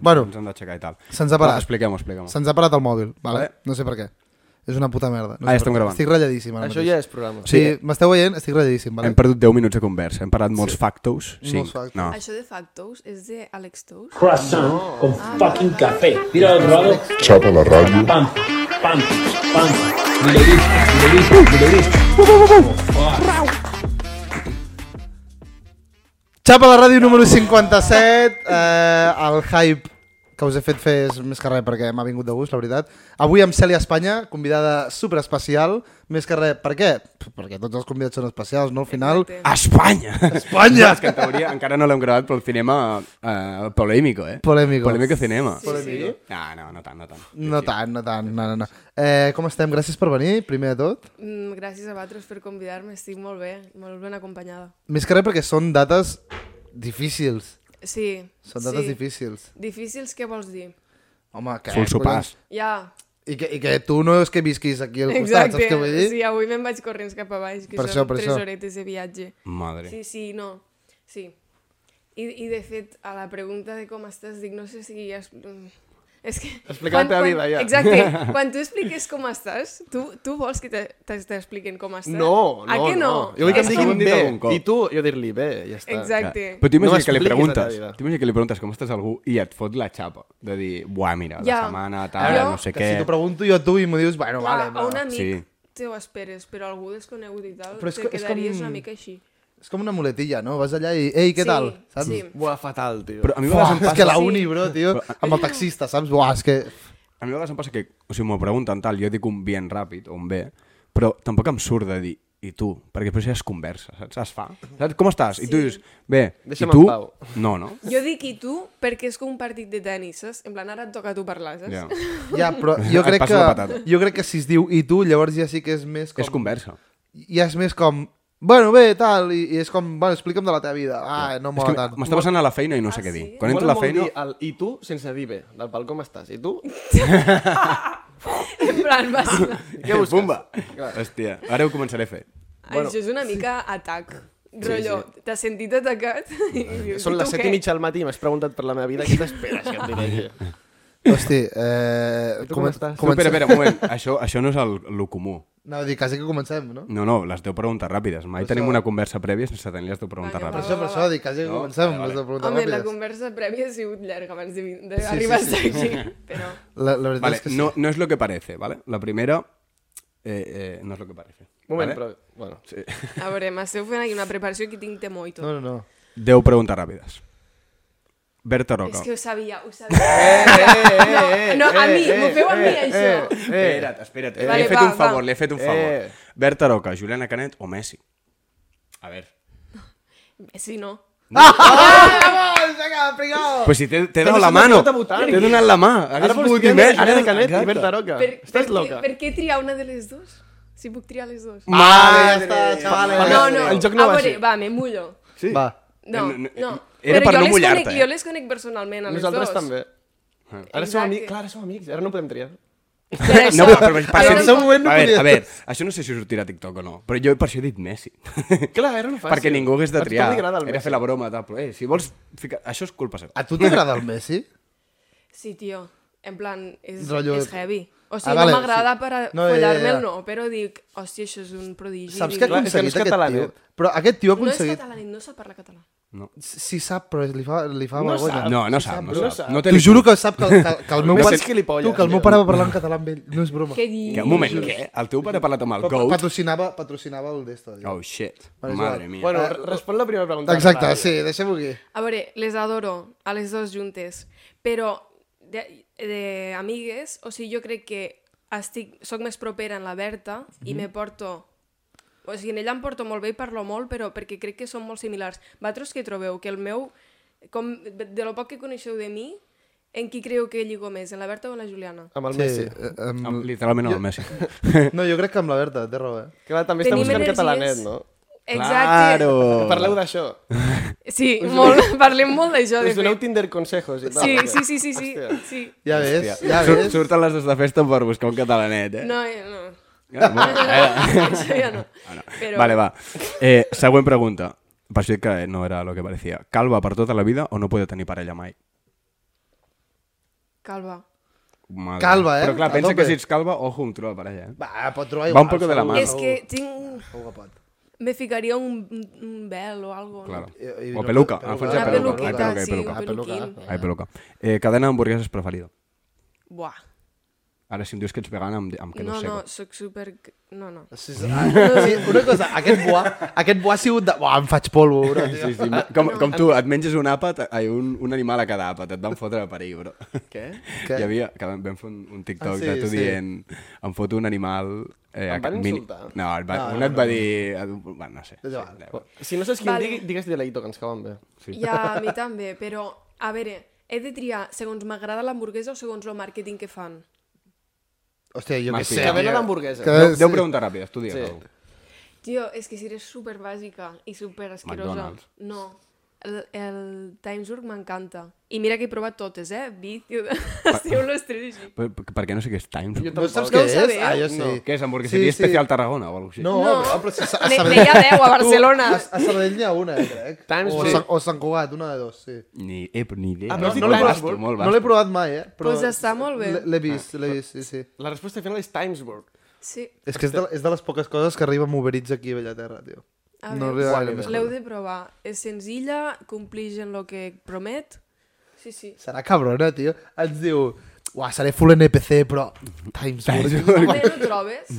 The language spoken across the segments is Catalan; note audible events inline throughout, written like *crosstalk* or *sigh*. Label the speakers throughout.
Speaker 1: Bueno,
Speaker 2: Ens hem d'aixecar i tal.
Speaker 1: Se'ns ha parat.
Speaker 2: Expliquem-ho, expliquem-ho.
Speaker 1: Se'ns ha parat el mòbil, vale?
Speaker 2: Vale.
Speaker 1: No sé per què. És una puta merda. No
Speaker 2: Ah,
Speaker 1: sé per
Speaker 2: estem
Speaker 1: què.
Speaker 2: gravant.
Speaker 1: Estic ratlladíssim ara
Speaker 3: Això
Speaker 1: mateix.
Speaker 3: ja és programa.
Speaker 1: Sí, m'esteu veient? Estic ratlladíssim, vale?
Speaker 2: Hem perdut 10 minuts de conversa, hem parlat molts factos. Sí.
Speaker 1: Molts factos.
Speaker 2: No.
Speaker 4: Això de factos és de Alex Tous?
Speaker 5: croissant con fucking café. Tíralo, brother.
Speaker 6: Chapa la radio.
Speaker 5: Pam, pam, pam. Mileris, mileris, mileris.
Speaker 1: Xapa la ràdio número 57. Eh, el hype que us he fet fer és més que res perquè m'ha vingut de gust, la veritat. Avui amb Cèlia Espanya, convidada super especial. Més que res, per què? P- Perquè tots els convidats són especials, no? Al final...
Speaker 2: A Espanya!
Speaker 1: Espanya!
Speaker 2: És que en teoria encara no l'hem gravat pel cinema eh, polémico, eh?
Speaker 1: Polémico.
Speaker 2: Polémico cinema.
Speaker 1: Polémico.
Speaker 2: Ah, no, no tant, no tant.
Speaker 1: No tant, no tant, no, no, no. Eh, com estem? Gràcies per venir, primer de tot.
Speaker 4: Mm, gràcies a vosaltres per convidar-me, estic molt bé, molt ben acompanyada.
Speaker 1: Més que res perquè són dates difícils.
Speaker 4: Sí,
Speaker 1: Són dates
Speaker 4: sí.
Speaker 1: difícils.
Speaker 4: Difícils, què vols dir?
Speaker 1: Home, què?
Speaker 2: Full sopars.
Speaker 4: Ja,
Speaker 1: I que, I que tu no és que visquis aquí al costat,
Speaker 4: exacte.
Speaker 1: saps què vull dir?
Speaker 4: Sí, avui me'n vaig corrents cap a baix, que
Speaker 1: Per
Speaker 4: són
Speaker 1: això, per
Speaker 4: tres
Speaker 1: això.
Speaker 4: horetes de viatge.
Speaker 2: Madre.
Speaker 4: Sí, sí, no, sí. I, I de fet, a la pregunta de com estàs, dic, no sé si ja... Es... mm, És que...
Speaker 2: Explica la teva vida, ja.
Speaker 4: Exacte. Quan tu expliques com estàs, tu, tu vols que te- te- t'expliquen com estàs?
Speaker 3: No, no,
Speaker 4: a què no?
Speaker 3: Jo vull que
Speaker 4: És
Speaker 3: em
Speaker 2: Això ho
Speaker 4: com-
Speaker 2: hem
Speaker 3: diguin
Speaker 2: dit
Speaker 3: bé.
Speaker 2: algun cop.
Speaker 3: I tu, jo dir-li bé, ja
Speaker 4: Ah,
Speaker 3: està.
Speaker 4: Exacte.
Speaker 2: Però t'imagines
Speaker 3: No
Speaker 2: que li
Speaker 3: m'expliquis la teva
Speaker 2: preguntes,
Speaker 3: vida.
Speaker 2: t'imagines que li preguntes com estàs a algú i et fot la xapa de dir, buah, mira,
Speaker 4: Ja.
Speaker 2: la setmana, tal,
Speaker 4: Jo-
Speaker 2: no sé
Speaker 1: Que
Speaker 2: què...
Speaker 1: si t'ho pregunto jo a tu i m'ho dius, bueno,
Speaker 4: Clar,
Speaker 1: vale,
Speaker 4: a un
Speaker 1: però...
Speaker 4: amic
Speaker 2: Sí.
Speaker 4: te ho esperes, però a algú desconegut i tal,
Speaker 1: Però és
Speaker 4: te
Speaker 1: co- és
Speaker 4: quedaries
Speaker 1: com-
Speaker 4: una mica així.
Speaker 1: És com una muletilla, no? Vas allà i, ei, què
Speaker 4: Sí,
Speaker 1: tal? Saps?
Speaker 4: sí.
Speaker 3: Buah, fatal, tio.
Speaker 2: Mm. Però a mi a
Speaker 1: Buah,
Speaker 2: vegades em
Speaker 1: és
Speaker 2: passa...
Speaker 1: que la
Speaker 4: Sí.
Speaker 1: uni, bro, tio, amb el taxista, saps? Buah, és que...
Speaker 2: A mi a vegades em passa que, o sigui, m'ho pregunten tal, jo dic un bien ràpid o un bé, però tampoc em surt de dir, i tu? Perquè després ja es conversa, saps? Es fa. Saps? Com estàs? I tu dius, bé,
Speaker 3: Deixa'm
Speaker 2: i tu?
Speaker 3: en pau.
Speaker 2: No, no.
Speaker 4: Jo dic i tu perquè és com un partit de tenis, saps? En plan, ara et toca a tu parlar, saps?
Speaker 2: Ja.
Speaker 1: Ja,
Speaker 2: *laughs*
Speaker 1: però jo
Speaker 2: Et
Speaker 1: crec
Speaker 2: passo
Speaker 1: que...
Speaker 2: la patata.
Speaker 1: Jo crec que si es diu i tu, llavors ja sí que és més com...
Speaker 2: És conversa.
Speaker 1: Ja és més com... Bueno, bé, tal, i, i és com... Bueno, explica'm de la teva vida. Ah, no
Speaker 2: És que
Speaker 1: mola tant.
Speaker 2: m'està passant a la feina i no sé
Speaker 4: Ah,
Speaker 2: què dir.
Speaker 4: sí?
Speaker 2: Quan entro a la feina...
Speaker 3: Dir el, I tu, sense dir bé. Del pal, com estàs? I tu?
Speaker 4: *laughs*
Speaker 2: *laughs*
Speaker 4: En plan, vas...
Speaker 1: *laughs*
Speaker 3: Què busques?
Speaker 2: Bumba!
Speaker 3: Ah.
Speaker 2: Hòstia, ara ho començaré a fer.
Speaker 3: Bueno,
Speaker 4: Això és una mica atac. Rotllo, t'has sentit atacat? *laughs* I dius,
Speaker 3: Són
Speaker 4: "I
Speaker 3: les
Speaker 4: tu
Speaker 3: set
Speaker 4: què?"
Speaker 3: i mitja del matí i m'has preguntat per la meva vida. Què t'esperes que et
Speaker 2: *laughs*
Speaker 3: diré aquí?
Speaker 1: Hosti, eh...
Speaker 3: tu com estàs?
Speaker 2: Tu, espera, espera, un moment. Això, això no és el, el comú.
Speaker 1: No, dir, quasi que comencem, no?
Speaker 2: No, no, les 10 preguntes ràpides. Mai tenim una conversa prèvia sense tenir les 10 preguntes
Speaker 4: Vinga,
Speaker 1: Per
Speaker 2: ràpides.
Speaker 1: això, per això, dic, quasi que
Speaker 2: No,
Speaker 1: comencem.
Speaker 2: vale,
Speaker 1: Vale,
Speaker 2: vale.
Speaker 1: vale.
Speaker 4: Home, la conversa prèvia ha sigut llarga abans d'arribar
Speaker 1: sí,
Speaker 4: sí, sí,
Speaker 1: *laughs*
Speaker 4: sí. aquí, però...
Speaker 1: La, la veritat
Speaker 2: Vale,
Speaker 1: és que sí.
Speaker 2: no, no es lo que parece, ¿vale? La primera eh, eh, no es lo que parece.
Speaker 3: Un moment,
Speaker 2: ¿vale?
Speaker 3: però... Bueno, sí.
Speaker 4: A veure, m'esteu fent aquí una preparació que tinc temor i tot.
Speaker 1: No, no, no.
Speaker 2: 10 preguntes ràpides. Berta Roca.
Speaker 4: És que ho sabia, ho sabia.
Speaker 1: Eh,
Speaker 4: *laughs* no, no, a mi, m'ho feu a mi, això.
Speaker 2: Espera't, espera't. Eh,
Speaker 4: Vale,
Speaker 2: li he fet
Speaker 4: va,
Speaker 2: un favor,
Speaker 4: va.
Speaker 2: li he fet un favor.
Speaker 3: Eh.
Speaker 2: Berta Roca, Juliana Canet o Messi? A ver.
Speaker 1: eh.
Speaker 4: Sí, no.
Speaker 2: Pues si te, te he dado
Speaker 3: no
Speaker 2: la
Speaker 3: se m'ha
Speaker 2: mano.
Speaker 3: donat a votar.
Speaker 2: T'he donat la mà.
Speaker 3: Ara
Speaker 2: Hagués
Speaker 3: vols
Speaker 2: pogut
Speaker 3: dir
Speaker 2: dir Messi.
Speaker 3: Ara de Canet i Berta Roca.
Speaker 4: Per, per,
Speaker 3: Estàs loca.
Speaker 4: Què, per què triar una de les dues? Si puc triar les dues.
Speaker 2: Mare,
Speaker 1: ja està, eh, xavales.
Speaker 4: no, no,
Speaker 3: el joc no
Speaker 4: a
Speaker 3: va
Speaker 4: veure,
Speaker 3: així.
Speaker 4: va, me mullo.
Speaker 3: Sí.
Speaker 1: Va.
Speaker 4: No,
Speaker 2: Eh, no,
Speaker 4: no.
Speaker 2: eh,
Speaker 4: no.
Speaker 2: era per
Speaker 4: jo
Speaker 2: no
Speaker 4: les
Speaker 2: mullar-te,
Speaker 4: Conec,
Speaker 2: eh?
Speaker 4: Jo les conec personalment, a les
Speaker 3: Nosaltres
Speaker 4: dues.
Speaker 3: també.
Speaker 2: Ah.
Speaker 3: Ara som
Speaker 4: Exacte.
Speaker 3: amics, clar, ara som amics, ara no podem triar.
Speaker 4: Per això,
Speaker 2: No, però, però, per
Speaker 4: Però
Speaker 2: això-
Speaker 4: en seu moment
Speaker 1: no
Speaker 2: a veure,
Speaker 1: podies.
Speaker 2: a veure, això no sé si sortirà a TikTok o no, però jo per això he dit Messi.
Speaker 3: Clar, era una fàcil.
Speaker 2: Perquè ningú hagués de
Speaker 3: A tothom
Speaker 2: triar.
Speaker 3: li agrada el
Speaker 2: Era
Speaker 3: Messi. Ah,
Speaker 2: fer la broma, tal, però eh, si vols... Ficar... Això és culpa seva.
Speaker 1: A tu t'agrada el Messi?
Speaker 4: Sí, tio. En plan, és,
Speaker 1: Rotllo-
Speaker 4: és heavy. O
Speaker 1: Ah,
Speaker 4: sigui, ah,
Speaker 1: vale,
Speaker 4: no m'agrada
Speaker 1: sí.
Speaker 4: per a
Speaker 1: No, ja, ja,
Speaker 4: follar-me
Speaker 1: ja.
Speaker 4: el no, però dic, hòstia, això és un prodigi.
Speaker 1: Saps
Speaker 4: dic,
Speaker 1: què ha
Speaker 3: Clar, és que no
Speaker 1: aconseguit
Speaker 3: és
Speaker 1: aquest
Speaker 3: català,
Speaker 1: tio?
Speaker 3: net.
Speaker 1: Però aquest tio ha
Speaker 4: No és
Speaker 1: aconseguit...
Speaker 4: català, no sap parlar català.
Speaker 1: Sí sap, però li fa, li fa
Speaker 3: No
Speaker 1: vergonya.
Speaker 3: sap.
Speaker 2: No, no sap, no,
Speaker 3: no
Speaker 2: sap.
Speaker 3: sap.
Speaker 2: No té
Speaker 1: T'ho juro que sap que, el- que, que el meu
Speaker 3: *laughs* No
Speaker 1: pare...
Speaker 3: saps qui li polla.
Speaker 1: Tu, que el meu pare va parlar en català amb ell. No és broma.
Speaker 4: Què dius?
Speaker 2: Que, un moment, què? El teu pare ha parlat amb el
Speaker 1: Pa-
Speaker 2: Goat?
Speaker 1: Patrocinava, patrocinava el d'esto. Oh.
Speaker 2: Oh, shit.
Speaker 1: Vale,
Speaker 2: Madre
Speaker 1: igual.
Speaker 2: mia.
Speaker 4: Ah.
Speaker 3: Bueno, re- respon la primera pregunta.
Speaker 1: Exacte, sí, deixem-ho aquí.
Speaker 4: A veure, les adoro, a les dues juntes, però de, de amigues, o sigui, jo crec que estic, soc més propera en la Berta i me porto... O sigui, en ella em porto molt bé i parlo molt, però perquè crec que som molt similars. Vosaltres què trobeu? Que el meu... Com, de lo poc que coneixeu de mi, en qui creieu que lligo més, en la Berta o en la Juliana?
Speaker 3: Amb el
Speaker 1: Sí,
Speaker 3: Messi.
Speaker 1: eh, amb...
Speaker 2: Amb- Em- Literalment amb
Speaker 1: *laughs*
Speaker 2: el Messi.
Speaker 1: No, jo crec que amb la Berta, té raó, eh?
Speaker 3: Clar, també està
Speaker 4: Tenim
Speaker 3: buscant
Speaker 4: energies.
Speaker 3: catalanet, no?
Speaker 4: Exacte.
Speaker 2: Oh.
Speaker 3: Parleu d'això.
Speaker 4: Sí, molt, *laughs* parlem molt d'això, de
Speaker 3: Us doneu
Speaker 4: fet.
Speaker 3: Tinder consejos i tal.
Speaker 4: Sí,
Speaker 3: perquè-
Speaker 4: sí, sí, sí, sí,
Speaker 3: Hòstia.
Speaker 4: sí.
Speaker 1: Ja ves, ja
Speaker 2: Sur
Speaker 1: ves.
Speaker 2: surten les dos de festa per buscar un catalanet, eh?
Speaker 4: No, eh, *laughs* no.
Speaker 2: Ah, bueno, eh?
Speaker 4: Això ja no. *laughs* Però...
Speaker 2: Vale, va. Eh, següent pregunta. eh, Per això dic que no era el que parecia. Calva per tota la vida o no puede tenir parella mai?
Speaker 4: calva.
Speaker 2: Madre.
Speaker 1: Calva, eh?
Speaker 2: Però clar,
Speaker 1: A
Speaker 2: pensa
Speaker 1: tope.
Speaker 2: que si ets calva, ojo, un troll la parella, eh?
Speaker 1: Va, pot trobar
Speaker 2: Va
Speaker 1: igual,
Speaker 2: un poco de la
Speaker 1: segur,
Speaker 2: mano.
Speaker 4: és
Speaker 1: segur.
Speaker 4: que tinc...
Speaker 1: Segur que pot.
Speaker 4: Me ficaria un, un- un vel o algo.
Speaker 2: Claro.
Speaker 4: No?
Speaker 1: I- i
Speaker 2: O
Speaker 1: no-
Speaker 2: peluca.
Speaker 1: peluca.
Speaker 2: Ah, fons
Speaker 1: Una
Speaker 2: de peluca. Ai,
Speaker 1: peluquita,
Speaker 2: peluca, ai,
Speaker 4: sí,
Speaker 2: peluca.
Speaker 4: un peluquín.
Speaker 2: Ai, peluca. Eh, cadena d'hamburgueses preferida.
Speaker 4: Buah.
Speaker 2: Ara, si em dius que ets vegana, em, em quedo
Speaker 4: No,
Speaker 2: seco.
Speaker 4: no, sóc super... No, no.
Speaker 1: Sí, sí. Ah, sí, una cosa, aquest buà, aquest buà ha sigut de... Uah, em faig polvo, bro.
Speaker 2: Sí, sí, com, com tu, et menges un àpat, ai, un, un animal a cada àpat, et van fotre a perill, bro.
Speaker 3: Què?
Speaker 1: Què?
Speaker 2: Hi havia, que vam, vam fer un, un
Speaker 1: Ah,
Speaker 2: TikTok ah,
Speaker 1: sí,
Speaker 2: sí, de tu
Speaker 1: sí.
Speaker 2: sí. dient, em foto un animal... Eh,
Speaker 3: Em van
Speaker 2: a- mini-
Speaker 3: insultar?
Speaker 2: No, et va, no, un et va dir... et- Bueno, no sé. Sí,
Speaker 1: va.
Speaker 2: adéu.
Speaker 3: Si no saps qui
Speaker 4: Vale.
Speaker 3: vale. digui, digues Dileito, que ens cauen bé.
Speaker 2: Sí. *laughs*
Speaker 4: Ja, a mi també, però... A veure, he de triar segons m'agrada l'hamburguesa o segons el màrqueting que fan.
Speaker 1: Hòstia, jo què
Speaker 2: Martí.
Speaker 1: sé.
Speaker 3: Que venen
Speaker 1: tio.
Speaker 3: hamburgueses.
Speaker 1: Que-
Speaker 2: Deu,
Speaker 1: sí.
Speaker 2: deu preguntar ràpid, estudia.
Speaker 3: Sí.
Speaker 2: Sí.
Speaker 4: Tio, és que si eres super bàsica i super asquerosa.
Speaker 2: McDonald's.
Speaker 4: No. El, el Times Urg m'encanta. I mira que he provat totes, eh? Bit, *laughs* esteu les tres així.
Speaker 2: Per, per, perquè no sé què és Times.
Speaker 3: Jo
Speaker 2: Jo
Speaker 3: tampoc.
Speaker 1: No saps
Speaker 4: No
Speaker 1: què
Speaker 4: ho
Speaker 1: és?
Speaker 4: sabeu?
Speaker 1: Ah, jo sí.
Speaker 2: no. Què és, hamburgueseria
Speaker 1: Sí, sí.
Speaker 2: especial Tarragona o alguna cosa així?
Speaker 1: No,
Speaker 4: No.
Speaker 1: però, però si a,
Speaker 4: Ne-
Speaker 1: Sabadell... *laughs*
Speaker 4: n'hi ha deu a Barcelona.
Speaker 1: Tu, a, a Sabadell n'hi ha una, eh, crec.
Speaker 3: Times
Speaker 1: o,
Speaker 3: Square.
Speaker 1: Sant, o Sant Cugat, una de dos, sí.
Speaker 2: Ni, eh, però ni idea.
Speaker 3: Ah,
Speaker 1: No,
Speaker 3: però sí,
Speaker 1: no l'he
Speaker 3: Times
Speaker 2: vasto,
Speaker 3: Square.
Speaker 1: provat,
Speaker 2: molt
Speaker 1: no l'he
Speaker 2: vasto.
Speaker 1: provat mai, eh? Però
Speaker 4: Doncs està molt bé.
Speaker 1: l'he- L'he vist, l'he vist, sí, sí.
Speaker 3: La resposta final és Timesburg.
Speaker 4: Sí.
Speaker 1: És que és de, és de les poques coses que arriba amb Uber Eats aquí a Bellaterra, tio.
Speaker 4: A
Speaker 1: No
Speaker 4: veure,
Speaker 1: arriba gaire més.
Speaker 4: l'heu de provar. És senzilla, complix en el que promet. Sí, sí.
Speaker 1: Serà cabrona, tio. Ens diu... Uah, seré full NPC, però... Times Square.
Speaker 4: Home, no
Speaker 1: *laughs*
Speaker 4: trobes?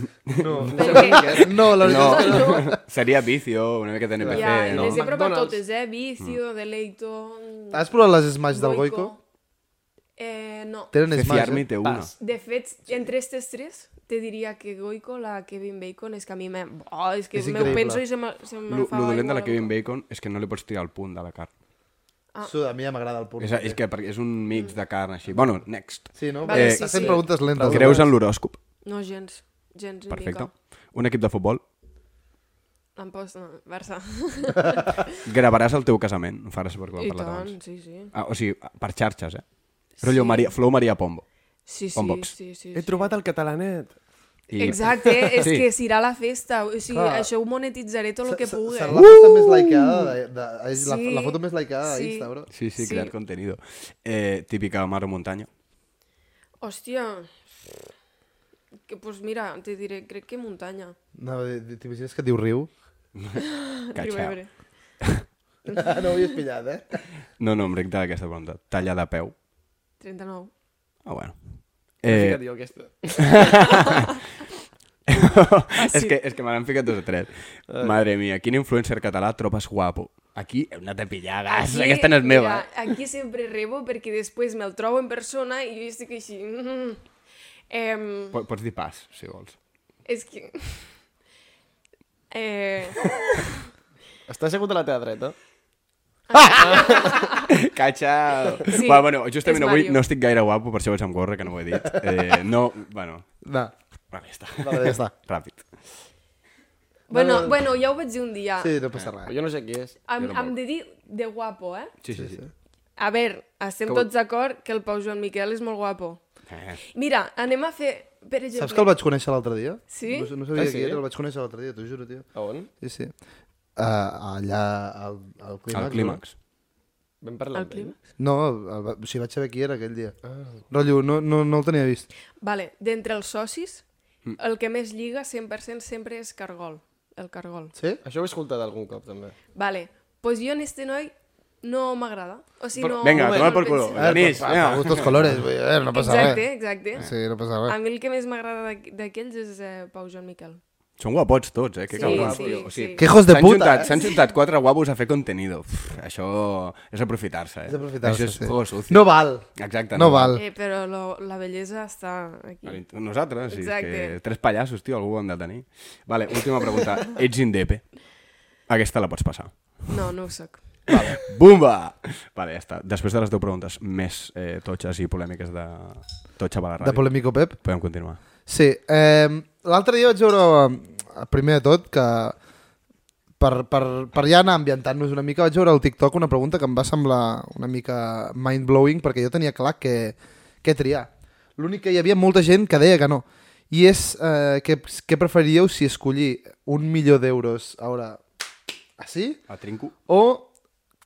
Speaker 1: No,
Speaker 3: *laughs*
Speaker 4: Perquè-
Speaker 1: no, la veritat és que no.
Speaker 2: No, *laughs* seria vicio, una mica de NPC,
Speaker 4: Ja, i
Speaker 2: no? Mm.
Speaker 4: les he provat
Speaker 3: McDonald's.
Speaker 4: totes, eh? Vicio, Deleito...
Speaker 1: Has provat les Smash del Goico?
Speaker 4: Eh, no.
Speaker 1: Tenen
Speaker 2: De
Speaker 1: Smash,
Speaker 2: fiar-me
Speaker 1: eh?
Speaker 2: té una.
Speaker 3: Pas.
Speaker 4: De fet, entre aquestes tres, te diria que Goico, la Kevin Bacon, és que a mi me... Oh, és que
Speaker 1: És
Speaker 4: me ho
Speaker 1: increïble.
Speaker 4: penso i se me, se me
Speaker 2: Lo,
Speaker 4: fa
Speaker 2: lo dolent
Speaker 4: aigua
Speaker 2: de
Speaker 4: a
Speaker 2: la Kevin
Speaker 4: boca.
Speaker 2: Bacon és que no li pots tirar el punt de la carn.
Speaker 4: Ah.
Speaker 1: Su, a mi ja m'agrada el punt.
Speaker 2: És, és que perquè és un mix de carn així. Bueno, next.
Speaker 1: Sí, no?
Speaker 4: Vale,
Speaker 1: Vale,
Speaker 2: sí,
Speaker 1: Estàs fent
Speaker 4: sí.
Speaker 1: preguntes lentes.
Speaker 2: Creus en l'horòscop?
Speaker 4: No, gens. Gens ni
Speaker 2: Perfecte.
Speaker 4: mica.
Speaker 2: Un equip de futbol.
Speaker 4: Em pots... No, Barça.
Speaker 2: Gravaràs el teu casament. Ho faràs per
Speaker 4: I
Speaker 2: parlat
Speaker 4: tant,
Speaker 2: abans.
Speaker 4: sí, sí.
Speaker 2: Ah, o sigui, per xarxes, eh? Rollo Maria, Flow Maria Pombo.
Speaker 4: Sí, sí,
Speaker 2: Convox.
Speaker 4: sí, sí,
Speaker 3: He
Speaker 4: sí.
Speaker 3: trobat el catalanet.
Speaker 2: I-
Speaker 4: Exacte, eh? és
Speaker 2: Sí.
Speaker 4: que serà la festa. O sigui,
Speaker 1: Clar.
Speaker 4: això ho monetitzaré tot el que pugui.
Speaker 1: Serà la festa més likeada, de, de, és la,
Speaker 4: Sí.
Speaker 1: la foto més likeada
Speaker 4: Sí.
Speaker 1: d'Insta, bro.
Speaker 2: *laughs* Sí, sí,
Speaker 4: Sí.
Speaker 2: crear contenido. Eh, típica mar o
Speaker 4: *laughs*
Speaker 2: muntanya.
Speaker 4: Hòstia. Que, pues mira, te diré, crec que muntanya.
Speaker 1: No, T'imagines que et diu riu?
Speaker 2: Catxar.
Speaker 4: Ribebre. Mm.
Speaker 1: *laughs* no ho havies pillat, eh?
Speaker 2: No, no, em ric d'aquesta pregunta. Talla de peu.
Speaker 4: 39.
Speaker 2: Ah, bueno.
Speaker 3: Eh...
Speaker 2: Eh,
Speaker 3: Fica't jo aquesta.
Speaker 4: Ah,
Speaker 2: és que, és que me n'han ficat dos o tres.
Speaker 4: Eh.
Speaker 2: Madre mía, quin influencer català trobes guapo? Aquí hem anat a pillar gas,
Speaker 4: Aquí,
Speaker 2: Ah, aquesta no és meva. eh?
Speaker 4: mira, Aquí sempre rebo perquè després me'l trobo en persona i jo estic així... *laughs* Mm, em,
Speaker 2: Po- Pots dir pas, si vols.
Speaker 4: és que... *laughs* Eh,
Speaker 3: Està assegut a la teva dreta.
Speaker 2: Catxa!
Speaker 4: Sí,
Speaker 2: Sí, Va, bueno, justament
Speaker 4: és
Speaker 2: avui
Speaker 4: Mario.
Speaker 2: no estic gaire guapo, per això vaig amb gorra, que no ho he dit. Eh, no, bueno,
Speaker 1: No.
Speaker 2: vale, ja està.
Speaker 1: Vale, ja està.
Speaker 2: Ràpid.
Speaker 4: bueno, bueno, ja ho vaig dir un dia.
Speaker 1: Sí, no
Speaker 2: Ah.
Speaker 1: passa res.
Speaker 3: Jo no sé qui és.
Speaker 4: Em, em de dir de guapo, eh?
Speaker 2: Sí, sí, sí.
Speaker 4: A veure, estem tots d'acord que el Pau Joan Miquel és molt guapo.
Speaker 2: Eh,
Speaker 4: Mira, anem a fer... Per exemple...
Speaker 1: Saps que el vaig conèixer l'altre dia?
Speaker 4: Sí?
Speaker 1: No, no sabia
Speaker 3: Ah,
Speaker 1: qui
Speaker 3: sí?
Speaker 1: era, el vaig conèixer l'altre dia, t'ho juro, tio.
Speaker 3: A on?
Speaker 1: Sí, sí. Uh, allà, al, al clímax.
Speaker 2: el clímax.
Speaker 3: Vam parlar
Speaker 4: El
Speaker 3: amb ell?
Speaker 4: clímax?
Speaker 1: No, el, va- o sigui, vaig saber qui era aquell dia. Ah. Rotllo, no, no, no el tenia vist.
Speaker 4: Vale, d'entre els socis, el que més lliga 100% sempre és Cargol, el Cargol.
Speaker 1: Sí?
Speaker 3: Això ho he escoltat algun cop, també.
Speaker 4: Vale, pues jo en este noi no m'agrada. O sigui, no...
Speaker 2: Venga,
Speaker 4: no
Speaker 2: toma
Speaker 4: el
Speaker 2: por culo.
Speaker 4: penso.
Speaker 2: Anís,
Speaker 1: pa, pa,
Speaker 2: vinga.
Speaker 1: gustos colores, vull dir, eh, no passa
Speaker 4: Exacte,
Speaker 1: res.
Speaker 4: exacte.
Speaker 1: Sí, no passa
Speaker 4: A
Speaker 1: res.
Speaker 4: mi el que més m'agrada d'aqu- d'aquells és eh, Pau Joan Miquel.
Speaker 2: Són guapots tots, eh? Que
Speaker 4: Sí,
Speaker 2: cabrons,
Speaker 4: sí,
Speaker 2: tio. O sigui,
Speaker 4: sí.
Speaker 1: Que hijos de
Speaker 2: s'han
Speaker 1: puta,
Speaker 2: Juntat,
Speaker 1: eh?
Speaker 2: S'han juntat quatre guapos a fer contenido. Uf, això és aprofitar-se, eh?
Speaker 1: És aprofitar-se,
Speaker 2: Això és
Speaker 1: sí.
Speaker 2: juego sucio.
Speaker 1: No val.
Speaker 2: Exacte.
Speaker 1: No val.
Speaker 4: Eh, però lo, la bellesa està aquí.
Speaker 2: Nosaltres, sí,
Speaker 4: Exacte.
Speaker 2: que tres pallassos, tio, algú ho hem de tenir. Vale, última pregunta. Ets indepe? Aquesta la pots passar.
Speaker 4: No, no ho soc.
Speaker 2: Vale. Bumba! Vale, ja està. Després de les 10 preguntes més eh, totxes i polèmiques de Totxa va la
Speaker 1: De
Speaker 2: ràdio,
Speaker 1: Polemico Pep?
Speaker 2: podem continuar.
Speaker 1: Sí. Eh, L'altre dia vaig veure, eh, primer de tot, que per, per, per ja anar ambientant-nos una mica, vaig veure al TikTok una pregunta que em va semblar una mica mind-blowing perquè jo tenia clar que, què triar. L'únic que hi havia molta gent que deia que no. I és eh, que, què preferiríeu si escollir un milió d'euros ara així
Speaker 2: A Trinco?
Speaker 1: o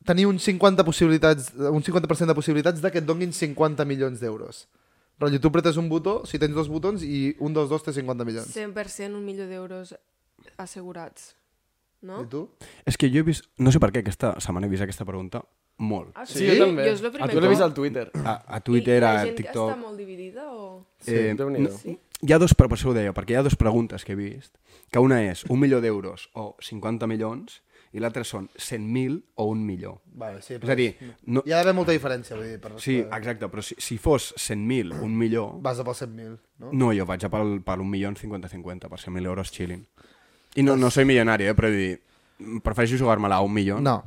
Speaker 1: tenir un 50%, possibilitats, un 50 de possibilitats de que et donguin 50 milions d'euros. Rotllo, tu pretes un botó, si tens dos botons, i un dels dos té 50 milions.
Speaker 4: 100% un milió d'euros assegurats. No?
Speaker 1: I tu?
Speaker 2: És que jo he vist... No sé per què aquesta setmana he vist aquesta pregunta molt.
Speaker 4: Ah,
Speaker 3: Sí, sí, jo també.
Speaker 4: Jo és el primer
Speaker 3: jo l'he vist al Twitter.
Speaker 2: A, a Twitter,
Speaker 4: I la
Speaker 2: a
Speaker 4: gent
Speaker 2: TikTok...
Speaker 4: està molt dividida o...?
Speaker 3: Sí,
Speaker 2: Eh,
Speaker 3: Déu-n'hi-do.
Speaker 2: no- Hi ha dos, però per això ho deia, perquè hi ha dues preguntes que he vist, que una és un milió d'euros o 50 milions, i l'altra són 100.000 o un milió.
Speaker 1: Vale, sí,
Speaker 2: És a dir, no,
Speaker 1: Hi ha d'haver molta diferència, vull dir, per
Speaker 2: sí,
Speaker 3: eh.
Speaker 2: exacte, però si, si fos 100.000, un milió,
Speaker 1: Vas a pel 100.000, no?
Speaker 2: no, jo vaig a pel, per un milió en 50-50, per 100.000 euros xilin. I no, no soy milionari, eh, però vull dir, prefereixo jugar-me-la a un milió
Speaker 1: No.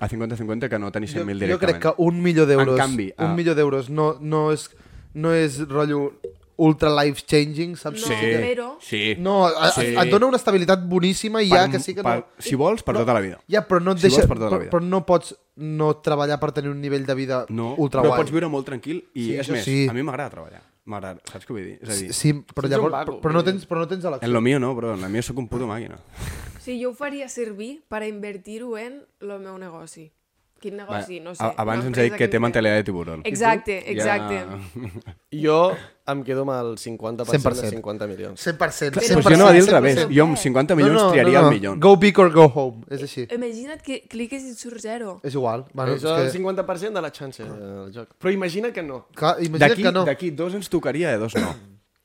Speaker 2: a 50-50 que no tenir 100.000
Speaker 1: Jo,
Speaker 2: directament.
Speaker 1: jo crec que un milió d'euros...
Speaker 2: En canvi,
Speaker 1: Un
Speaker 2: ah.
Speaker 1: milió d'euros no, no és, no és rotllo ultra life-changing, saps?
Speaker 4: No,
Speaker 2: Sí,
Speaker 4: però-
Speaker 2: sí.
Speaker 1: No, a, a,
Speaker 2: Sí.
Speaker 1: et dona una estabilitat boníssima i ja
Speaker 2: Per-
Speaker 1: que sí que
Speaker 2: per,
Speaker 1: no...
Speaker 2: Si vols, per tota la vida.
Speaker 1: Ja, però no et
Speaker 2: Si
Speaker 1: deixa...
Speaker 2: vols, per tota la
Speaker 1: però,
Speaker 2: vida.
Speaker 1: però no pots no treballar per tenir un nivell de vida
Speaker 2: No,
Speaker 1: ultra
Speaker 2: però
Speaker 1: guai.
Speaker 2: pots viure molt tranquil i
Speaker 1: Sí,
Speaker 2: sí, és
Speaker 1: això
Speaker 2: més,
Speaker 1: sí.
Speaker 2: sí. a mi m'agrada treballar. M'agrada, saps què vull dir? És a dir, sí,
Speaker 1: Sí, però
Speaker 3: Ets un
Speaker 1: llavors...
Speaker 3: vago,
Speaker 1: però, no
Speaker 3: vull dir.
Speaker 1: tens, però no tens
Speaker 2: sí. en
Speaker 1: elecció.
Speaker 2: lo mío no, però en la mía sóc un puto màquina.
Speaker 4: Sí, jo ho faria servir per a invertir-ho en el meu negoci. Quin negoci?
Speaker 2: Va,
Speaker 4: no sé.
Speaker 2: a- abans
Speaker 4: una
Speaker 2: ens ha dit
Speaker 4: empresa
Speaker 2: que té
Speaker 4: em-
Speaker 2: mentalidad de tiburón.
Speaker 4: Exacte,
Speaker 2: I tu?
Speaker 4: exacte.
Speaker 3: Jo em quedo amb el 50%
Speaker 1: 100%.
Speaker 3: de 50 milions.
Speaker 1: 100%.
Speaker 4: Però
Speaker 2: Pues
Speaker 1: 100%.
Speaker 2: jo no va dir al
Speaker 4: 100%.
Speaker 2: revés. Jo amb 50 milions no, no, triaria el millón.
Speaker 1: Go big or go home, és així.
Speaker 3: Eh,
Speaker 4: Imagina't que cliques i et surt zero.
Speaker 1: És igual. Bueno,
Speaker 3: Bueno,
Speaker 1: és
Speaker 3: és el
Speaker 1: que,
Speaker 3: 50% de la xanxa del joc. Però imagina que no.
Speaker 1: clar, imagina't
Speaker 2: D'aquí
Speaker 1: que no.
Speaker 2: d'aquí dos ens tocaria, de dos no.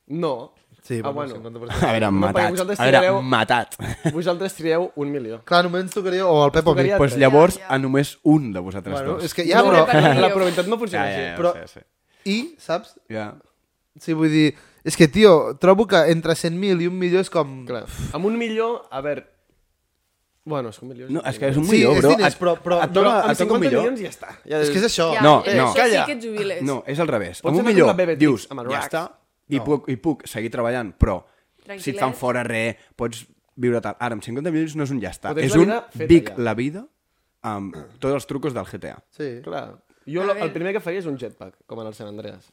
Speaker 3: No.
Speaker 1: Sí,
Speaker 3: ah,
Speaker 1: bueno,
Speaker 3: bueno.
Speaker 1: 50%.
Speaker 2: *coughs* A veure,
Speaker 3: No, perquè
Speaker 2: matat.
Speaker 3: vosaltres
Speaker 2: A veure,
Speaker 3: triareu-
Speaker 2: matat.
Speaker 3: Vosaltres trieu un milió.
Speaker 1: Clar, només ens tocaria o el Pep o a mi.
Speaker 3: Tocaria-
Speaker 2: Doncs llavors, a només un de vosaltres
Speaker 1: Bueno,
Speaker 2: dos.
Speaker 1: és que ja,
Speaker 3: no,
Speaker 1: però...
Speaker 4: per un milió.
Speaker 3: La probabilitat no funciona
Speaker 2: Ja,
Speaker 3: així.
Speaker 2: ja, ja,
Speaker 1: però-
Speaker 2: però... sí, sí.
Speaker 1: I, saps?
Speaker 2: Ja.
Speaker 1: Sí, vull dir... És que, tio, trobo que entre 100.000 i un milió és com...
Speaker 3: Clar, amb un milió, a veure... Bueno, és que un milió...
Speaker 2: No, és que és un
Speaker 1: Sí,
Speaker 2: milió,
Speaker 1: és
Speaker 2: bro.
Speaker 1: diners,
Speaker 2: Et-
Speaker 1: però- però-
Speaker 2: et
Speaker 3: Però
Speaker 2: toca-
Speaker 3: amb
Speaker 2: et toca un
Speaker 3: 50
Speaker 2: milió.
Speaker 3: milions ja està. Ja
Speaker 1: És que és això.
Speaker 4: Ja,
Speaker 2: No,
Speaker 4: eh,
Speaker 2: no.
Speaker 4: això
Speaker 3: Calla.
Speaker 4: sí que et jubiles.
Speaker 2: No, és al revés.
Speaker 3: Pots
Speaker 2: Amb un
Speaker 3: anar
Speaker 2: milió
Speaker 3: com la BBT,
Speaker 2: dius,
Speaker 3: amb el
Speaker 2: ja
Speaker 3: Rax.
Speaker 2: està, i, puc, i puc seguir treballant, però si et fan
Speaker 4: Tranquil·let.
Speaker 2: fora res, pots viure tal. Ara, amb 50 milions no és un ja està.
Speaker 3: Però tens
Speaker 2: És
Speaker 3: la
Speaker 2: un
Speaker 3: vida feta,
Speaker 2: Vic
Speaker 3: ja.
Speaker 2: la vida amb tots els trucos del GTA.
Speaker 1: Sí.
Speaker 3: Clar. Jo
Speaker 4: A
Speaker 3: lo,
Speaker 4: veure.
Speaker 3: el primer que faria és un jetpack, com en el Sant Andreas.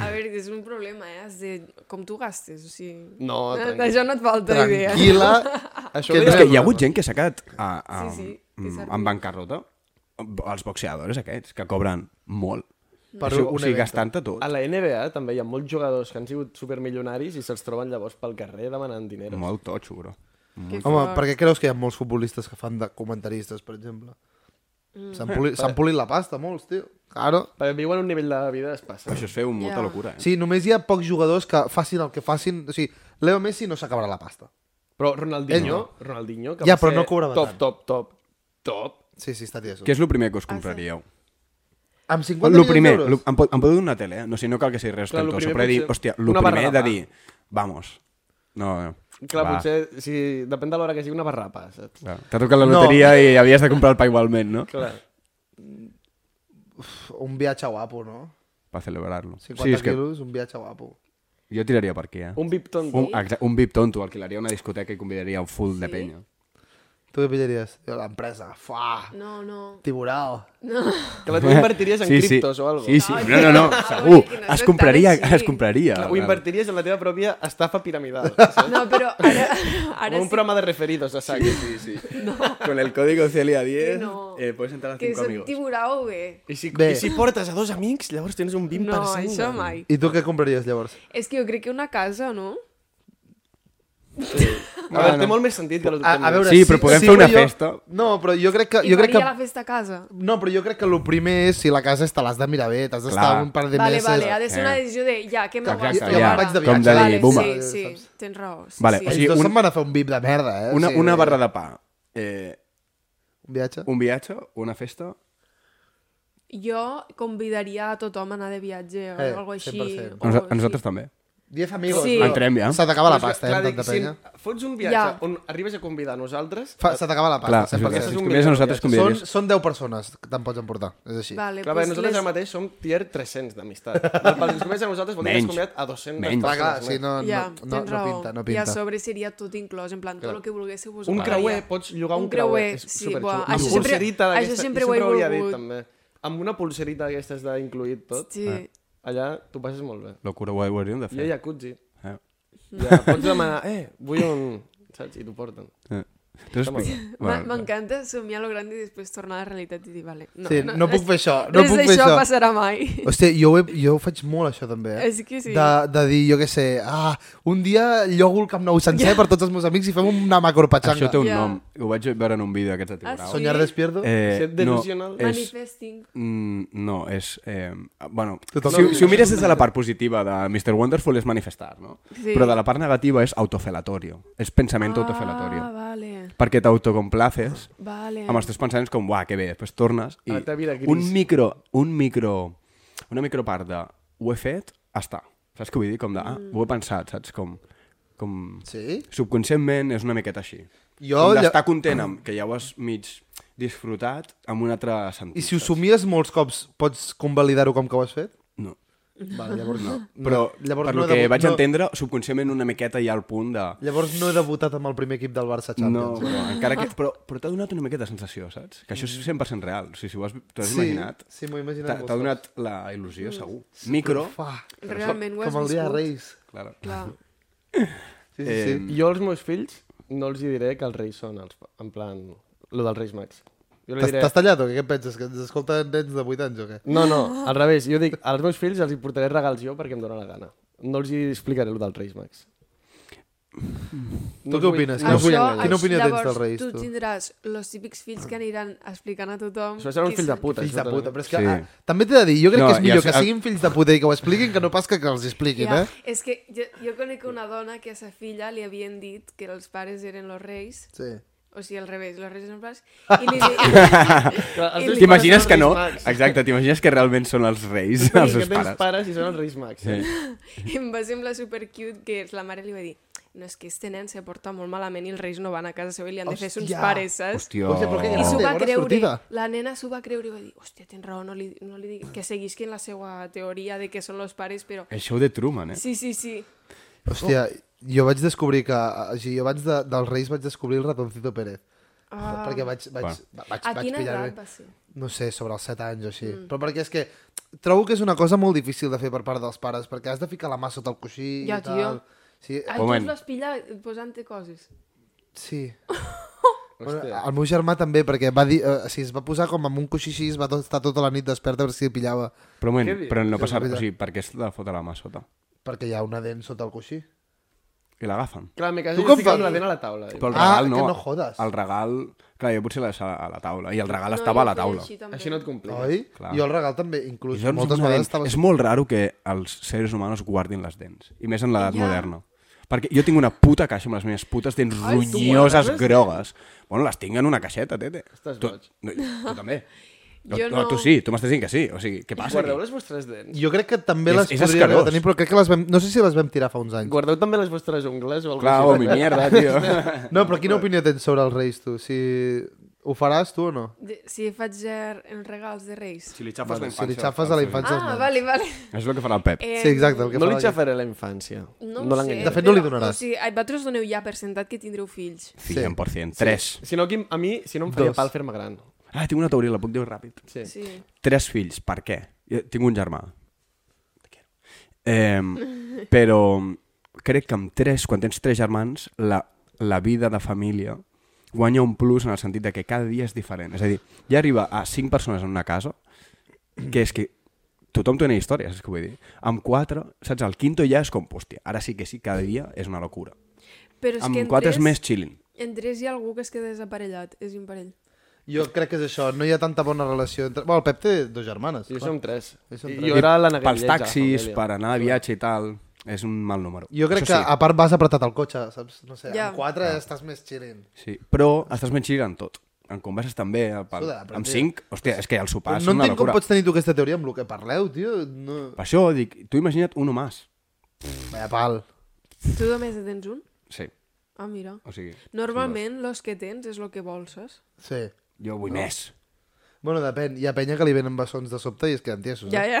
Speaker 4: A veure, és un problema, eh? Has de... Com tu gastes, o sigui... *laughs*
Speaker 3: *laughs* No,
Speaker 4: Eh,
Speaker 3: tranquil.
Speaker 4: D'això no et falta idea.
Speaker 1: Tranquil·la.
Speaker 3: Això
Speaker 1: Que
Speaker 3: ho
Speaker 2: És
Speaker 3: deia
Speaker 2: que
Speaker 3: el
Speaker 2: hi ha
Speaker 3: programa.
Speaker 2: hagut gent que s'ha quedat a, a,
Speaker 4: Sí, sí, és
Speaker 2: mm,
Speaker 4: cert.
Speaker 2: en bancarrota. Els boxeadors aquests, que cobren molt.
Speaker 1: Per
Speaker 2: Això,
Speaker 1: un
Speaker 2: o sigui,
Speaker 1: evento.
Speaker 2: gastant-te tot.
Speaker 3: A la NBA també hi ha molts jugadors que han sigut supermilionaris i se'ls troben llavors pel carrer demanant diners.
Speaker 2: Molt totxo, bro.
Speaker 4: Que
Speaker 1: Home,
Speaker 4: fort.
Speaker 1: per què creus que hi ha molts futbolistes que fan de comentaristes, per exemple?
Speaker 2: Mm.
Speaker 1: S'han poli- s'han polit la pasta, molts, tio. Claro.
Speaker 3: Perquè viuen un nivell de vida es passa.
Speaker 2: Això és fer un molta
Speaker 4: Ja.
Speaker 2: locura, eh?
Speaker 1: Sí, només hi ha pocs jugadors que facin el que facin. O sigui, Leo Messi no s'acabarà la pasta.
Speaker 3: Però Ronaldinho, Ronaldinho, que
Speaker 1: Ja,
Speaker 3: va
Speaker 1: però
Speaker 3: ser
Speaker 1: no cobrava
Speaker 3: top,
Speaker 1: tant.
Speaker 3: top, top, top.
Speaker 1: Sí, sí, està tieso.
Speaker 2: Què és el primer que us compraríeu?
Speaker 1: Amb 50
Speaker 2: Lo
Speaker 1: milions
Speaker 2: primer,
Speaker 1: d'euros?
Speaker 2: lo, em, pot, em pot donar una tele, eh? No, si no cal que sigui res
Speaker 3: Clar, lo
Speaker 2: ostentoso,
Speaker 3: primer
Speaker 2: però he dit,
Speaker 3: potser-
Speaker 2: hòstia, lo
Speaker 3: una barra
Speaker 2: primer he de
Speaker 3: de pa.
Speaker 2: dir, vamos. No, no.
Speaker 3: Clar,
Speaker 2: va,
Speaker 3: potser, si, depèn de l'hora que sigui, una barrapa, saps?
Speaker 2: va. T'ha tocat la
Speaker 1: No.
Speaker 2: loteria i havies de comprar el pa igualment, no?
Speaker 3: Clar.
Speaker 1: Un viatge guapo, no?
Speaker 2: Per celebrar-lo.
Speaker 1: 50
Speaker 2: Sí, és que
Speaker 1: quilos, un viatge guapo.
Speaker 2: jo tiraria per aquí, eh?
Speaker 3: Un vip tonto.
Speaker 2: un, exa- un VIP tonto, alquilaria una discoteca i convidaria un full sí. de penya.
Speaker 1: Tu què pillaries? Jo, L'empresa. Fuà.
Speaker 4: No, no.
Speaker 1: Tiburau.
Speaker 3: Que la tu invertiries en
Speaker 2: *laughs* sí,
Speaker 3: criptos
Speaker 2: sí.
Speaker 3: o alguna
Speaker 2: Sí, sí.
Speaker 4: Ai,
Speaker 2: No, no, *laughs* no,
Speaker 4: que-
Speaker 2: segur.
Speaker 4: Ai, que no
Speaker 2: Es
Speaker 4: és
Speaker 2: compraria,
Speaker 4: tan així.
Speaker 2: es compraria.
Speaker 3: Ho invertiries en la teva pròpia estafa piramidal. saps?
Speaker 4: No, però ara...
Speaker 3: *laughs*
Speaker 4: ara
Speaker 3: Com un
Speaker 4: sí
Speaker 3: programa de referidos a sac.
Speaker 2: Sí, sí. Con el código Celia 10
Speaker 4: no.
Speaker 2: eh, puedes entrar a
Speaker 4: que
Speaker 2: 5
Speaker 4: són
Speaker 2: amigos.
Speaker 4: tiburau, bé.
Speaker 3: I si,
Speaker 1: Bé.
Speaker 3: I si portes a dos amics, llavors tens un 20%.
Speaker 4: No, això mai.
Speaker 1: I tu què compraries, llavors?
Speaker 4: És que jo crec que una casa, no?
Speaker 3: A veure, té molt més sentit que
Speaker 1: A, a veure,
Speaker 2: Sí, però podem fer una festa.
Speaker 1: No, però jo crec que...
Speaker 4: I
Speaker 1: Jo crec que
Speaker 4: faria la festa a casa.
Speaker 1: no, però jo crec que el primer és si la casa és te l'has de mirar bé, t'has d'estar
Speaker 2: Clar.
Speaker 1: un par de
Speaker 4: Vale,
Speaker 1: meses...
Speaker 4: vale, ha de ser una
Speaker 2: Eh.
Speaker 4: decisió de ja, què
Speaker 2: Exacte,
Speaker 4: m'aguanto
Speaker 1: ja.
Speaker 4: ara?
Speaker 1: Vaig de Com
Speaker 2: de viatge. dir, buma.
Speaker 4: Vale, sí, sí, tens raó. Sí,
Speaker 2: Vale,
Speaker 4: sí.
Speaker 2: o
Speaker 1: Ells
Speaker 2: sigui,
Speaker 1: dos
Speaker 2: un-
Speaker 1: se'n van a fer un bip de merda, eh?
Speaker 2: Una,
Speaker 1: o sigui,
Speaker 2: una barra de pa, eh,
Speaker 1: Un viatge.
Speaker 2: un viatge, una festa...
Speaker 4: Jo convidaria a tothom a anar de viatge o
Speaker 1: Eh,
Speaker 4: eh, alguna cosa així.
Speaker 1: 100%.
Speaker 4: o
Speaker 2: A nosa- a
Speaker 4: així.
Speaker 2: nosaltres també.
Speaker 1: 10 amigos,
Speaker 4: Sí.
Speaker 1: no?
Speaker 2: Entrem, ja.
Speaker 1: Se t'acaba la
Speaker 3: Però és que,
Speaker 1: pasta, eh, amb
Speaker 3: dic,
Speaker 1: tanta
Speaker 3: si
Speaker 1: penya.
Speaker 3: fots un viatge
Speaker 4: Ja.
Speaker 3: on arribes a convidar nosaltres...
Speaker 1: Fa- Se t'acaba la
Speaker 2: Clar,
Speaker 1: pasta,
Speaker 2: si
Speaker 3: és
Speaker 1: 100%.
Speaker 3: un
Speaker 2: convides a nosaltres,
Speaker 1: Són,
Speaker 2: convidaries...
Speaker 1: són 10 persones que te'n pots emportar, és així.
Speaker 4: Vale,
Speaker 3: Clar,
Speaker 4: pues
Speaker 3: perquè nosaltres ara mateix som tier 300 d'amistat. Perquè si convides a nosaltres vol dir que
Speaker 2: Menys.
Speaker 3: has convidat a 200
Speaker 2: Menys.
Speaker 1: Clar, clar,
Speaker 3: persones
Speaker 1: sí,
Speaker 3: més.
Speaker 1: no,
Speaker 4: ja,
Speaker 1: no, no,
Speaker 4: tens
Speaker 1: no
Speaker 4: raó.
Speaker 1: pinta, no
Speaker 4: I a
Speaker 1: pinta.
Speaker 4: sobre seria tot inclòs, en plan, tot el que volguéssiu vos
Speaker 3: Un
Speaker 4: agradaria.
Speaker 3: creuer, pots llogar un,
Speaker 4: Un creuer,
Speaker 3: és
Speaker 4: sí,
Speaker 3: superxulo.
Speaker 4: buah,
Speaker 3: Amb
Speaker 4: això
Speaker 2: sempre-
Speaker 3: pulserita
Speaker 4: això
Speaker 3: d'aquesta-
Speaker 4: sempre
Speaker 3: jo
Speaker 4: ho he
Speaker 3: havia dit,
Speaker 4: volgut.
Speaker 3: també. Amb una pulserita d'aquestes d'incluït tot,
Speaker 2: Ah,
Speaker 4: Sí.
Speaker 3: allà t'ho passes molt bé.
Speaker 2: Locura, ho ho hauríem de
Speaker 3: I
Speaker 2: fer.
Speaker 3: hi ha jacuzzi.
Speaker 2: Eh.
Speaker 1: Mm.
Speaker 3: Ja, pots demanar, eh, vull un... Saps? I t'ho porten.
Speaker 2: Eh. T'ho explico?
Speaker 4: Ma-
Speaker 2: Bueno,
Speaker 4: M'encanta somiar lo grande i després tornar a la realitat i dir, vale, no,
Speaker 1: Sí, no puc
Speaker 4: res-
Speaker 1: fer això, no
Speaker 4: res
Speaker 1: puc fer
Speaker 4: d'això
Speaker 1: això.
Speaker 4: passarà
Speaker 1: *laughs*
Speaker 4: mai.
Speaker 1: Hòstia, jo, ho he, jo ho faig molt, això, també. Eh?
Speaker 4: És que sí.
Speaker 1: De, de dir, jo què sé, ah, un dia llogo el Camp Nou sencer yeah. per tots els meus amics i fem una macropatxanga.
Speaker 2: Això té un
Speaker 4: Ja.
Speaker 2: nom. Ho vaig veure en un vídeo aquest de
Speaker 4: Ah,
Speaker 2: Tiburau.
Speaker 1: Soñar
Speaker 4: Sí.
Speaker 1: despierto? Eh.
Speaker 2: Eh,
Speaker 3: Ser delusional.
Speaker 2: No, és,
Speaker 4: *laughs* Manifesting.
Speaker 2: mm, no, és... Eh, bueno,
Speaker 1: Tothom-
Speaker 2: si, si ho mires des de la part positiva de Mr. Wonderful és manifestar, no?
Speaker 4: Sí.
Speaker 2: Però de la part negativa és autofelatorio. És pensament autofelatorio.
Speaker 4: Ah, vale,
Speaker 2: Perquè t'autocomplaces
Speaker 4: vale.
Speaker 2: amb els teus pensaments com, uah, que bé, després tornes i
Speaker 3: A la teva vida gris.
Speaker 2: un micro, un micro, una micropart de ho he fet, està. Saps què vull dir? Com de, ah,
Speaker 4: Mm.
Speaker 2: ho he pensat, saps? Com, com...
Speaker 1: Sí?
Speaker 2: Subconscientment és una miqueta així.
Speaker 1: Jo
Speaker 2: Com
Speaker 1: ja-
Speaker 2: d'estar content amb que ja ho has mig disfrutat amb un altre sentit.
Speaker 1: I si ho
Speaker 2: saps?
Speaker 1: somies molts cops, pots convalidar-ho com que ho has fet?
Speaker 2: No.
Speaker 1: Vale, llavors *gasps* no.
Speaker 2: Però,
Speaker 1: llavors
Speaker 2: per
Speaker 1: no
Speaker 2: no,
Speaker 1: he
Speaker 2: que
Speaker 1: debu-
Speaker 2: vaig
Speaker 1: no-
Speaker 2: entendre, subconscientment una miqueta hi ha el punt de...
Speaker 1: Llavors no he debutat amb el primer equip del Barça
Speaker 2: No,
Speaker 1: Champions.
Speaker 2: però, encara
Speaker 1: Ah.
Speaker 2: que, però, però t'ha donat una miqueta de sensació, saps? Que això és 100% real. O sigui, si ho has, t'ho has
Speaker 1: Sí,
Speaker 2: imaginat,
Speaker 1: sí, m'ho he imaginat
Speaker 2: t'ha-
Speaker 1: molts
Speaker 2: t'ha donat la il·lusió, segur. Micro,
Speaker 1: Fa,
Speaker 4: Realment ho has
Speaker 1: com el dia de
Speaker 4: viscut.
Speaker 1: Reis.
Speaker 2: claro.
Speaker 4: Clar.
Speaker 1: Sí, sí, sí.
Speaker 2: Eh,
Speaker 3: Jo als meus fills no els hi diré que els reis són, els, en plan, lo dels reis mags. Jo li
Speaker 1: T'has
Speaker 3: diré...
Speaker 1: t'has tallat o què? Què penses? Que ens escolten nens de 8 anys o què?
Speaker 3: No, no, al revés. Jo dic, als meus fills els hi portaré regals jo perquè em dóna la gana. No els hi explicaré el dels reis mags.
Speaker 1: Tu què
Speaker 3: els vull-
Speaker 1: opines?
Speaker 3: No els vull
Speaker 1: Això-
Speaker 3: enganyar.
Speaker 1: Quina opinió tens
Speaker 4: llavors,
Speaker 1: dels Reis,
Speaker 4: tu?
Speaker 1: tu?
Speaker 4: tindràs los típics fills que aniran explicant a tothom...
Speaker 3: Això seran uns fills de puta.
Speaker 1: Fills
Speaker 3: això
Speaker 1: de puta,
Speaker 3: també.
Speaker 1: però és que
Speaker 2: Sí.
Speaker 1: sí. ah, també t'he de dir, jo crec
Speaker 2: No,
Speaker 1: no, que és
Speaker 2: i
Speaker 1: millor
Speaker 2: els-
Speaker 1: que siguin fills de puta i que ho expliquin que no pas que, que els expliquin,
Speaker 4: Ja,
Speaker 1: eh?
Speaker 4: és que jo, jo conec una dona que a sa filla li havien dit que els pares eren los reis,
Speaker 1: Sí.
Speaker 4: o sigui, al revés, los reis eren pares, i li,
Speaker 1: *laughs*
Speaker 4: di...
Speaker 3: Clar, els
Speaker 4: I
Speaker 3: teus
Speaker 4: li-
Speaker 2: T'imagines
Speaker 3: pares
Speaker 2: que
Speaker 3: són
Speaker 2: no?
Speaker 3: els Reis Mags.
Speaker 2: Exacte, t'imagines que realment són els reis,
Speaker 3: Sí,
Speaker 2: els
Speaker 3: que
Speaker 2: seus
Speaker 3: tens pares.
Speaker 2: pares.
Speaker 3: i són els reis mags.
Speaker 2: Sí.
Speaker 4: i em va semblar super cute que la mare li va dir no, és que este nen se porta molt malament i els reis no van a casa seva i li han de fer uns
Speaker 1: Hòstia.
Speaker 4: pares, saps?
Speaker 2: Hòstia.
Speaker 1: Hòstia, però que
Speaker 4: I s'ho
Speaker 1: Té
Speaker 4: va
Speaker 1: bona
Speaker 4: creure,
Speaker 1: sortida.
Speaker 4: la nena s'ho va creure i va dir, hòstia, tens raó, no li, no li digui, que seguisqui en la seva teoria de que són els pares, però...
Speaker 2: El show de Truman, eh?
Speaker 4: Sí, sí, sí.
Speaker 1: Hòstia, jo vaig descobrir que... O sigui, jo abans de, dels Reis vaig descobrir el ratoncito Pérez. Ah. Perquè vaig, vaig,
Speaker 2: Bueno.
Speaker 1: va- vaig,
Speaker 4: A
Speaker 1: vaig
Speaker 4: quina
Speaker 1: pillar-ho bé.
Speaker 4: edat
Speaker 1: Eh,
Speaker 4: va ser?
Speaker 1: No sé, sobre els 7 anys o així. Mm. Però perquè és que trobo que és una cosa molt difícil de fer per part dels pares, perquè has de ficar la mà sota el coixí i
Speaker 4: Ja,
Speaker 1: tal.
Speaker 4: tio.
Speaker 1: Sí,
Speaker 4: Ah,
Speaker 1: eh,
Speaker 4: tu
Speaker 2: Moment.
Speaker 4: els vas pillar posant-te coses.
Speaker 1: sí.
Speaker 4: *laughs*
Speaker 1: Bueno, el meu germà també, perquè va dir, eh, si es va posar com amb un coixí així, es va tot, estar tota la nit desperta a veure si el pillava,
Speaker 2: Però, moment,
Speaker 3: Què dius?
Speaker 2: però no
Speaker 1: Sí, és
Speaker 2: passa res. O
Speaker 1: veritat.
Speaker 2: sigui, per què es la fot a la mà sota?
Speaker 1: perquè hi ha una dent sota el coixí.
Speaker 2: I l'agafen.
Speaker 3: Clar, me caso
Speaker 1: Tu
Speaker 3: jo
Speaker 1: com
Speaker 3: estic amb
Speaker 1: fas?
Speaker 3: la dent a la taula.
Speaker 2: Però el
Speaker 1: Ah,
Speaker 2: regal no.
Speaker 1: que no jodes.
Speaker 2: El regal... Clar, jo potser la deixava a la taula. I el regal
Speaker 4: No,
Speaker 2: estava a
Speaker 4: jo
Speaker 2: la
Speaker 4: ho feia
Speaker 2: taula.
Speaker 4: Així, també.
Speaker 3: Així no et complica.
Speaker 1: Oi?
Speaker 2: Clar.
Speaker 1: Jo el regal també,
Speaker 2: I
Speaker 1: inclús,
Speaker 2: això ens
Speaker 1: moltes
Speaker 2: ho
Speaker 1: vegades
Speaker 2: dent.
Speaker 1: estava...
Speaker 2: És molt raro que els seres humans guardin les dents. I més en l'edat
Speaker 4: Ja.
Speaker 2: moderna. Perquè jo tinc una puta caixa amb les meves putes dents
Speaker 4: Ai, eh,
Speaker 2: ronyoses,
Speaker 4: sí.
Speaker 3: Tu guardes les
Speaker 2: grogues. Bueno, les tinc en una caixeta, tete.
Speaker 3: Estàs
Speaker 2: Tu-
Speaker 3: boig.
Speaker 2: No, tu també.
Speaker 4: *laughs* Jo
Speaker 2: no.
Speaker 4: no.
Speaker 2: Tu sí, tu m'estàs dient que sí. O sigui, què passa?
Speaker 3: Guardeu
Speaker 2: aquí?
Speaker 3: les vostres dents.
Speaker 1: Jo crec que també
Speaker 2: És-
Speaker 1: les
Speaker 2: és
Speaker 1: podria
Speaker 2: escarós.
Speaker 1: tenir, però crec que les vam... No sé si les vam tirar fa uns anys.
Speaker 3: Guardeu també les vostres ungles o alguna
Speaker 2: Clar, o mi
Speaker 1: *laughs*
Speaker 2: mierda, tio.
Speaker 1: No, però quina opinió tens sobre els Reis, tu? Si... Ho faràs, tu, o no?
Speaker 4: De- Si faig ger- els regals de Reis.
Speaker 2: li xafes
Speaker 1: Vale, si li xafes a la infància...
Speaker 4: Ah, vale, vale.
Speaker 2: És el que farà el Pep.
Speaker 4: Eh,
Speaker 1: Sí, exacte, el que
Speaker 3: No
Speaker 1: farà
Speaker 3: li
Speaker 1: ell.
Speaker 3: xafaré la infància.
Speaker 4: No,
Speaker 3: no
Speaker 4: ho sé.
Speaker 3: l'enganyaré.
Speaker 1: De fet, no li
Speaker 4: però,
Speaker 1: donaràs.
Speaker 4: O sigui, a vosaltres doneu ja per sentat que tindreu fills.
Speaker 2: 100%. 3.
Speaker 3: Si no, qui- a mi, si no em faria
Speaker 1: Dos.
Speaker 3: pal fer-me gran.
Speaker 2: Ah, tinc una teoria, la puc dir ràpid.
Speaker 3: Sí.
Speaker 4: Sí.
Speaker 2: Tres fills, per què? Jo tinc un germà. Te quiero. Eh, però crec que amb tres, quan tens tres germans, la, la vida de família guanya un plus en el sentit de que cada dia és diferent. És a dir, ja arriba a cinc persones en una casa, que és que tothom té una història, saps què vull dir? Amb quatre, saps, el quinto ja és com, hòstia, ara sí que sí, cada dia és una locura.
Speaker 4: Però és que
Speaker 2: Amb
Speaker 4: en
Speaker 2: quatre
Speaker 4: tres,
Speaker 2: és més chilling.
Speaker 4: en tres hi ha algú que es queda desaparellat. És imparell.
Speaker 1: Jo crec que és això, no hi ha tanta bona relació entre... Bueno, el Pep té dos germanes.
Speaker 3: Jo som tres.
Speaker 1: Jo som
Speaker 3: I
Speaker 1: tres.
Speaker 3: Jo era la
Speaker 2: Pels
Speaker 3: negrilleja.
Speaker 2: taxis,
Speaker 3: família.
Speaker 2: per anar de viatge i tal, és un mal número.
Speaker 1: Jo crec
Speaker 2: Això
Speaker 1: que,
Speaker 2: sí.
Speaker 1: a part, vas apretat el cotxe, saps? No sé,
Speaker 4: Ja.
Speaker 1: amb quatre estàs més xilint.
Speaker 2: Sí, però estàs ben xillant tot. En converses també, el pal.
Speaker 1: Suda, però
Speaker 2: amb
Speaker 1: tio.
Speaker 2: 5, hòstia, és que el sopar és
Speaker 1: no
Speaker 2: una
Speaker 1: entenc com
Speaker 2: locura.
Speaker 1: pots tenir tu aquesta teoria amb el que parleu, tio. No...
Speaker 2: Per això dic, tu imagina't un o més.
Speaker 1: Vaya pal.
Speaker 4: Tu només en tens un?
Speaker 2: Sí,
Speaker 4: Ah, mira.
Speaker 2: o sigui,
Speaker 4: Normalment, los que tens és el que vols, saps?
Speaker 1: Sí.
Speaker 2: jo vull no. més.
Speaker 1: Bueno, depèn. Hi ha penya que li venen bessons de sobte i es queden tiesos.
Speaker 4: Ja,
Speaker 1: eh?
Speaker 4: ja.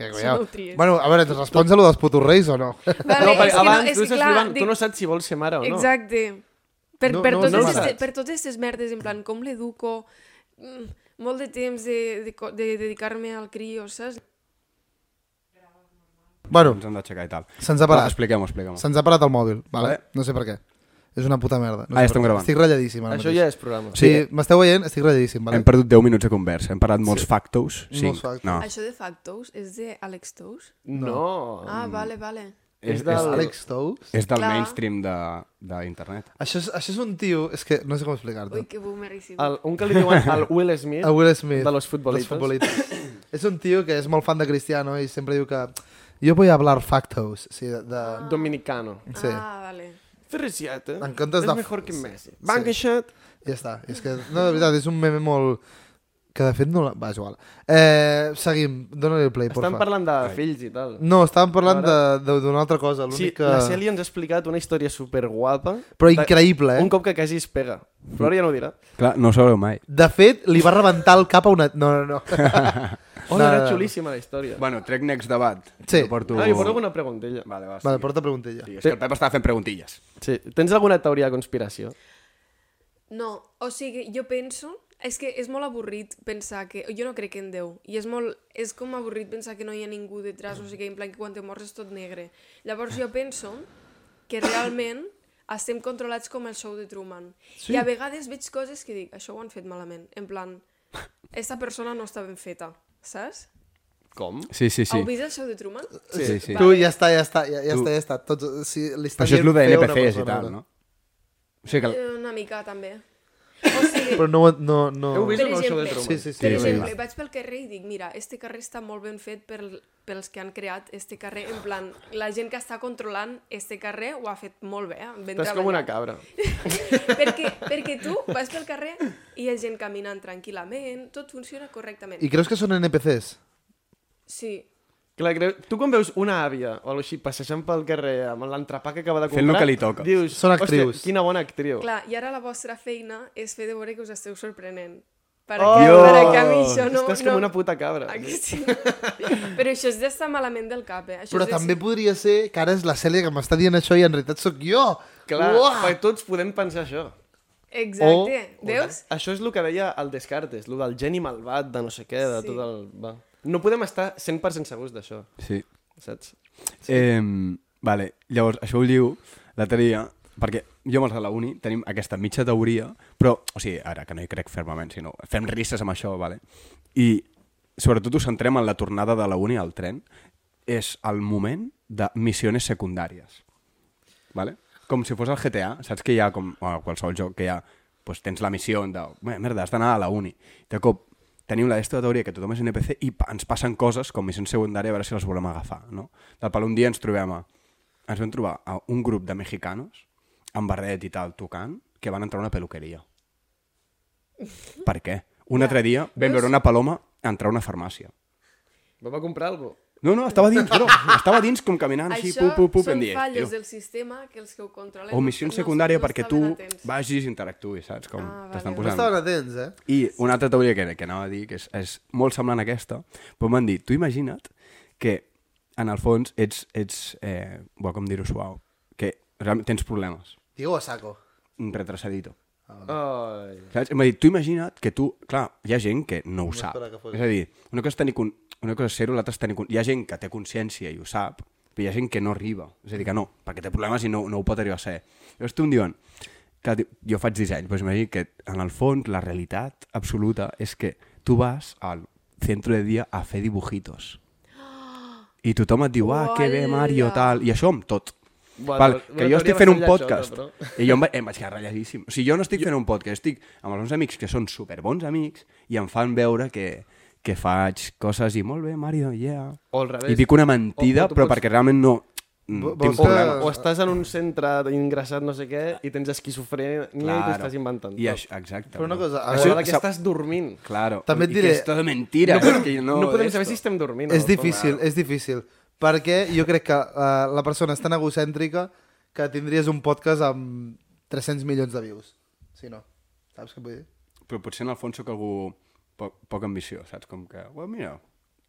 Speaker 1: Que,
Speaker 4: Això no
Speaker 1: cuidao.
Speaker 4: ho tries.
Speaker 1: bueno, a veure, te respons a lo dels putos reis o no?
Speaker 4: *laughs*
Speaker 1: *laughs*
Speaker 3: No,
Speaker 4: Vale, és
Speaker 3: perquè
Speaker 4: que
Speaker 3: abans
Speaker 4: és
Speaker 3: tu
Speaker 4: que
Speaker 3: estàs
Speaker 4: clar,
Speaker 3: flipant, tu
Speaker 4: dic-
Speaker 3: no saps si vols ser mare o no.
Speaker 4: Exacte. Per,
Speaker 1: No-
Speaker 4: per,
Speaker 1: no us
Speaker 4: totes,
Speaker 1: ha
Speaker 4: este,
Speaker 1: passat?
Speaker 4: per totes aquestes merdes, en plan, com l'educo, mm, molt de temps de, de, co- de dedicar-me al crio, saps?
Speaker 1: bueno,
Speaker 2: Ens hem d'aixecar i tal.
Speaker 1: Se'ns ha parat.
Speaker 2: Expliquem-ho, expliquem-ho.
Speaker 1: se'ns ha parat el mòbil, vale?
Speaker 2: Vale.
Speaker 1: No sé per què. És una puta merda. No
Speaker 2: Ah,
Speaker 1: sé
Speaker 2: ja estem
Speaker 1: per què.
Speaker 2: gravant.
Speaker 1: Estic ratlladíssim ara
Speaker 3: Això
Speaker 1: Ah, mateix.
Speaker 3: ja és programa.
Speaker 1: Sí, m'esteu veient? Estic ratlladíssim, vale?
Speaker 2: Hem perdut 10 minuts de conversa, hem parlat molts factos.
Speaker 1: Molts
Speaker 2: cinc.
Speaker 1: factos.
Speaker 2: No.
Speaker 4: Això de Factos és de Alex Tous?
Speaker 3: No.
Speaker 4: Ah,
Speaker 1: Mm.
Speaker 4: vale, vale.
Speaker 2: És,
Speaker 3: És del-
Speaker 2: és,
Speaker 1: Alex Tous?
Speaker 2: és del
Speaker 4: Clar.
Speaker 2: mainstream de- d'internet.
Speaker 1: Això és, això és un tio... És que no sé com explicar-te.
Speaker 4: Ui, que boomer he sigut.
Speaker 1: Ah,
Speaker 3: El, un que li diuen el Will Smith.
Speaker 1: A Will Smith.
Speaker 3: De los
Speaker 1: Dels
Speaker 3: futbolitos.
Speaker 1: futbolitos. és un tio que és molt fan de Cristiano i sempre diu que jo vull hablar factos. Sí, de, de...
Speaker 3: Ah, Dominicano.
Speaker 1: sí.
Speaker 4: Ah, vale.
Speaker 3: Ferriciata.
Speaker 1: En comptes de-
Speaker 3: És mejor que Messi. Banca sí. shot.
Speaker 1: Ja està. És que, no, de veritat, és un meme molt... Que de fet no... La... Va, és igual. Eh, seguim. Dóna-li el play,
Speaker 3: Estan
Speaker 1: porfa.
Speaker 3: parlant de fills i tal.
Speaker 1: No, estàvem parlant
Speaker 3: Ara-
Speaker 1: de- de- d'una altra cosa.
Speaker 3: Sí,
Speaker 1: L'únic
Speaker 3: que...
Speaker 1: que...
Speaker 3: la Celi ens ha explicat una història superguapa.
Speaker 1: Però
Speaker 3: De-
Speaker 1: increïble, eh?
Speaker 3: Un cop que quasi es pega. Però ara ja no ho dirà.
Speaker 2: Clar, no ho sabreu mai.
Speaker 1: De fet, li va rebentar el cap a una... No, no, *laughs* no.
Speaker 3: Oh,
Speaker 1: No,
Speaker 3: no,
Speaker 1: no,
Speaker 3: era
Speaker 1: no.
Speaker 3: xulíssima la història. Va,
Speaker 2: Bueno, trec next debat.
Speaker 1: Sí.
Speaker 2: Jo porto...
Speaker 3: Ah, jo porto alguna preguntella.
Speaker 2: Vale, va,
Speaker 1: vale,
Speaker 2: vale,
Speaker 1: porta preguntilla.
Speaker 2: sí, és que el Pep estava fent preguntilles.
Speaker 3: Sí. Tens alguna teoria de conspiració?
Speaker 4: No, o sigui, jo penso... És que és molt avorrit pensar que... Jo no crec en Déu. I és molt... És com avorrit pensar que no hi ha ningú detrás, o sigui, en plan que quan te mors és tot negre. Llavors jo penso que realment estem controlats com el show de Truman. Sí. I a vegades veig coses que dic, això ho han fet malament. En plan, esta persona no està ben feta, saps?
Speaker 3: Com?
Speaker 2: Sí, sí,
Speaker 4: Sí.
Speaker 2: sí.
Speaker 4: Heu vist el show de Truman?
Speaker 2: sí, sí. sí.
Speaker 1: Tu ja està, ja està, ja, ja està, ja està. Tots, eh, sí, li està
Speaker 2: Però això és
Speaker 1: dient
Speaker 2: el de
Speaker 1: feo a una
Speaker 2: NPCs i
Speaker 1: persona,
Speaker 2: tal,
Speaker 1: ara.
Speaker 2: no? O sigui que...
Speaker 4: Eh, Una mica, també. *laughs* O sigui,
Speaker 1: Però no, no, no...
Speaker 3: Heu vist
Speaker 4: Per
Speaker 3: el nou show de
Speaker 4: exemple.
Speaker 3: Truman?
Speaker 1: Sí, sí, sí.
Speaker 4: Per
Speaker 2: Sí, sí.
Speaker 4: exemple, vaig pel carrer i dic, mira, este carrer està molt ben fet per, pels que han creat este carrer, en plan, la gent que està controlant este carrer ho ha fet molt bé, eh? ben
Speaker 3: Estàs com una
Speaker 4: treballat.
Speaker 3: cabra.
Speaker 4: *laughs* perquè, perquè tu vas pel carrer i hi ha gent caminant tranquil·lament, tot funciona correctament.
Speaker 1: I creus que són NPCs?
Speaker 4: Sí,
Speaker 3: Clar, creu... tu quan veus una àvia o alguna així passejant pel carrer amb l'entrepà que acaba de comprar...
Speaker 2: Fent lo que li toca.
Speaker 3: Dius,
Speaker 1: Són
Speaker 3: "Hòstia,
Speaker 1: actrius."
Speaker 3: quina bona actriu.
Speaker 1: Oh.
Speaker 4: clar, i ara la vostra feina és fer de veure que us esteu sorprenent. Per
Speaker 3: Oh!
Speaker 4: aquí, per aquí a mi això no...
Speaker 3: Estàs
Speaker 4: no...
Speaker 3: com una puta cabra.
Speaker 4: Ah, que sí? Però això és d'estar malament del cap, eh? Això
Speaker 1: Però
Speaker 4: és de-
Speaker 1: també podria ser que ara és la Cèlia que m'està dient això i en realitat sóc jo.
Speaker 3: Clar,
Speaker 1: Uah!
Speaker 3: perquè tots podem pensar això.
Speaker 4: Exacte,
Speaker 1: O-
Speaker 4: veus?
Speaker 3: Això és el que deia el Descartes, el del geni malvat, de no sé què, de
Speaker 4: Sí.
Speaker 3: tot el... Va. No podem estar 100% segurs d'això,
Speaker 2: Sí.
Speaker 3: saps?
Speaker 2: Sí. Eh, vale, llavors, això ho diu l'altre dia, perquè jo amb els de la uni tenim aquesta mitja teoria, però, o sigui, ara que no hi crec fermament, sinó fem risses amb això, vale? i sobretot ho centrem en la tornada de la uni al tren, és el moment de missions secundàries. Vale? Com si fos el GTA, saps que hi ha com, o qualsevol joc que hi ha, doncs tens la missió de, "Bé, merda, has d'anar a la uni. De cop, tenim la resta de teoria que tothom és NPC i pa, ens passen coses com missions secundàries a veure si les volem agafar, no? Del pal un dia ens trobem a, ens vam trobar a un grup de mexicanos amb barret i tal tocant que van entrar a una peluqueria. Per què? Un altre dia vam veure una paloma entrar a una farmàcia.
Speaker 3: Va, va comprar alguna cosa?
Speaker 2: No, no, estava dins, però estava dins com caminant així,
Speaker 4: Això
Speaker 2: pup, pup, pup,
Speaker 4: són
Speaker 2: em dies,
Speaker 4: falles
Speaker 2: tio.
Speaker 4: del sistema que els que ho controlen...
Speaker 2: O missió
Speaker 4: no-
Speaker 2: secundària
Speaker 4: no
Speaker 2: perquè tu
Speaker 4: estaven atents.
Speaker 2: vagis i interactuïs, saps? Com
Speaker 4: Ah,
Speaker 2: t'estan
Speaker 1: No
Speaker 4: vale.
Speaker 2: posant.
Speaker 1: estaven atents, eh?
Speaker 2: I una altra teoria que, que anava a dir, que és, és molt semblant a aquesta, però m'han dit, tu imagina't que en el fons ets, ets eh, bo, com dir-ho suau, que realment tens problemes,
Speaker 1: Digo a saco.
Speaker 2: un retrasadito.
Speaker 3: Ai.
Speaker 2: Saps? Em va dir, tu imagina't que tu... Clar, hi ha gent que no ho sap.
Speaker 1: espera que fos.
Speaker 2: És a dir, una cosa és, tenir con... una cosa és ser-ho, l'altra és tenir... Con... Hi ha gent que té consciència i ho sap, però hi ha gent que no arriba. És a dir, que no, perquè té problemes i no, no ho pot arribar a ser. Llavors tu em diuen... Clar, diu, jo faig disseny, però imagina't que en el fons la realitat absoluta és que tu vas al centre de dia a fer dibujitos. I tothom et diu, ah, que bé, Mario,
Speaker 4: Uala.
Speaker 2: tal. I això amb tot.
Speaker 3: Bueno,
Speaker 2: Val,
Speaker 3: una
Speaker 2: que jo
Speaker 3: teoria
Speaker 2: estic fent un
Speaker 3: bastant
Speaker 2: podcast
Speaker 3: lletjota,
Speaker 2: i jo em, va, em vaig quedar ratlladíssim. O sigui, jo no estic fent un podcast, estic amb els meus amics que són superbons amics i em fan veure que, que faig coses i molt bé, Mario, yeah.
Speaker 3: O al revés.
Speaker 2: I dic una mentida,
Speaker 3: O- o tu
Speaker 2: però
Speaker 3: pots-
Speaker 2: perquè realment no...
Speaker 1: Vo-
Speaker 2: Mm,
Speaker 1: vols
Speaker 2: tinc
Speaker 1: que-
Speaker 2: problema.
Speaker 3: O estàs en un centre ingressat no sé què i tens esquizofrènia i t'ho estàs inventant.
Speaker 2: I
Speaker 3: tot.
Speaker 2: això, exacte.
Speaker 1: Però una cosa, a
Speaker 3: A
Speaker 1: veure,
Speaker 3: això de que estàs dormint.
Speaker 2: Claro.
Speaker 1: També et
Speaker 2: I
Speaker 1: diré-
Speaker 2: Que és tot de mentira. No, que
Speaker 3: No,
Speaker 2: no,
Speaker 3: podem
Speaker 2: esto.
Speaker 3: saber si estem dormint.
Speaker 1: és difícil, és difícil. Perquè jo crec que eh, la persona és tan egocèntrica que tindries un podcast amb 300 milions de views. Si no. Saps què vull dir?
Speaker 2: Però potser en el fons sóc algú poc, poc ambiciós, saps? Com que, well, mira,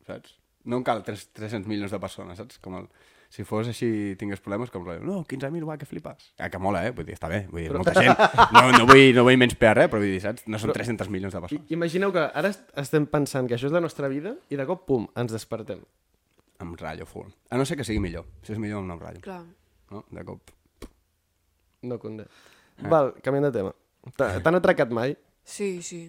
Speaker 2: saps? No em cal 3, 300 milions de persones, saps? Com el, si fos així tingués problemes, com el, no, 15.000, va, que flipes. Ah, que mola, eh? Vull dir, està bé, vull dir, però... molta gent. No, no vull, no vull menys pear res, però vull dir, saps? No són 300 milions de
Speaker 3: I,
Speaker 2: persones.
Speaker 3: imagineu que ara est- estem pensant que això és la nostra vida i de cop, pum, ens despertem.
Speaker 2: Em ratllo full. A no ser que sigui millor. Si és millor, no em ratllo.
Speaker 4: Clar.
Speaker 2: No? De cop.
Speaker 3: No conde.
Speaker 2: Ah.
Speaker 3: Val, canviant de tema. T- T'han atracat mai?
Speaker 4: Sí, sí.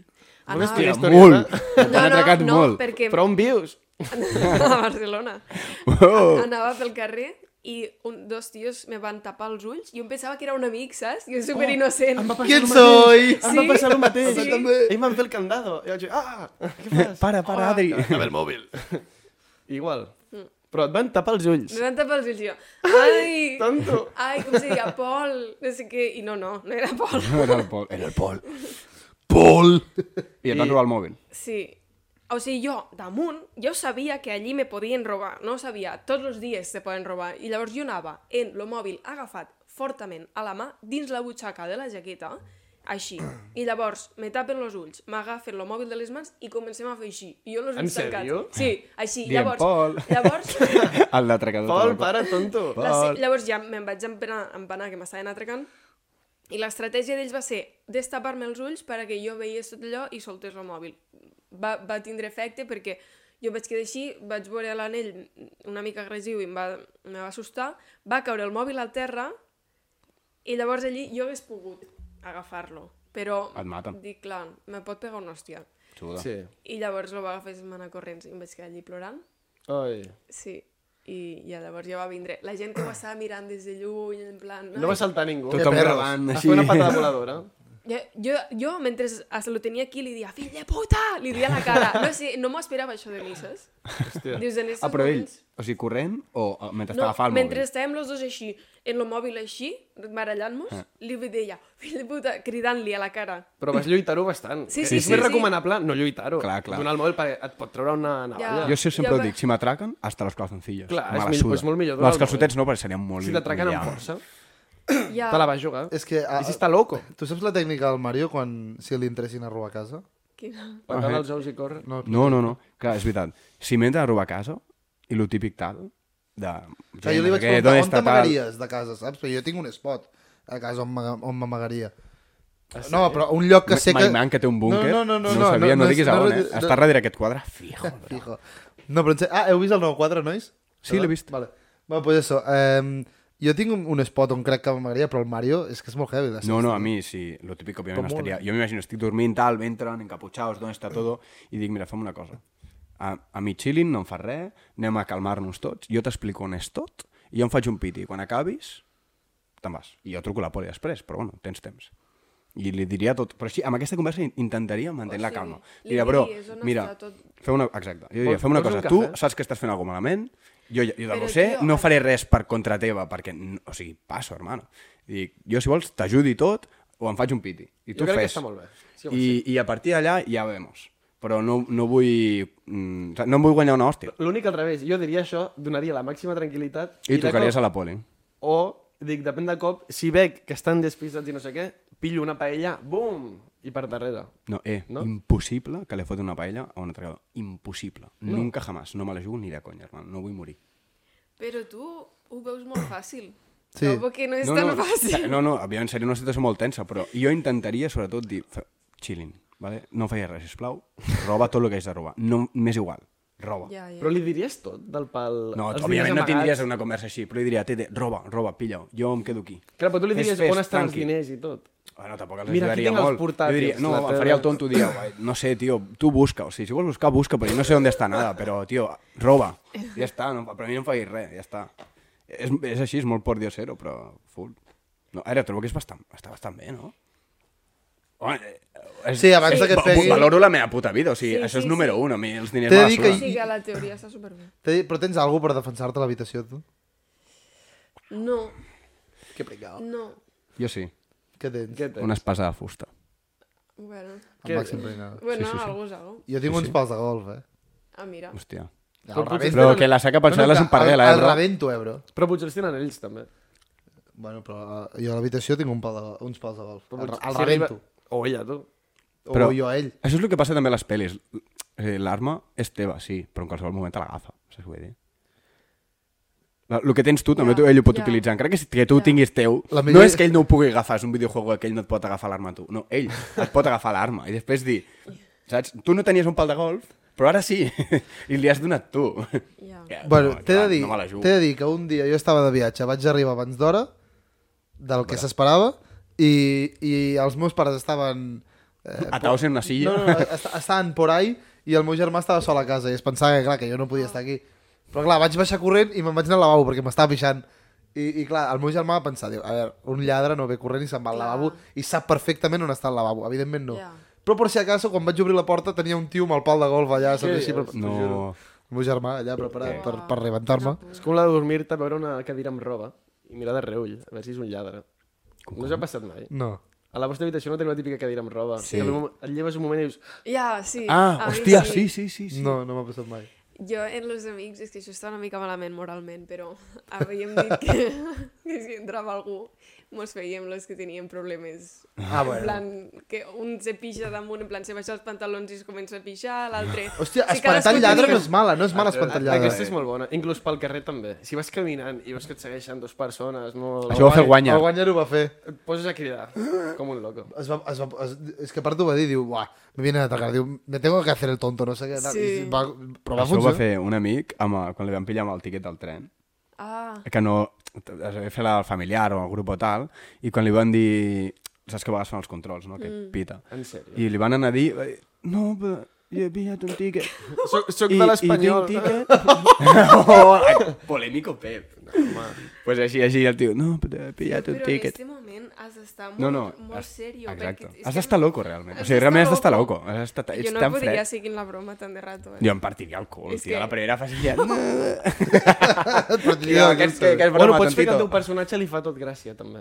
Speaker 3: Només
Speaker 4: Anava-
Speaker 3: tinc
Speaker 2: Hòstia, *laughs*
Speaker 3: historieta.
Speaker 2: molt. T'han atracat
Speaker 4: no,
Speaker 2: molt.
Speaker 4: perquè *laughs*
Speaker 3: Però on vius?
Speaker 4: a Barcelona
Speaker 2: Oh.
Speaker 4: anava pel carrer i un, dos tios me van tapar els ulls i jo em pensava que era un amic, saps? Jo super innocent.
Speaker 1: ¿Quién soy?
Speaker 3: Em va
Speaker 4: Sí.
Speaker 3: passar el mateix.
Speaker 4: Sí.
Speaker 3: Ell em va fer el candado. I vaig dir, ah, què fas?
Speaker 2: Para, para, Adri.
Speaker 3: Dame el
Speaker 2: *laughs*
Speaker 3: mòbil. Igual.
Speaker 4: Mm.
Speaker 3: Però et van tapar els ulls.
Speaker 4: Me van tapar els ulls i jo, ai,
Speaker 3: Tonto.
Speaker 4: ai, com se diria, Pol, no sé què, i no, no, no era Pol.
Speaker 2: Era el Pol. Era el Pol. Pol! I et van robar el *laughs* mòbil.
Speaker 4: Sí. O sigui, jo, damunt, jo sabia que allí me podien robar, no ho sabia, tots els dies se poden robar, i llavors jo anava en lo mòbil agafat fortament a la mà, dins la butxaca de la jaqueta, així, i llavors me tapen els ulls, m'agafen el mòbil de les mans i comencem a fer així, i jo els
Speaker 3: En
Speaker 4: ulls tancats.
Speaker 3: sèrio?
Speaker 4: Sí, així,
Speaker 2: Dient,
Speaker 4: llavors,
Speaker 2: "Pol". *laughs*
Speaker 4: llavors,
Speaker 2: El d'atracador.
Speaker 3: Pol, para, tonto.
Speaker 4: la, se- llavors ja me'n vaig empanar, empanar que m'estaven atracant i l'estratègia d'ells va ser destapar-me els ulls perquè jo veiés tot allò i soltés el mòbil. Va, va tindre efecte perquè jo vaig quedar així, vaig veure l'anell una mica agressiu i em va, me va assustar, va caure el mòbil al terra i llavors allí jo hagués pogut agafar-lo. Però
Speaker 2: Et maten.
Speaker 4: dic, clar, me pot pegar una hòstia.
Speaker 2: Sí.
Speaker 3: Sí.
Speaker 4: I llavors lo va agafar i se'n va anar corrents i em vaig quedar allí plorant.
Speaker 3: Oi.
Speaker 4: Sí, i, i llavors ja va vindre. La gent que ho estava mirant des de lluny, en plan...
Speaker 3: No va saltar ningú.
Speaker 2: Tothom
Speaker 3: Perros.
Speaker 2: gravant,
Speaker 3: Es
Speaker 2: així.
Speaker 3: fa una patada voladora.
Speaker 4: jo, jo, jo, mentre es- lo tenia aquí, li dia, fill de puta! Li dia a la cara. No sé, no m'ho esperava això de mi, saps?
Speaker 3: Hòstia.
Speaker 4: Dius, en estos
Speaker 2: Ah, però ell,
Speaker 4: moments-
Speaker 2: o sigui, corrent o eh, mentre
Speaker 4: No,
Speaker 2: estava el
Speaker 4: mentre
Speaker 2: mòbil?
Speaker 4: estàvem los dos així, en el mòbil així, barallant-nos, li deia, fill de puta, cridant-li a la cara.
Speaker 3: Però vas lluitar-ho bastant.
Speaker 4: Sí,
Speaker 3: Que
Speaker 4: sí,
Speaker 3: és
Speaker 4: sí,
Speaker 3: més
Speaker 4: sí.
Speaker 3: recomanable no lluitar-ho.
Speaker 2: Clar, clar.
Speaker 3: Donar el mòbil perquè et pot treure una navalla.
Speaker 4: Ja.
Speaker 2: Jo sé, sempre
Speaker 4: Ja,
Speaker 2: ho
Speaker 4: però-
Speaker 2: dic, si m'atraquen, hasta los calzoncillos.
Speaker 3: Clar,
Speaker 2: Me
Speaker 3: és
Speaker 2: la
Speaker 3: millor-
Speaker 2: suda.
Speaker 3: és molt millor donar
Speaker 2: Els
Speaker 3: el
Speaker 2: calçotets no, perquè serien molt...
Speaker 3: Si t'atraquen amb
Speaker 2: liant.
Speaker 3: força,
Speaker 4: Ja,
Speaker 3: te Tota la vas jugar.
Speaker 1: És que... ah,
Speaker 3: I si està loco?
Speaker 1: Tu saps la tècnica del Mario quan si li entressin a robar a casa?
Speaker 4: Quina...
Speaker 3: Patant els ous i córrer.
Speaker 1: No,
Speaker 2: eh. No, no, no. Clar, és veritat. Si m'entra a robar a casa, i lo típic tal, de...
Speaker 1: O sigui, jo li vaig
Speaker 2: Perquè,
Speaker 1: preguntar
Speaker 2: "¿Dónde
Speaker 1: on
Speaker 2: está tal?"
Speaker 1: t'amagaries de casa, saps? Perquè jo tinc un spot a casa on m'aga- on m'amagaria. No, però un lloc que sé
Speaker 2: Ma-
Speaker 1: que...
Speaker 2: My Man, que té un búnquer.
Speaker 1: No, no, no, no,
Speaker 2: no, ho sabia, no,
Speaker 1: és-
Speaker 2: diguis a on, eh?
Speaker 1: no,
Speaker 2: Està darrere aquest quadre. Fijo. bro.
Speaker 1: Fijo. No, però en sèrio- Ah, heu vist el nou quadre, nois?
Speaker 2: Sí, l'he vist.
Speaker 1: Vale. Bueno, pues eso. Eh, jo tinc un, un spot on crec que m'amagaria, però el Mario és que és molt heavy. de
Speaker 2: No,
Speaker 1: ser.
Speaker 2: no, a mi sí, lo típico,
Speaker 1: Com
Speaker 2: òbviament,
Speaker 1: molt.
Speaker 2: estaria... Jo m'imagino, estic dormint, tal, m'entren, encapuchados, d'on està todo, i dic, mira, fem una cosa. A, a mi chilling no em fa res, anem a calmar-nos tots, jo t'explico on és tot, i jo em faig un piti. Quan acabis, te'n vas. I jo truco a la poli després, però bueno, tens temps. I li diria tot. Però així, amb aquesta conversa in- intentaria mantenir
Speaker 4: O
Speaker 2: la
Speaker 4: sigui,
Speaker 2: calma.
Speaker 4: li
Speaker 2: Diria, bro,
Speaker 4: diries on
Speaker 2: mira,
Speaker 4: està tot.
Speaker 2: feu una... Exacte. Jo diria, fem una
Speaker 3: vols un
Speaker 2: cosa. Tu
Speaker 3: cafè?
Speaker 2: saps que estàs fent alguna cosa malament, jo, ja- jo
Speaker 4: Però,
Speaker 2: també ho sé,
Speaker 4: tio,
Speaker 2: no faré res per contra teva, perquè, n- o sigui, passo, hermano. Dic, jo, si vols, t'ajudi tot o em faig un piti. I
Speaker 3: Jo
Speaker 2: tu
Speaker 3: crec que
Speaker 2: fes.
Speaker 3: està molt bé. Sí, home,
Speaker 2: I, I a partir d'allà ja vemos. Però no, no vull... Mm, o sigui, no em vull guanyar una hòstia.
Speaker 3: L'únic al revés, jo diria això, donaria la màxima tranquil·litat...
Speaker 2: I,
Speaker 3: de
Speaker 2: trucaries
Speaker 3: cop-
Speaker 2: a la poli.
Speaker 3: O, dic, depèn de cop, si veig que estan despistats i no sé què, pillo una paella, bum, i per darrere.
Speaker 2: No, eh,
Speaker 3: No?
Speaker 2: no? impossible que li foti una paella a un atracador. Impossible. No. Nunca jamás. No me la jugo ni de conya, hermano. No vull morir.
Speaker 4: Però tu ho veus molt fàcil.
Speaker 1: Sí.
Speaker 4: No, perquè no és
Speaker 2: no,
Speaker 4: tan
Speaker 2: no,
Speaker 4: fàcil.
Speaker 2: No, no, òbviament seria una situació molt tensa, però jo intentaria, sobretot, dir, fe- chilling, vale? no feia res, sisplau, roba tot el que haig de robar. No, m'és igual, roba.
Speaker 4: Ja, ja.
Speaker 3: Però li diries tot del pal...
Speaker 2: No,
Speaker 3: els
Speaker 2: òbviament
Speaker 3: diners
Speaker 2: no tindries
Speaker 3: amagats?
Speaker 2: una conversa així, però li diria, tete, roba, roba, pilla-ho, jo em quedo aquí.
Speaker 3: Clar, però tu li
Speaker 2: Fes,
Speaker 3: diries
Speaker 2: fes,
Speaker 3: on estan els
Speaker 2: tranqui.
Speaker 3: diners i tot.
Speaker 2: Bueno, tampoc els
Speaker 3: Mira, aquí
Speaker 2: ajudaria
Speaker 3: tinc els
Speaker 2: molt. jo
Speaker 3: portàtils,
Speaker 2: diria, no,
Speaker 3: la
Speaker 2: em
Speaker 3: tele.
Speaker 2: faria el tonto, diria, "Guai, no sé, tio, tu busca, o sigui, si vols buscar, busca, però jo no sé on està nada, però, tio, roba, ja està, no, però a mi no em facis res, ja està. És, és així, és molt por diosero, però full. No, ara trobo que és bastant, està bastant bé, no? Home, eh, és,
Speaker 1: Sí, abans de que et
Speaker 2: va-
Speaker 1: pegui-
Speaker 2: Valoro la meva puta vida, o sigui,
Speaker 4: Sí,
Speaker 2: sí, això és
Speaker 4: sí,
Speaker 2: número
Speaker 4: sí.
Speaker 2: un, a mi els diners
Speaker 1: T'he
Speaker 2: me
Speaker 1: de
Speaker 2: la
Speaker 1: dir que
Speaker 4: O
Speaker 2: suda.
Speaker 4: sigui que la teoria està superbé.
Speaker 1: Té- Però tens algú per defensar-te a l'habitació, tu?
Speaker 4: No,
Speaker 1: Que pringao.
Speaker 4: no.
Speaker 2: Jo sí,
Speaker 1: Què tens?
Speaker 3: Què tens?
Speaker 2: una espasa de fusta.
Speaker 4: Bueno,
Speaker 1: El màxim pringao.
Speaker 4: bueno
Speaker 2: Sí, sí, sí.
Speaker 4: algú és algú.
Speaker 1: Jo tinc uns pals de golf, eh?
Speaker 4: Ah, mira.
Speaker 2: Hòstia.
Speaker 1: Al
Speaker 3: Però
Speaker 1: revés,
Speaker 3: potser-
Speaker 2: Però que la saca per xalar és un parguela,
Speaker 1: el,
Speaker 2: eh,
Speaker 1: el
Speaker 2: bro?
Speaker 1: rebento, eh, bro.
Speaker 3: Però potser els tenen ells, també.
Speaker 1: Bueno, però eh, jo a l'habitació tinc un pal de, uns pals de golf.
Speaker 3: Però
Speaker 1: El,
Speaker 3: potser-
Speaker 1: el
Speaker 3: si arriba-
Speaker 1: rebento.
Speaker 3: O ella, tu.
Speaker 1: Però... O jo a ell.
Speaker 2: Això és el que passa també a les pel·lis. Eh, L'arma és teva, sí, però en qualsevol moment te l'agafa, saps què vull dir? La- El que tens tu també
Speaker 4: Ja,
Speaker 2: tu- ell ho pot
Speaker 4: ja.
Speaker 2: utilitzar. Encara que, si- que tu ho tinguis teu,
Speaker 1: La
Speaker 2: no
Speaker 1: millor-
Speaker 2: és que ell no ho pugui agafar, és un videojoc que ell no et pot agafar l'arma a tu. No, ell et pot agafar l'arma i després dir, saps? Tu no tenies un pal de golf, però ara sí, *laughs* i li has donat tu.
Speaker 4: Ja.
Speaker 2: Ja,
Speaker 1: Bueno,
Speaker 2: no,
Speaker 1: t'he de
Speaker 2: clar,
Speaker 1: dir,
Speaker 2: No me la jugo.
Speaker 1: t'he de dir que un dia jo estava de viatge, vaig arribar abans d'hora del que s'esperava i, i els meus pares estaven... Eh,
Speaker 2: Ataos en una silla.
Speaker 1: No, no, no, est estaven por ahí i el meu germà estava sol a casa i es pensava que, clar, que jo no podia estar aquí. Però, clar, vaig baixar corrent i me'n vaig anar al lavabo perquè m'estava pixant. I, I, clar, el meu germà va pensar, diu, a veure, un lladre no ve corrent i se'n va al
Speaker 4: Clar.
Speaker 1: lavabo i sap perfectament on està el lavabo. Evidentment no.
Speaker 4: Ja.
Speaker 1: Però, per si acaso, quan vaig obrir la porta tenia un tio amb el pal de golf allà, saps
Speaker 3: Què
Speaker 1: així?
Speaker 3: dius?
Speaker 1: Però,
Speaker 2: No.
Speaker 1: El meu germà allà preparat per, per rebentar-me.
Speaker 3: És com la de dormir-te a veure una cadira amb roba i mirar de reull, a veure si és un lladre. No us ha passat mai?
Speaker 1: No.
Speaker 3: A la vostra habitació no teniu la típica cadira amb roba. Sí. Et lleves un moment i dius...
Speaker 4: Ja, sí.
Speaker 2: Ah,
Speaker 4: a mi
Speaker 2: hòstia, sí, sí, sí. sí.
Speaker 1: No, no m'ha passat mai.
Speaker 4: Jo, en los amics, és que això està una mica malament moralment, però *laughs* havíem dit que, *laughs* que si entrava algú, mos fèiem los que teníem problemes.
Speaker 1: Ah,
Speaker 4: en
Speaker 1: bueno.
Speaker 4: plan, que un se pixa damunt, en plan, se baixa els pantalons i es comença a pixar, l'altre...
Speaker 2: Ah.
Speaker 1: Hòstia,
Speaker 4: Si
Speaker 1: espantar
Speaker 4: cadascú
Speaker 1: el lladre
Speaker 4: tenia-
Speaker 1: no és mala, no és mala espantar el lladre. Eh,
Speaker 3: Aquesta és molt bona. Inclús pel carrer també. Si vas caminant i veus que et segueixen dues persones molt...
Speaker 2: Això ho va fer el guanya.
Speaker 1: El guanyar ho va fer.
Speaker 3: Et poses a cridar, com un loco.
Speaker 1: Es va, es va, es, és que a part ho va dir, diu, buah, me vienen a atacar, diu, me tengo que hacer el tonto, no sé què. tal",
Speaker 4: Sí.
Speaker 1: i Va, però va
Speaker 2: Això ho va
Speaker 3: eh?
Speaker 1: funcionar.
Speaker 2: fer un amic amb el, quan li van pillar amb el tiquet del tren.
Speaker 4: Ah,
Speaker 2: Que no... Es va fer la del familiar o el grup o tal. I quan li van dir... Saps que a vegades fan els controls, no? Que
Speaker 4: Mm.
Speaker 2: pita.
Speaker 3: En sèrio.
Speaker 2: I li van anar a dir... va dir, No, però... Jo he pillat un tiquet.
Speaker 3: *laughs* Soc, soc de l'espanyol.
Speaker 2: I
Speaker 3: *laughs*
Speaker 2: tinc tiquet. *laughs* oh, ai, polémico Pep. Home. *laughs* Pues així, així el tio... No, però he pillat un
Speaker 4: però en
Speaker 2: tiquet.
Speaker 4: este moment has d'estar molt,
Speaker 2: No, no.
Speaker 4: molt
Speaker 2: has-
Speaker 4: serio.
Speaker 2: Exacte.
Speaker 4: perquè és
Speaker 2: Has
Speaker 4: que-
Speaker 2: d'estar loco, realment. O
Speaker 4: Has
Speaker 2: sigui, realment has
Speaker 4: d'estar
Speaker 2: d'estar
Speaker 4: loco.
Speaker 2: loco. Has d'estar...
Speaker 4: Jo
Speaker 2: Ets
Speaker 4: no
Speaker 2: tan
Speaker 4: podria
Speaker 2: fred.
Speaker 4: seguir la broma tan de rato. Eh?
Speaker 2: Jo em partiria el cul,
Speaker 4: És
Speaker 2: tio.
Speaker 4: que-
Speaker 2: La primera fase
Speaker 4: *laughs*
Speaker 2: ja...
Speaker 1: *laughs* Però tio,
Speaker 2: Tio, que és- que- que és
Speaker 3: Bueno,
Speaker 2: broma,
Speaker 3: pots fer que
Speaker 2: tontito.
Speaker 3: el teu personatge li fa tot gràcia, també.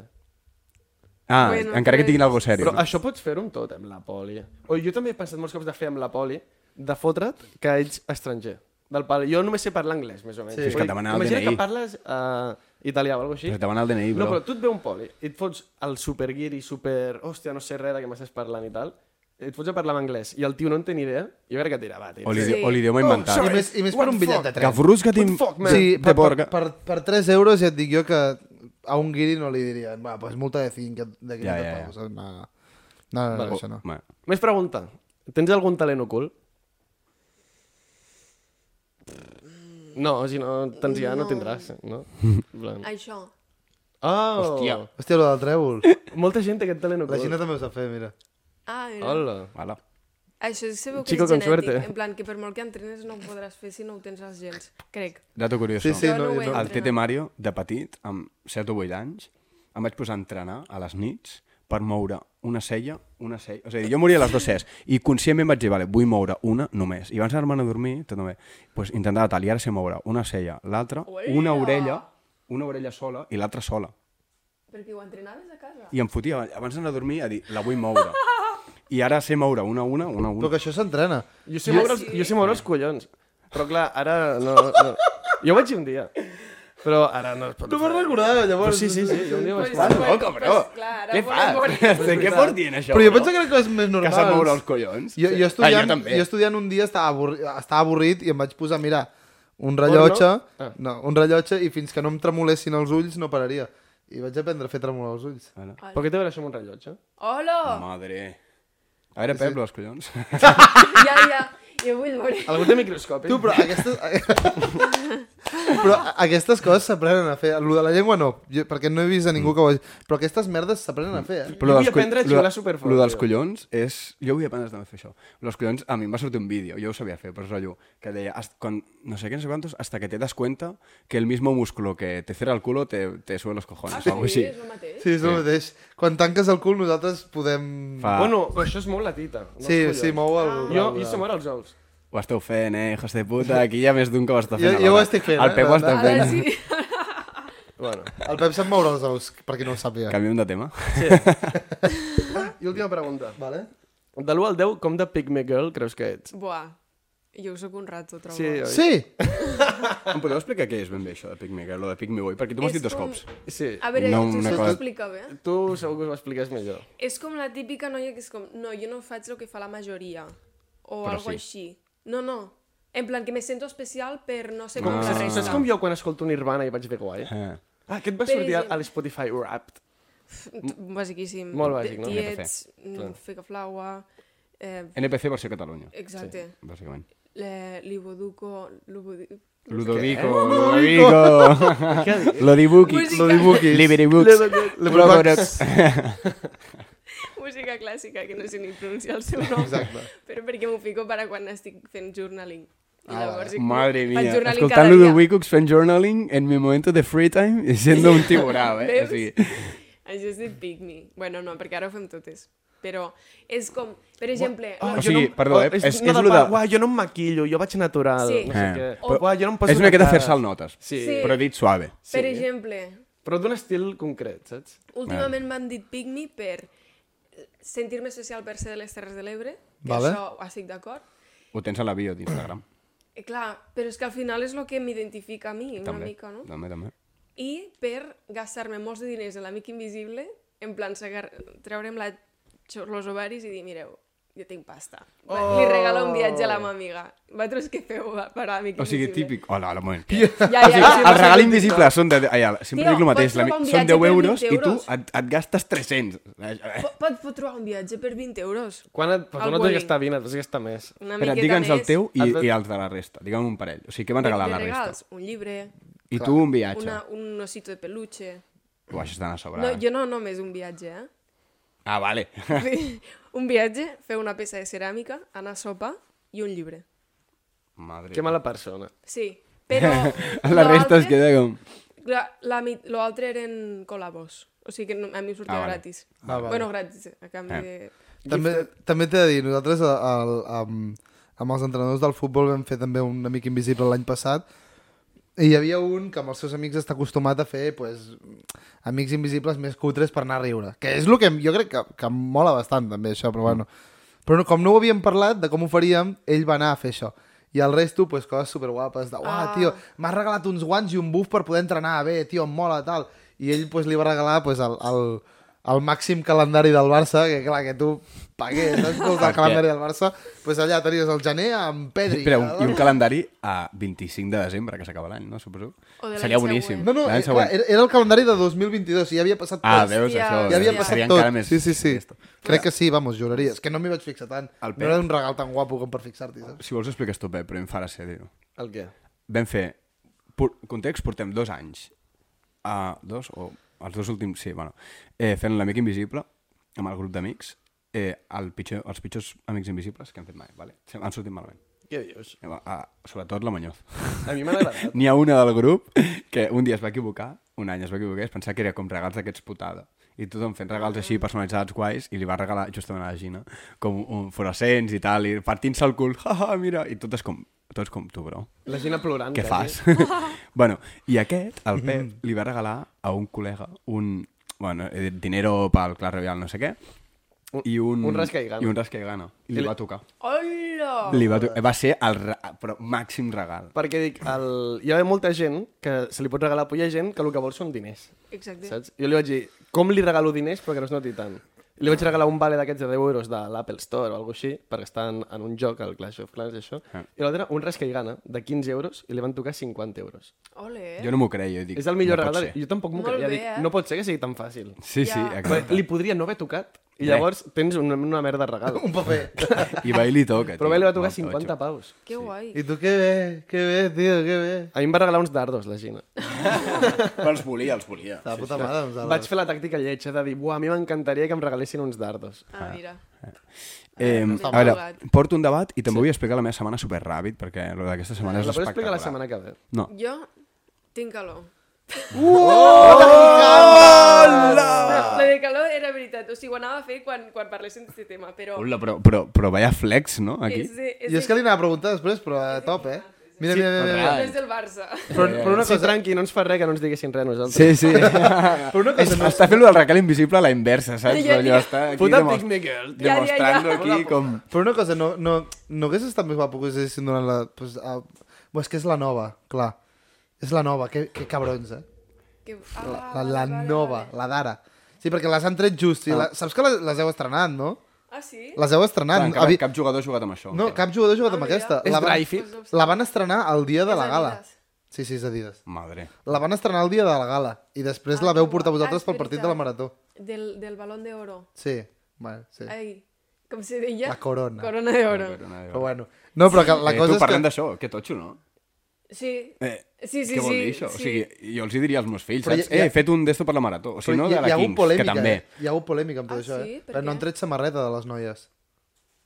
Speaker 2: Ah,
Speaker 4: Bueno,
Speaker 2: encara que
Speaker 4: pues-
Speaker 2: tinguin algo sèrio.
Speaker 3: Però
Speaker 2: no?
Speaker 3: això pots fer-ho amb tot, amb la poli. O jo també he pensat molts cops de fer amb la poli, de fotre't que ets estranger. Del pal. Jo només sé parlar anglès, més o menys.
Speaker 1: Sí. És
Speaker 2: que et demanen el
Speaker 3: imagina
Speaker 2: DNI.
Speaker 3: que parles uh, italià o alguna cosa
Speaker 2: Però
Speaker 3: així.
Speaker 2: et demanen el DNI,
Speaker 3: No,
Speaker 2: bro.
Speaker 3: però tu et ve un poli i et fots el superguiri, super... Hòstia, no sé res de què m'estàs parlant i tal. Et fots a parlar en anglès i el tio no en té ni idea. Jo crec que et dirà, va, tio.
Speaker 2: O
Speaker 3: Sí.
Speaker 2: l'idi-
Speaker 4: Sí.
Speaker 2: o l'idioma inventat.
Speaker 1: Oh, I més, I més per un bitllet de
Speaker 2: Que
Speaker 1: tren.
Speaker 2: frusca
Speaker 3: Oh, What
Speaker 2: tinc...
Speaker 3: the fuck, man?
Speaker 1: Sí,
Speaker 2: de
Speaker 1: per, per,
Speaker 2: porca.
Speaker 1: per, per 3 euros ja et dic jo que a un guiri no li dirien, va, pues multa de 5 de 500
Speaker 2: Ja, ja, ja.
Speaker 1: pavos. No, no, no, no, no,
Speaker 2: O-
Speaker 1: això no.
Speaker 2: bueno.
Speaker 3: Més pregunta. Tens algun talent ocult? No, si no tens ja, no,
Speaker 4: No.
Speaker 3: tindràs, no?
Speaker 2: Mm.
Speaker 3: En plan.
Speaker 4: Això.
Speaker 3: Oh!
Speaker 2: Hòstia.
Speaker 1: Hòstia, lo del trèvol.
Speaker 3: Molta gent té aquest talent
Speaker 1: La
Speaker 3: ocult.
Speaker 1: Xina també ho sap fer, mira.
Speaker 4: Ah, era.
Speaker 3: Hola.
Speaker 2: Hola.
Speaker 4: Això se veu que
Speaker 3: Chico
Speaker 4: és
Speaker 3: con
Speaker 4: genètic.
Speaker 3: suerte.
Speaker 4: En plan, que per molt que entrenes no ho podràs fer si no ho tens als gens. Crec.
Speaker 2: Dato curioso.
Speaker 1: Sí, sí,
Speaker 4: Jo no
Speaker 1: no, jo
Speaker 4: ho he
Speaker 1: no.
Speaker 2: El
Speaker 4: entrenat.
Speaker 2: Tete Mario, de petit, amb 7 o 8 anys, em vaig posar a entrenar a les nits per moure una sella, una sella... O sigui, jo moria a les dues selles i conscientment vaig dir, vale, vull moure una només. I abans d'anar-me'n a dormir, tot només, pues, intentava tal, i ara sé moure una sella, l'altra, una orella, una orella sola i l'altra sola.
Speaker 4: Perquè ho entrenaves a casa.
Speaker 2: I em fotia abans d'anar a dormir a dir, la vull moure. I ara sé moure una a una, una a
Speaker 1: Però
Speaker 2: una.
Speaker 1: que això s'entrena.
Speaker 3: Jo sé, moure els, jo sé moure els collons. Però clar, ara no... no. Jo ho vaig dir un dia. Però ara no es pot
Speaker 1: No m'ho recordava, llavors.
Speaker 3: Però sí, sí, sí, jo un dia vaig
Speaker 4: Pues,
Speaker 3: parlar.
Speaker 4: pues,
Speaker 2: loco, bro.
Speaker 4: pues, clar, ara
Speaker 2: Què
Speaker 4: volem
Speaker 2: fas? *laughs*
Speaker 4: morir.
Speaker 2: Què fas dient això?
Speaker 1: Però jo
Speaker 2: bro?
Speaker 1: penso que eren coses més
Speaker 2: que
Speaker 1: normals.
Speaker 2: s'ha de moure els collons.
Speaker 1: Jo, jo, estudiant,
Speaker 2: Ah, jo també.
Speaker 1: jo estudiant un dia estava, avorri, estava avorrit i em vaig posar a mirar un rellotge,
Speaker 3: Ah.
Speaker 1: no, un rellotge i fins que no em tremolessin els ulls no pararia. I vaig aprendre a fer tremolar els ulls.
Speaker 2: Ara.
Speaker 3: Però què té a veure això amb un rellotge?
Speaker 4: Hola!
Speaker 2: *laughs* Madre. A veure, Pep, els *laughs* collons.
Speaker 4: Ja, ja. Jo vull morir.
Speaker 3: Algú té microscopi?
Speaker 1: Tu, però aquestes... però a- aquestes coses s'aprenen a fer. Lo de la llengua no, jo, perquè no he vist a ningú que ho hagi... Però aquestes merdes s'aprenen a fer, eh?
Speaker 3: Jo vull aprendre a xiular superfort,
Speaker 2: Lo dels
Speaker 3: tio.
Speaker 2: collons és... Jo vull aprendre també a fer això. Lo dels collons, a mi em va sortir un vídeo, jo ho sabia fer, però és rotllo, que deia, "Hasta- quan, no sé què, no sé quantos, hasta que te das cuenta que el mismo músculo que te cierra el culo te, te sube los cojones.
Speaker 4: Ah,
Speaker 2: o algo així.
Speaker 4: és el mateix.
Speaker 1: Sí, és el mateix. Quan tanques el cul nosaltres podem...
Speaker 2: Fa,
Speaker 3: Ah. Bueno, però això és molt la tita. no els
Speaker 1: sí,
Speaker 3: collons.
Speaker 1: sí, mou el...
Speaker 3: Jo, jo sé moure els ous.
Speaker 2: ho esteu fent, eh, hijos de puta, aquí ja més d'un que ho està
Speaker 1: Jo-
Speaker 2: fent.
Speaker 1: jo ho
Speaker 2: alhora.
Speaker 1: estic fent,
Speaker 2: El
Speaker 1: eh,
Speaker 2: Pep
Speaker 1: la
Speaker 2: ho està
Speaker 1: veritat.
Speaker 4: Ara
Speaker 2: fent.
Speaker 4: sí.
Speaker 3: Bueno.
Speaker 1: El Pep sap moure els ous, per qui no ho sàpiga.
Speaker 2: Canviem de tema.
Speaker 3: I última pregunta.
Speaker 1: Vale?
Speaker 3: De l'1 al 10, com de Pick Me Girl creus que ets?
Speaker 4: Buah. Jo sóc un rato, trobo.
Speaker 3: Sí, oi?
Speaker 1: Sí!
Speaker 2: em podeu explicar què és ben bé això de Pick Me Girl, lo de Pick Me Boy? Perquè tu m'ho has
Speaker 4: És
Speaker 2: dit dos
Speaker 4: com-
Speaker 2: cops.
Speaker 3: Sí.
Speaker 4: A veure,
Speaker 2: No,
Speaker 4: no, tu
Speaker 2: una
Speaker 4: saps
Speaker 2: cosa-
Speaker 4: explicar bé?
Speaker 3: Tu segur que us ho expliques millor.
Speaker 4: És com la típica noia que és com, no, jo no faig el que fa la majoria. O
Speaker 2: Però sí.
Speaker 4: algo així. No, no. En plan, que me sento especial per no sé
Speaker 2: Ah.
Speaker 4: com la
Speaker 2: Saps-
Speaker 4: resta.
Speaker 3: Saps com jo quan escolto Nirvana i vaig dir guai?
Speaker 2: Eh.
Speaker 3: Ah, aquest va
Speaker 4: Per
Speaker 3: sortir a-
Speaker 4: exemple.
Speaker 3: a l'Spotify Wrapped.
Speaker 4: Basiquíssim.
Speaker 3: Molt bàsic, no?
Speaker 4: Tiets, mm, fica flaua... Eh,
Speaker 2: NPC versió Catalunya,
Speaker 4: exacte.
Speaker 2: bàsicament.
Speaker 4: eh, Liboduco... Lubodu-
Speaker 2: Ludovico,
Speaker 1: Ludovico.
Speaker 2: *laughs* Ludovico.
Speaker 3: Què dius?
Speaker 2: Lodibuki.
Speaker 4: Música.
Speaker 1: Lodibuquis.
Speaker 2: Liberibuks.
Speaker 1: Librobucks.
Speaker 4: *laughs* Música clàssica, que no sé ni pronunciar el seu nom.
Speaker 1: Exacte.
Speaker 4: Però perquè m'ho fico per a quan estic fent journaling. I
Speaker 1: Ah,
Speaker 4: llavors,
Speaker 2: Madre
Speaker 4: faig
Speaker 2: mía.
Speaker 4: journaling
Speaker 2: Escoltant
Speaker 4: cada dia.
Speaker 2: Ludovico fent journaling en mi momento de free time i sent un tiburau, eh? O
Speaker 4: Veus?
Speaker 2: sigui,
Speaker 4: Això és de pick me. Bueno, no, perquè ara ho fem totes. Però és com, per exemple...
Speaker 2: O
Speaker 4: la-
Speaker 3: jo
Speaker 2: sigui,
Speaker 3: em-
Speaker 2: perdó, eh,
Speaker 3: és,
Speaker 2: és-
Speaker 3: una
Speaker 2: és
Speaker 3: de
Speaker 2: lo de-
Speaker 3: pa- Uah, jo no em maquillo, jo vaig natural.
Speaker 4: Sí.
Speaker 3: No sé
Speaker 2: Eh,
Speaker 3: què.
Speaker 4: però-
Speaker 3: Uah, jo no em poso
Speaker 2: és una miqueta
Speaker 3: cara.
Speaker 2: fer-se el notes.
Speaker 3: Sí.
Speaker 4: Sí.
Speaker 2: Però dit suave.
Speaker 4: Per
Speaker 3: sí.
Speaker 4: exemple,
Speaker 3: Però d'un estil concret, saps?
Speaker 4: últimament m'han dit pick me per sentir-me social per ser de les Terres de l'Ebre, que
Speaker 1: Vale.
Speaker 4: això ho estic d'acord.
Speaker 2: Ho tens a la bio d'Instagram.
Speaker 4: Eh, clar, però és que al final és el que m'identifica a mi, una
Speaker 2: També.
Speaker 4: mica, no?
Speaker 2: També, també.
Speaker 4: I per gastar-me molts de diners en l'amic invisible, en plan segar- treure'm la, els ovaris i dir, mireu, jo tinc pasta. Oh. Li regalo un viatge a la meva amiga. Vosaltres què feu va, per a l'amic invisible?
Speaker 2: O sigui, típic. Hola, hola, un moment. *laughs*
Speaker 4: Ja, ja, ja.
Speaker 2: El regal invisible són de... Ai, ala, sempre
Speaker 4: Tio,
Speaker 2: dic el mateix.
Speaker 4: pots
Speaker 2: La,
Speaker 4: trobar un
Speaker 2: són
Speaker 4: viatge
Speaker 2: 10
Speaker 4: per
Speaker 2: euros
Speaker 4: 20
Speaker 2: i tu
Speaker 4: euros.
Speaker 2: et, et gastes 300.
Speaker 4: Po- Pot, pot trobar un viatge per 20 euros.
Speaker 3: Quan et, però
Speaker 4: Al
Speaker 3: tu no t'has
Speaker 4: bowling.
Speaker 3: gastat 20, et vas gastar més.
Speaker 4: Una
Speaker 2: Espera,
Speaker 4: miqueta
Speaker 2: digue'ns el
Speaker 4: més.
Speaker 2: teu i,
Speaker 3: Et-
Speaker 2: i els de la resta. Digue'm un parell. O sigui, què van
Speaker 4: De-
Speaker 2: regalar
Speaker 4: de
Speaker 2: la resta?
Speaker 4: regals, Un llibre,
Speaker 2: I tu un viatge.
Speaker 4: una, un osito de peluche.
Speaker 2: Ho has d'anar a sobre.
Speaker 4: No,
Speaker 2: eh?
Speaker 4: jo no només un viatge, eh?
Speaker 2: Ah, vale. *laughs*
Speaker 4: Vull dir, *laughs* un viatge, fer una peça de ceràmica, anar a sopar i un llibre.
Speaker 2: Madre.
Speaker 3: Que mala persona.
Speaker 4: Sí, però...
Speaker 2: La
Speaker 4: lo
Speaker 2: resta es
Speaker 4: altre-
Speaker 2: queda com...
Speaker 4: La, la, mit- lo altre eren col·labos. O sigui que no- a mi em sortia
Speaker 2: Ah,
Speaker 4: ah,
Speaker 2: vale.
Speaker 4: gratis.
Speaker 1: Ah, vale.
Speaker 4: Bueno, gratis, a canvi
Speaker 2: Eh.
Speaker 4: de...
Speaker 1: També, també t'he de dir, nosaltres el, el, amb, amb els entrenadors del futbol vam fer també un amic invisible l'any passat i hi havia un que amb els seus amics està acostumat a fer pues, amics invisibles més cutres per anar a riure, que és el que jo crec que, que em mola bastant també això,
Speaker 2: Mm.
Speaker 1: però bueno. Però no, com no ho havíem parlat de com ho faríem, ell va anar a fer això. I el resto, pues, coses superguapes, de, uah,
Speaker 4: Ah.
Speaker 1: tio, m'has regalat uns guants i un buf per poder entrenar bé, tio, em mola, tal. I ell pues, li va regalar pues, el, el, el màxim calendari del Barça, que clar, que tu pagués,
Speaker 2: *laughs*
Speaker 1: saps? Pues, el calendari del Barça, pues, allà tenies el gener amb Pedri.
Speaker 2: Espera, un,
Speaker 1: tal.
Speaker 2: i un calendari a 25 de desembre, que s'acaba l'any, no? Suposo.
Speaker 4: O de l'any
Speaker 2: Seria boníssim.
Speaker 4: següent.
Speaker 1: No, no,
Speaker 2: L'any
Speaker 1: eh, clar,
Speaker 2: següent.
Speaker 1: era, era el calendari de 2022 i ja havia passat
Speaker 2: Ah,
Speaker 1: tot.
Speaker 2: veus,
Speaker 4: Hòstia,
Speaker 2: això.
Speaker 1: ja havia
Speaker 4: Hòstia.
Speaker 1: passat
Speaker 2: seria
Speaker 1: tot.
Speaker 2: encara més...
Speaker 1: Sí, sí, sí.
Speaker 2: Esto.
Speaker 1: Crec que sí, vamos, juraria. És que no m'hi vaig fixar tant.
Speaker 2: El
Speaker 1: No era un regal tan guapo com per fixar-t'hi, saps?
Speaker 2: Si vols ho expliques tu, Pep, però em farà ser, tio.
Speaker 3: El què?
Speaker 2: Vam fer... Por, context, portem dos anys. Uh, dos o... Els dos últims, sí, bueno. Eh, fent l'amic invisible amb el grup d'amics. Eh, el pitjor, els pitjors amics invisibles que hem fet mai, vale? Se- Han sortit malament.
Speaker 3: Què dius?
Speaker 2: Eh, va, ah, sobretot la Muñoz. *laughs*
Speaker 3: A mi m'ha agradat.
Speaker 2: N'hi ha una del grup que un dia es va equivocar, un any es va equivocar, i es pensava que era com regals d'aquests putada. I tothom fent regals així personalitzats guais i li va regalar justament a la Gina com un fluorescents i tal, i partint-se el cul, *laughs* ha, ha, mira, i tot és com, tot és com tu, bro.
Speaker 3: La Gina plorant. eh?
Speaker 2: Què
Speaker 3: quasi.
Speaker 2: fas?
Speaker 4: *laughs*
Speaker 2: *laughs* bueno, i aquest, el
Speaker 4: Mhm.
Speaker 2: Pep, li va regalar a un col·lega un... Bueno, he dit dinero pel Clar Revial, no sé què, i un...
Speaker 3: un rasca i gana.
Speaker 2: I un rasca i gana. I li va tocar.
Speaker 4: Hola!
Speaker 2: Li va, to va ser el re... però màxim regal.
Speaker 3: Perquè dic, el... hi ha molta gent que se li pot regalar, però hi ha gent que el que vol són diners,
Speaker 4: Exacte.
Speaker 3: saps? Jo li vaig dir, com li regalo diners però que no es noti tant? Li vaig regalar un vale d'aquests de 10 euros de l'Apple Store o alguna cosa així, perquè està en, en un joc, el Clash of Clans i això,
Speaker 2: Ah.
Speaker 3: i l'altre un res que hi gana, de 15 euros, i li van tocar 50 euros.
Speaker 4: Ole, eh?
Speaker 2: Jo no m'ho creia, jo dic...
Speaker 3: És el millor
Speaker 2: no pot
Speaker 3: regal,
Speaker 2: ser.
Speaker 3: jo tampoc m'ho
Speaker 4: Molt
Speaker 3: creia,
Speaker 4: bé,
Speaker 3: dic,
Speaker 4: eh?
Speaker 3: no pot ser que sigui tan fàcil.
Speaker 2: Sí, sí,
Speaker 4: Ja.
Speaker 2: exacte.
Speaker 3: Li podria no haver tocat, i
Speaker 2: Res.
Speaker 3: llavors tens una, una merda de regal.
Speaker 1: Un paper.
Speaker 2: I va i li toca.
Speaker 3: Però
Speaker 2: tio.
Speaker 3: bé, li va tocar
Speaker 2: Molt totxo.
Speaker 3: 50 paus.
Speaker 4: Que guai.
Speaker 1: I tu, que bé, que bé, tio, que bé.
Speaker 3: A mi em va regalar uns dardos, la Gina.
Speaker 2: Però els volia, els volia.
Speaker 1: De la puta mare, doncs. ara.
Speaker 3: Vaig fer la tàctica lletja de dir, buah, a mi m'encantaria que em regalessin uns dardos.
Speaker 4: Ah, mira.
Speaker 2: Eh,
Speaker 4: està
Speaker 2: a veure,
Speaker 4: amagat.
Speaker 2: porto un debat i també vull explicar la meva setmana superràpid, perquè lo d'aquesta setmana és
Speaker 3: Ah, La pots
Speaker 2: espectacular.
Speaker 3: explicar la setmana que ve.
Speaker 2: No,
Speaker 4: Jo tinc calor. *laughs*
Speaker 1: Hola!
Speaker 4: La de calor era veritat. O sigui, ho anava a fer quan, quan parléssim d'aquest tema, però...
Speaker 2: Hola, però, però, però vaya flex, no? Aquí.
Speaker 4: És, de, és,
Speaker 1: I és que li anava a preguntar després, però a top, eh? Mira, mira, mira. mira.
Speaker 4: no és del Barça.
Speaker 1: Però, Eh, però una
Speaker 3: Sí,
Speaker 1: cosa...
Speaker 3: tranqui, no ens fa res que no ens diguessin res a
Speaker 2: Sí,
Speaker 3: nosaltres.
Speaker 4: *laughs*
Speaker 2: sí.
Speaker 1: Però una cosa no és-
Speaker 2: està fent lo del recal invisible a la inversa, saps?
Speaker 4: Ja, ja.
Speaker 2: Allò està aquí
Speaker 3: Puta
Speaker 2: demos-
Speaker 3: picnic girl.
Speaker 4: Ja, ja, ja.
Speaker 2: demostrant aquí com...
Speaker 1: Però una cosa, no, no, no hagués estat més guapo que us haguessin donat la... Pues, a... Bo, és que és la nova, clar. És la nova, que, que cabrons, eh?
Speaker 4: Que... Ah,
Speaker 1: La, la nova, la d'ara. Sí, perquè les han tret just.
Speaker 2: Ah.
Speaker 1: I la... Saps que les, les heu estrenat, no?
Speaker 4: Ah, sí?
Speaker 1: Les heu estrenat.
Speaker 2: Clar, cap,
Speaker 1: Avi-
Speaker 2: cap jugador ha jugat amb això.
Speaker 1: No, cap jugador ha jugat amb
Speaker 4: Ah, mira.
Speaker 1: aquesta.
Speaker 3: És
Speaker 1: La van,
Speaker 3: Dryfit?
Speaker 1: la van estrenar el dia de
Speaker 4: És
Speaker 1: la gala.
Speaker 4: Adidas.
Speaker 1: Sí, sí, és Adidas.
Speaker 2: Madre.
Speaker 1: La van estrenar el dia de la gala i després la
Speaker 4: Ah,
Speaker 1: veu
Speaker 4: que
Speaker 1: portar
Speaker 4: guai.
Speaker 1: vosaltres
Speaker 4: Ah, és
Speaker 1: pel partit de la
Speaker 4: veritat.
Speaker 1: marató.
Speaker 4: Del, del Balón d'Oro.
Speaker 1: Sí, bueno, sí.
Speaker 4: Ai, Com se deia?
Speaker 1: La corona.
Speaker 4: Corona d'oro.
Speaker 1: Però bueno. No, però que la
Speaker 2: eh,
Speaker 1: cosa
Speaker 2: tu
Speaker 1: és
Speaker 2: parlant
Speaker 1: que...
Speaker 2: d'això, que totxo, no?
Speaker 4: Sí.
Speaker 2: Eh,
Speaker 4: Sí, sí,
Speaker 2: què vol
Speaker 4: sí,
Speaker 2: dir això?
Speaker 4: sí.
Speaker 2: O sigui, jo els hi diria als meus fills,
Speaker 1: Però hi
Speaker 2: saps?
Speaker 1: ha- hi ha-
Speaker 2: Eh, he fet un d'esto per la marató. O sigui, no
Speaker 1: hi,
Speaker 2: de
Speaker 1: hi
Speaker 2: la
Speaker 1: ha hagut
Speaker 2: Kings, que
Speaker 1: polèmica,
Speaker 2: també.
Speaker 1: eh? Hi ha hagut polèmica amb tot
Speaker 4: Ah,
Speaker 1: això,
Speaker 4: sí?
Speaker 1: eh?
Speaker 4: Per
Speaker 1: Però no
Speaker 4: què?
Speaker 1: han tret samarreta de les noies.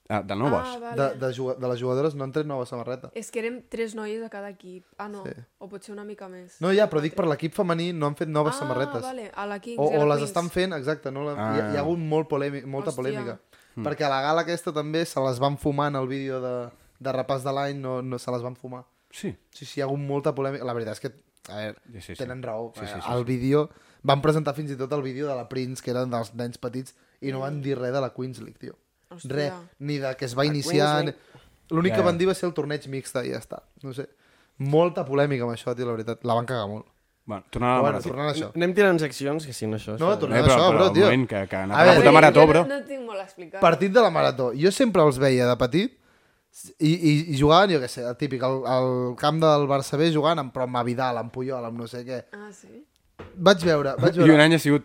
Speaker 2: Ah, del nou boss.
Speaker 4: Ah, vale.
Speaker 1: De, de, juga- de les jugadores no han tret nova samarreta.
Speaker 4: És que érem tres noies a cada equip. Ah, no. O potser una mica més.
Speaker 1: No, ja, però dic per l'equip femení no han fet noves
Speaker 4: ah,
Speaker 1: samarretes.
Speaker 4: vale. A la Kings.
Speaker 1: O,
Speaker 4: i a
Speaker 1: o
Speaker 4: la
Speaker 1: les
Speaker 4: Queens.
Speaker 1: estan fent, exacte. No la,
Speaker 2: Ah. Hmm.
Speaker 1: hi, ha, hi ha hagut molt polèmic, molta
Speaker 4: Hòstia.
Speaker 1: polèmica. Perquè a la gala aquesta també se les van fumar en el vídeo de, de repàs de l'any, no, no se les van fumar.
Speaker 2: Sí.
Speaker 1: Sí, sí, hi ha hagut molta polèmica. La veritat és que, a veure,
Speaker 2: Sí, sí, sí.
Speaker 1: tenen raó. Eh,
Speaker 2: Sí, sí, sí,
Speaker 1: el vídeo... Van presentar fins i tot el vídeo de la Prince, que eren dels nens petits, i no van dir res de la Queens League, tio.
Speaker 4: Mm. Hòstia.
Speaker 1: Re, ni de que es va iniciar... ni- L'únic
Speaker 2: Ja,
Speaker 1: que
Speaker 2: ja.
Speaker 1: van dir va ser el torneig mixta i ja està. No sé. Molta polèmica amb això, tio, la veritat. La van cagar molt.
Speaker 2: Ah, Bueno, tornant a la
Speaker 1: Però bueno,
Speaker 2: marató.
Speaker 1: tornant a això.
Speaker 3: Anem tirant seccions, que si no això...
Speaker 1: No,
Speaker 3: això-
Speaker 1: tornem
Speaker 2: Eh,
Speaker 1: a
Speaker 2: però-
Speaker 1: això,
Speaker 2: però
Speaker 1: bro,
Speaker 2: un
Speaker 1: tio.
Speaker 2: moment, que- que ha anat
Speaker 1: A
Speaker 2: la
Speaker 1: veure,
Speaker 2: puta mare- marató,
Speaker 4: Jo
Speaker 2: bro.
Speaker 4: No, no tinc molt a explicar.
Speaker 1: Partit de la marató. Jo sempre els veia de petit i, i, i jugaven, jo què sé, el típic, al, al camp del Barça B jugant amb, però amb Vidal, amb Puyol, amb no sé què.
Speaker 4: Ah, sí?
Speaker 1: Vaig veure, vaig
Speaker 2: I un
Speaker 1: veure...
Speaker 2: any ha sigut...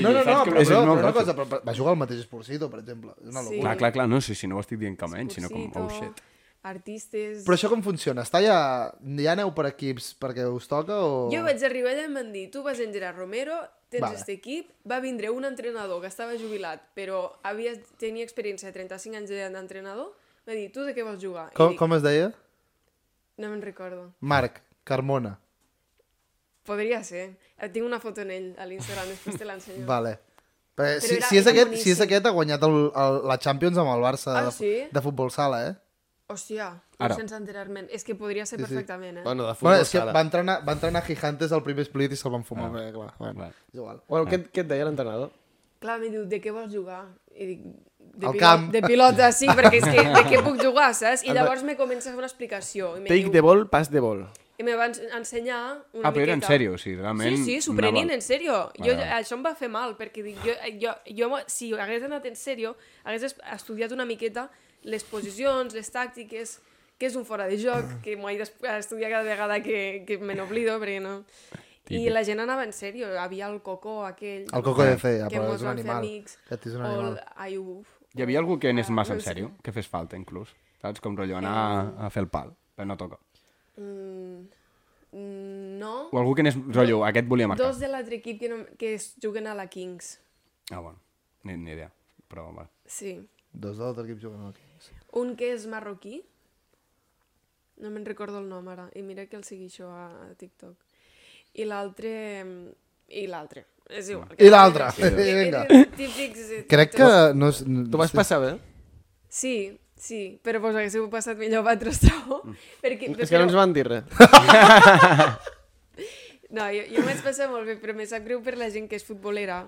Speaker 1: No, no, no, però, però,
Speaker 2: és
Speaker 1: però,
Speaker 2: molt
Speaker 1: una
Speaker 2: totxo.
Speaker 1: cosa, però, però, va jugar el mateix Esporcito, per exemple. És una
Speaker 4: Sí.
Speaker 1: locura.
Speaker 2: Clar, clar, clar, no, sí, sí, no ho estic dient com menys, sinó com, oh,
Speaker 4: Cursito,
Speaker 2: shit.
Speaker 4: Artistes...
Speaker 1: Però això com funciona? Està ja... Ja aneu per equips perquè us toca o...?
Speaker 4: Jo vaig arribar allà i em van dir, tu vas en Gerard Romero, tens
Speaker 1: Vale.
Speaker 4: vale. este equip, va vindre un entrenador que estava jubilat, però havia, tenia experiència de 35 anys de- d'entrenador, va dir, tu de què vols jugar? I
Speaker 1: Com,
Speaker 4: dic,
Speaker 1: com es deia?
Speaker 4: No me'n recordo.
Speaker 1: Marc Carmona.
Speaker 4: Podria ser. Eh, Tinc una foto en ell, a l'Instagram, després te l'ensenyo.
Speaker 1: Vale. Però si,
Speaker 4: era-
Speaker 1: si, és
Speaker 4: era
Speaker 1: aquest, si
Speaker 4: boníssim.
Speaker 1: és aquest, ha guanyat el, el, la Champions amb el Barça
Speaker 4: Ah,
Speaker 1: de,
Speaker 4: sí?
Speaker 1: de futbol sala, eh?
Speaker 4: Hòstia,
Speaker 2: Ara.
Speaker 4: Ara. sense enterar-me'n. És que podria ser
Speaker 1: Sí,
Speaker 4: sí,
Speaker 1: sí.
Speaker 4: perfectament, eh?
Speaker 3: Bueno, de futbol
Speaker 1: Bueno, és que
Speaker 3: sala.
Speaker 1: va entrenar, va entrenar Gigantes al primer split i se'l van fumar. Ah, clar, bueno,
Speaker 2: Vale.
Speaker 1: és igual.
Speaker 3: Bueno, què, què et deia l'entrenador?
Speaker 4: Clar, em diu, de què vols jugar? I dic, de,
Speaker 1: Al
Speaker 4: pilot,
Speaker 1: camp.
Speaker 4: de pilota, sí, perquè és que de què puc jugar, saps? I llavors me comença a fer una explicació. I me
Speaker 3: Take
Speaker 4: diu,
Speaker 3: the ball, pass the ball.
Speaker 4: I me va ens- ensenyar una
Speaker 2: Ah, però era en
Speaker 4: miqueta.
Speaker 2: sèrio, o sigui, realment...
Speaker 4: Sí, sí, supernin,
Speaker 2: anava-
Speaker 4: en sèrio. Jo,
Speaker 2: Vale.
Speaker 4: això em va fer mal, perquè dic, jo, jo, jo, si hagués anat en sèrio, hagués es- estudiat una miqueta les posicions, les tàctiques, què és un fora de joc,
Speaker 2: Mm.
Speaker 4: que m'ho he d'estudiar cada vegada que, que me n'oblido, perquè no... I
Speaker 2: Típic.
Speaker 4: la gent anava en sèrio, hi havia el cocó aquell...
Speaker 1: El Coco de Fe, ja,
Speaker 4: que
Speaker 1: però
Speaker 4: mos
Speaker 1: és un
Speaker 4: van fer
Speaker 1: animal.
Speaker 4: Amics,
Speaker 1: Aquest és un
Speaker 4: o el-
Speaker 1: animal.
Speaker 4: Ai, uf.
Speaker 2: Hi havia algú que anés
Speaker 4: Ah,
Speaker 2: massa
Speaker 4: no
Speaker 2: en
Speaker 4: sé.
Speaker 2: sèrio, que fes falta, inclús. Saps? Com rotllo anar a, a fer el pal, però no toca.
Speaker 4: Mm, mm, no.
Speaker 2: O algú que anés, rotllo, aquest volia marcar.
Speaker 4: Dos de l'altre equip que, no, que es juguen a la Kings.
Speaker 2: Ah, bueno, ni, ni idea. Però, va.
Speaker 4: Sí.
Speaker 1: Dos de l'altre equip juguen aquí.
Speaker 4: Un que és marroquí. No me'n recordo el nom ara. I mira que el segueixo a, a TikTok. I l'altre... I l'altre. És igual.
Speaker 1: I l'altre.
Speaker 4: Sí,
Speaker 1: Vinga.
Speaker 4: eren Típics... eh,
Speaker 1: Crec que... No, és-
Speaker 3: Tu vas passar bé?
Speaker 4: Sí, sí. Però vos haguéssiu passat millor vosaltres dos.
Speaker 1: Mm.
Speaker 4: Perquè,
Speaker 3: És que no ens van dir
Speaker 1: *laughs*
Speaker 3: res.
Speaker 4: No, jo, jo m'ho vaig passar molt bé, però me sap greu per la gent que és futbolera.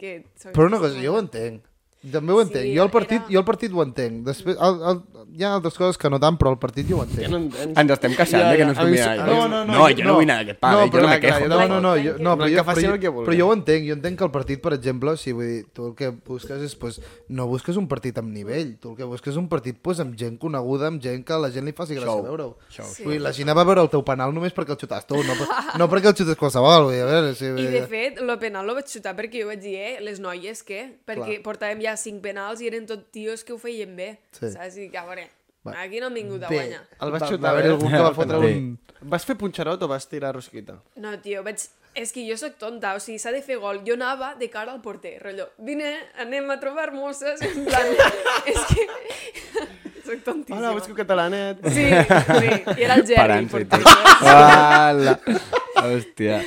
Speaker 4: Que...
Speaker 1: Però una cosa, jo ho entenc. També ho
Speaker 4: Sí,
Speaker 1: entenc. jo el partit,
Speaker 4: era-
Speaker 1: jo el partit ho entenc. Després, el, el, hi ha altres coses que no tant, però el partit jo ho entenc.
Speaker 3: Ja no entens.
Speaker 2: Ens estem queixant
Speaker 3: Ja,
Speaker 2: de que
Speaker 3: ja,
Speaker 2: no es
Speaker 3: a mi
Speaker 2: convida
Speaker 3: sí-
Speaker 2: ningú. No, jo no vull anar a aquest pal, eh, jo no me quejo.
Speaker 1: No, no, no, jo, no,
Speaker 4: Tranquil.
Speaker 1: però,
Speaker 3: Que
Speaker 1: jo,
Speaker 3: faci
Speaker 1: però,
Speaker 3: el que
Speaker 1: jo,
Speaker 3: vulgui.
Speaker 1: però jo ho entenc, jo entenc que el partit, per exemple, si vull dir, tu el que busques és, pues, no busques un partit amb nivell, tu el que busques és un partit pues, amb gent coneguda, amb gent que a la gent li faci gràcia
Speaker 2: Show.
Speaker 1: veure-ho.
Speaker 4: Sí.
Speaker 1: Vull dir, la Gina va veure el teu penal només perquè el xutaves tu, no, per- no perquè el xutes qualsevol. Vull dir, a veure, si,
Speaker 4: I de fet, el penal el vaig xutar perquè jo vaig dir, eh, les noies què? Perquè
Speaker 1: Clar.
Speaker 4: portàvem ja cinc penals i eren tot tios que ho feien bé.
Speaker 1: Sí.
Speaker 4: Saps? I que, a veure,
Speaker 1: Va.
Speaker 4: aquí no hem vingut a
Speaker 1: Bé.
Speaker 4: guanyar.
Speaker 3: El vas
Speaker 1: Va-
Speaker 3: xutar,
Speaker 1: va haver-hi
Speaker 3: eh?
Speaker 1: algú que va fotre
Speaker 2: Sí.
Speaker 1: un-
Speaker 3: Vas fer punxarot o vas tirar rosquita?
Speaker 4: No, tio, vaig... És que jo sóc tonta, o sigui, s'ha de fer gol. Jo anava de cara al porter, rotllo, vine, anem a trobar mosses, en
Speaker 1: *laughs*
Speaker 4: plan... és que... *laughs* sóc tontíssima.
Speaker 3: Hola, busco catalanet.
Speaker 4: Sí, sí, i era el Gerri, el
Speaker 2: Parant-se i
Speaker 4: porter.
Speaker 2: tot. Hola! Hòstia.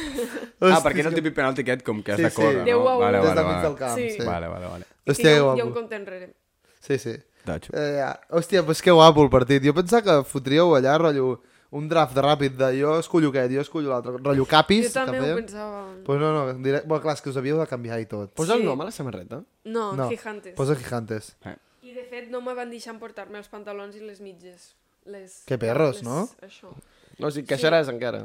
Speaker 2: Ah, perquè era el típic penalti aquest, com que has
Speaker 1: Sí,
Speaker 2: de
Speaker 1: sí.
Speaker 2: córrer,
Speaker 4: Deu a
Speaker 2: no?
Speaker 4: un.
Speaker 2: Vale,
Speaker 1: des
Speaker 2: vale,
Speaker 1: de mig del
Speaker 2: vale.
Speaker 1: camp.
Speaker 4: Sí.
Speaker 1: Sí.
Speaker 2: Vale, vale, vale.
Speaker 4: Hòstia,
Speaker 1: Hòstia,
Speaker 4: jo,
Speaker 1: que
Speaker 4: jo un
Speaker 1: guapo.
Speaker 4: compte enrere.
Speaker 1: Sí, sí.
Speaker 2: Totxo.
Speaker 1: Eh, ja. hòstia, pues que guapo el partit. Jo pensava que fotríeu allà, rotllo, un draft ràpid de jo escollo aquest, jo escollo l'altre, rotllo capis.
Speaker 4: Jo també
Speaker 1: que
Speaker 4: ho
Speaker 1: feien.
Speaker 4: pensava.
Speaker 1: Pues no, no, diré... Bueno, clar, és que us havíeu de canviar i tot.
Speaker 3: Posa el
Speaker 4: Sí.
Speaker 3: nom a la samarreta.
Speaker 4: No,
Speaker 1: no,
Speaker 4: Gigantes.
Speaker 1: posa Gigantes.
Speaker 2: Eh,
Speaker 4: I de fet no me van deixar emportar-me els pantalons i les mitges. Les...
Speaker 1: Que perros, no?
Speaker 4: Això.
Speaker 3: No, o sigui, queixaràs encara.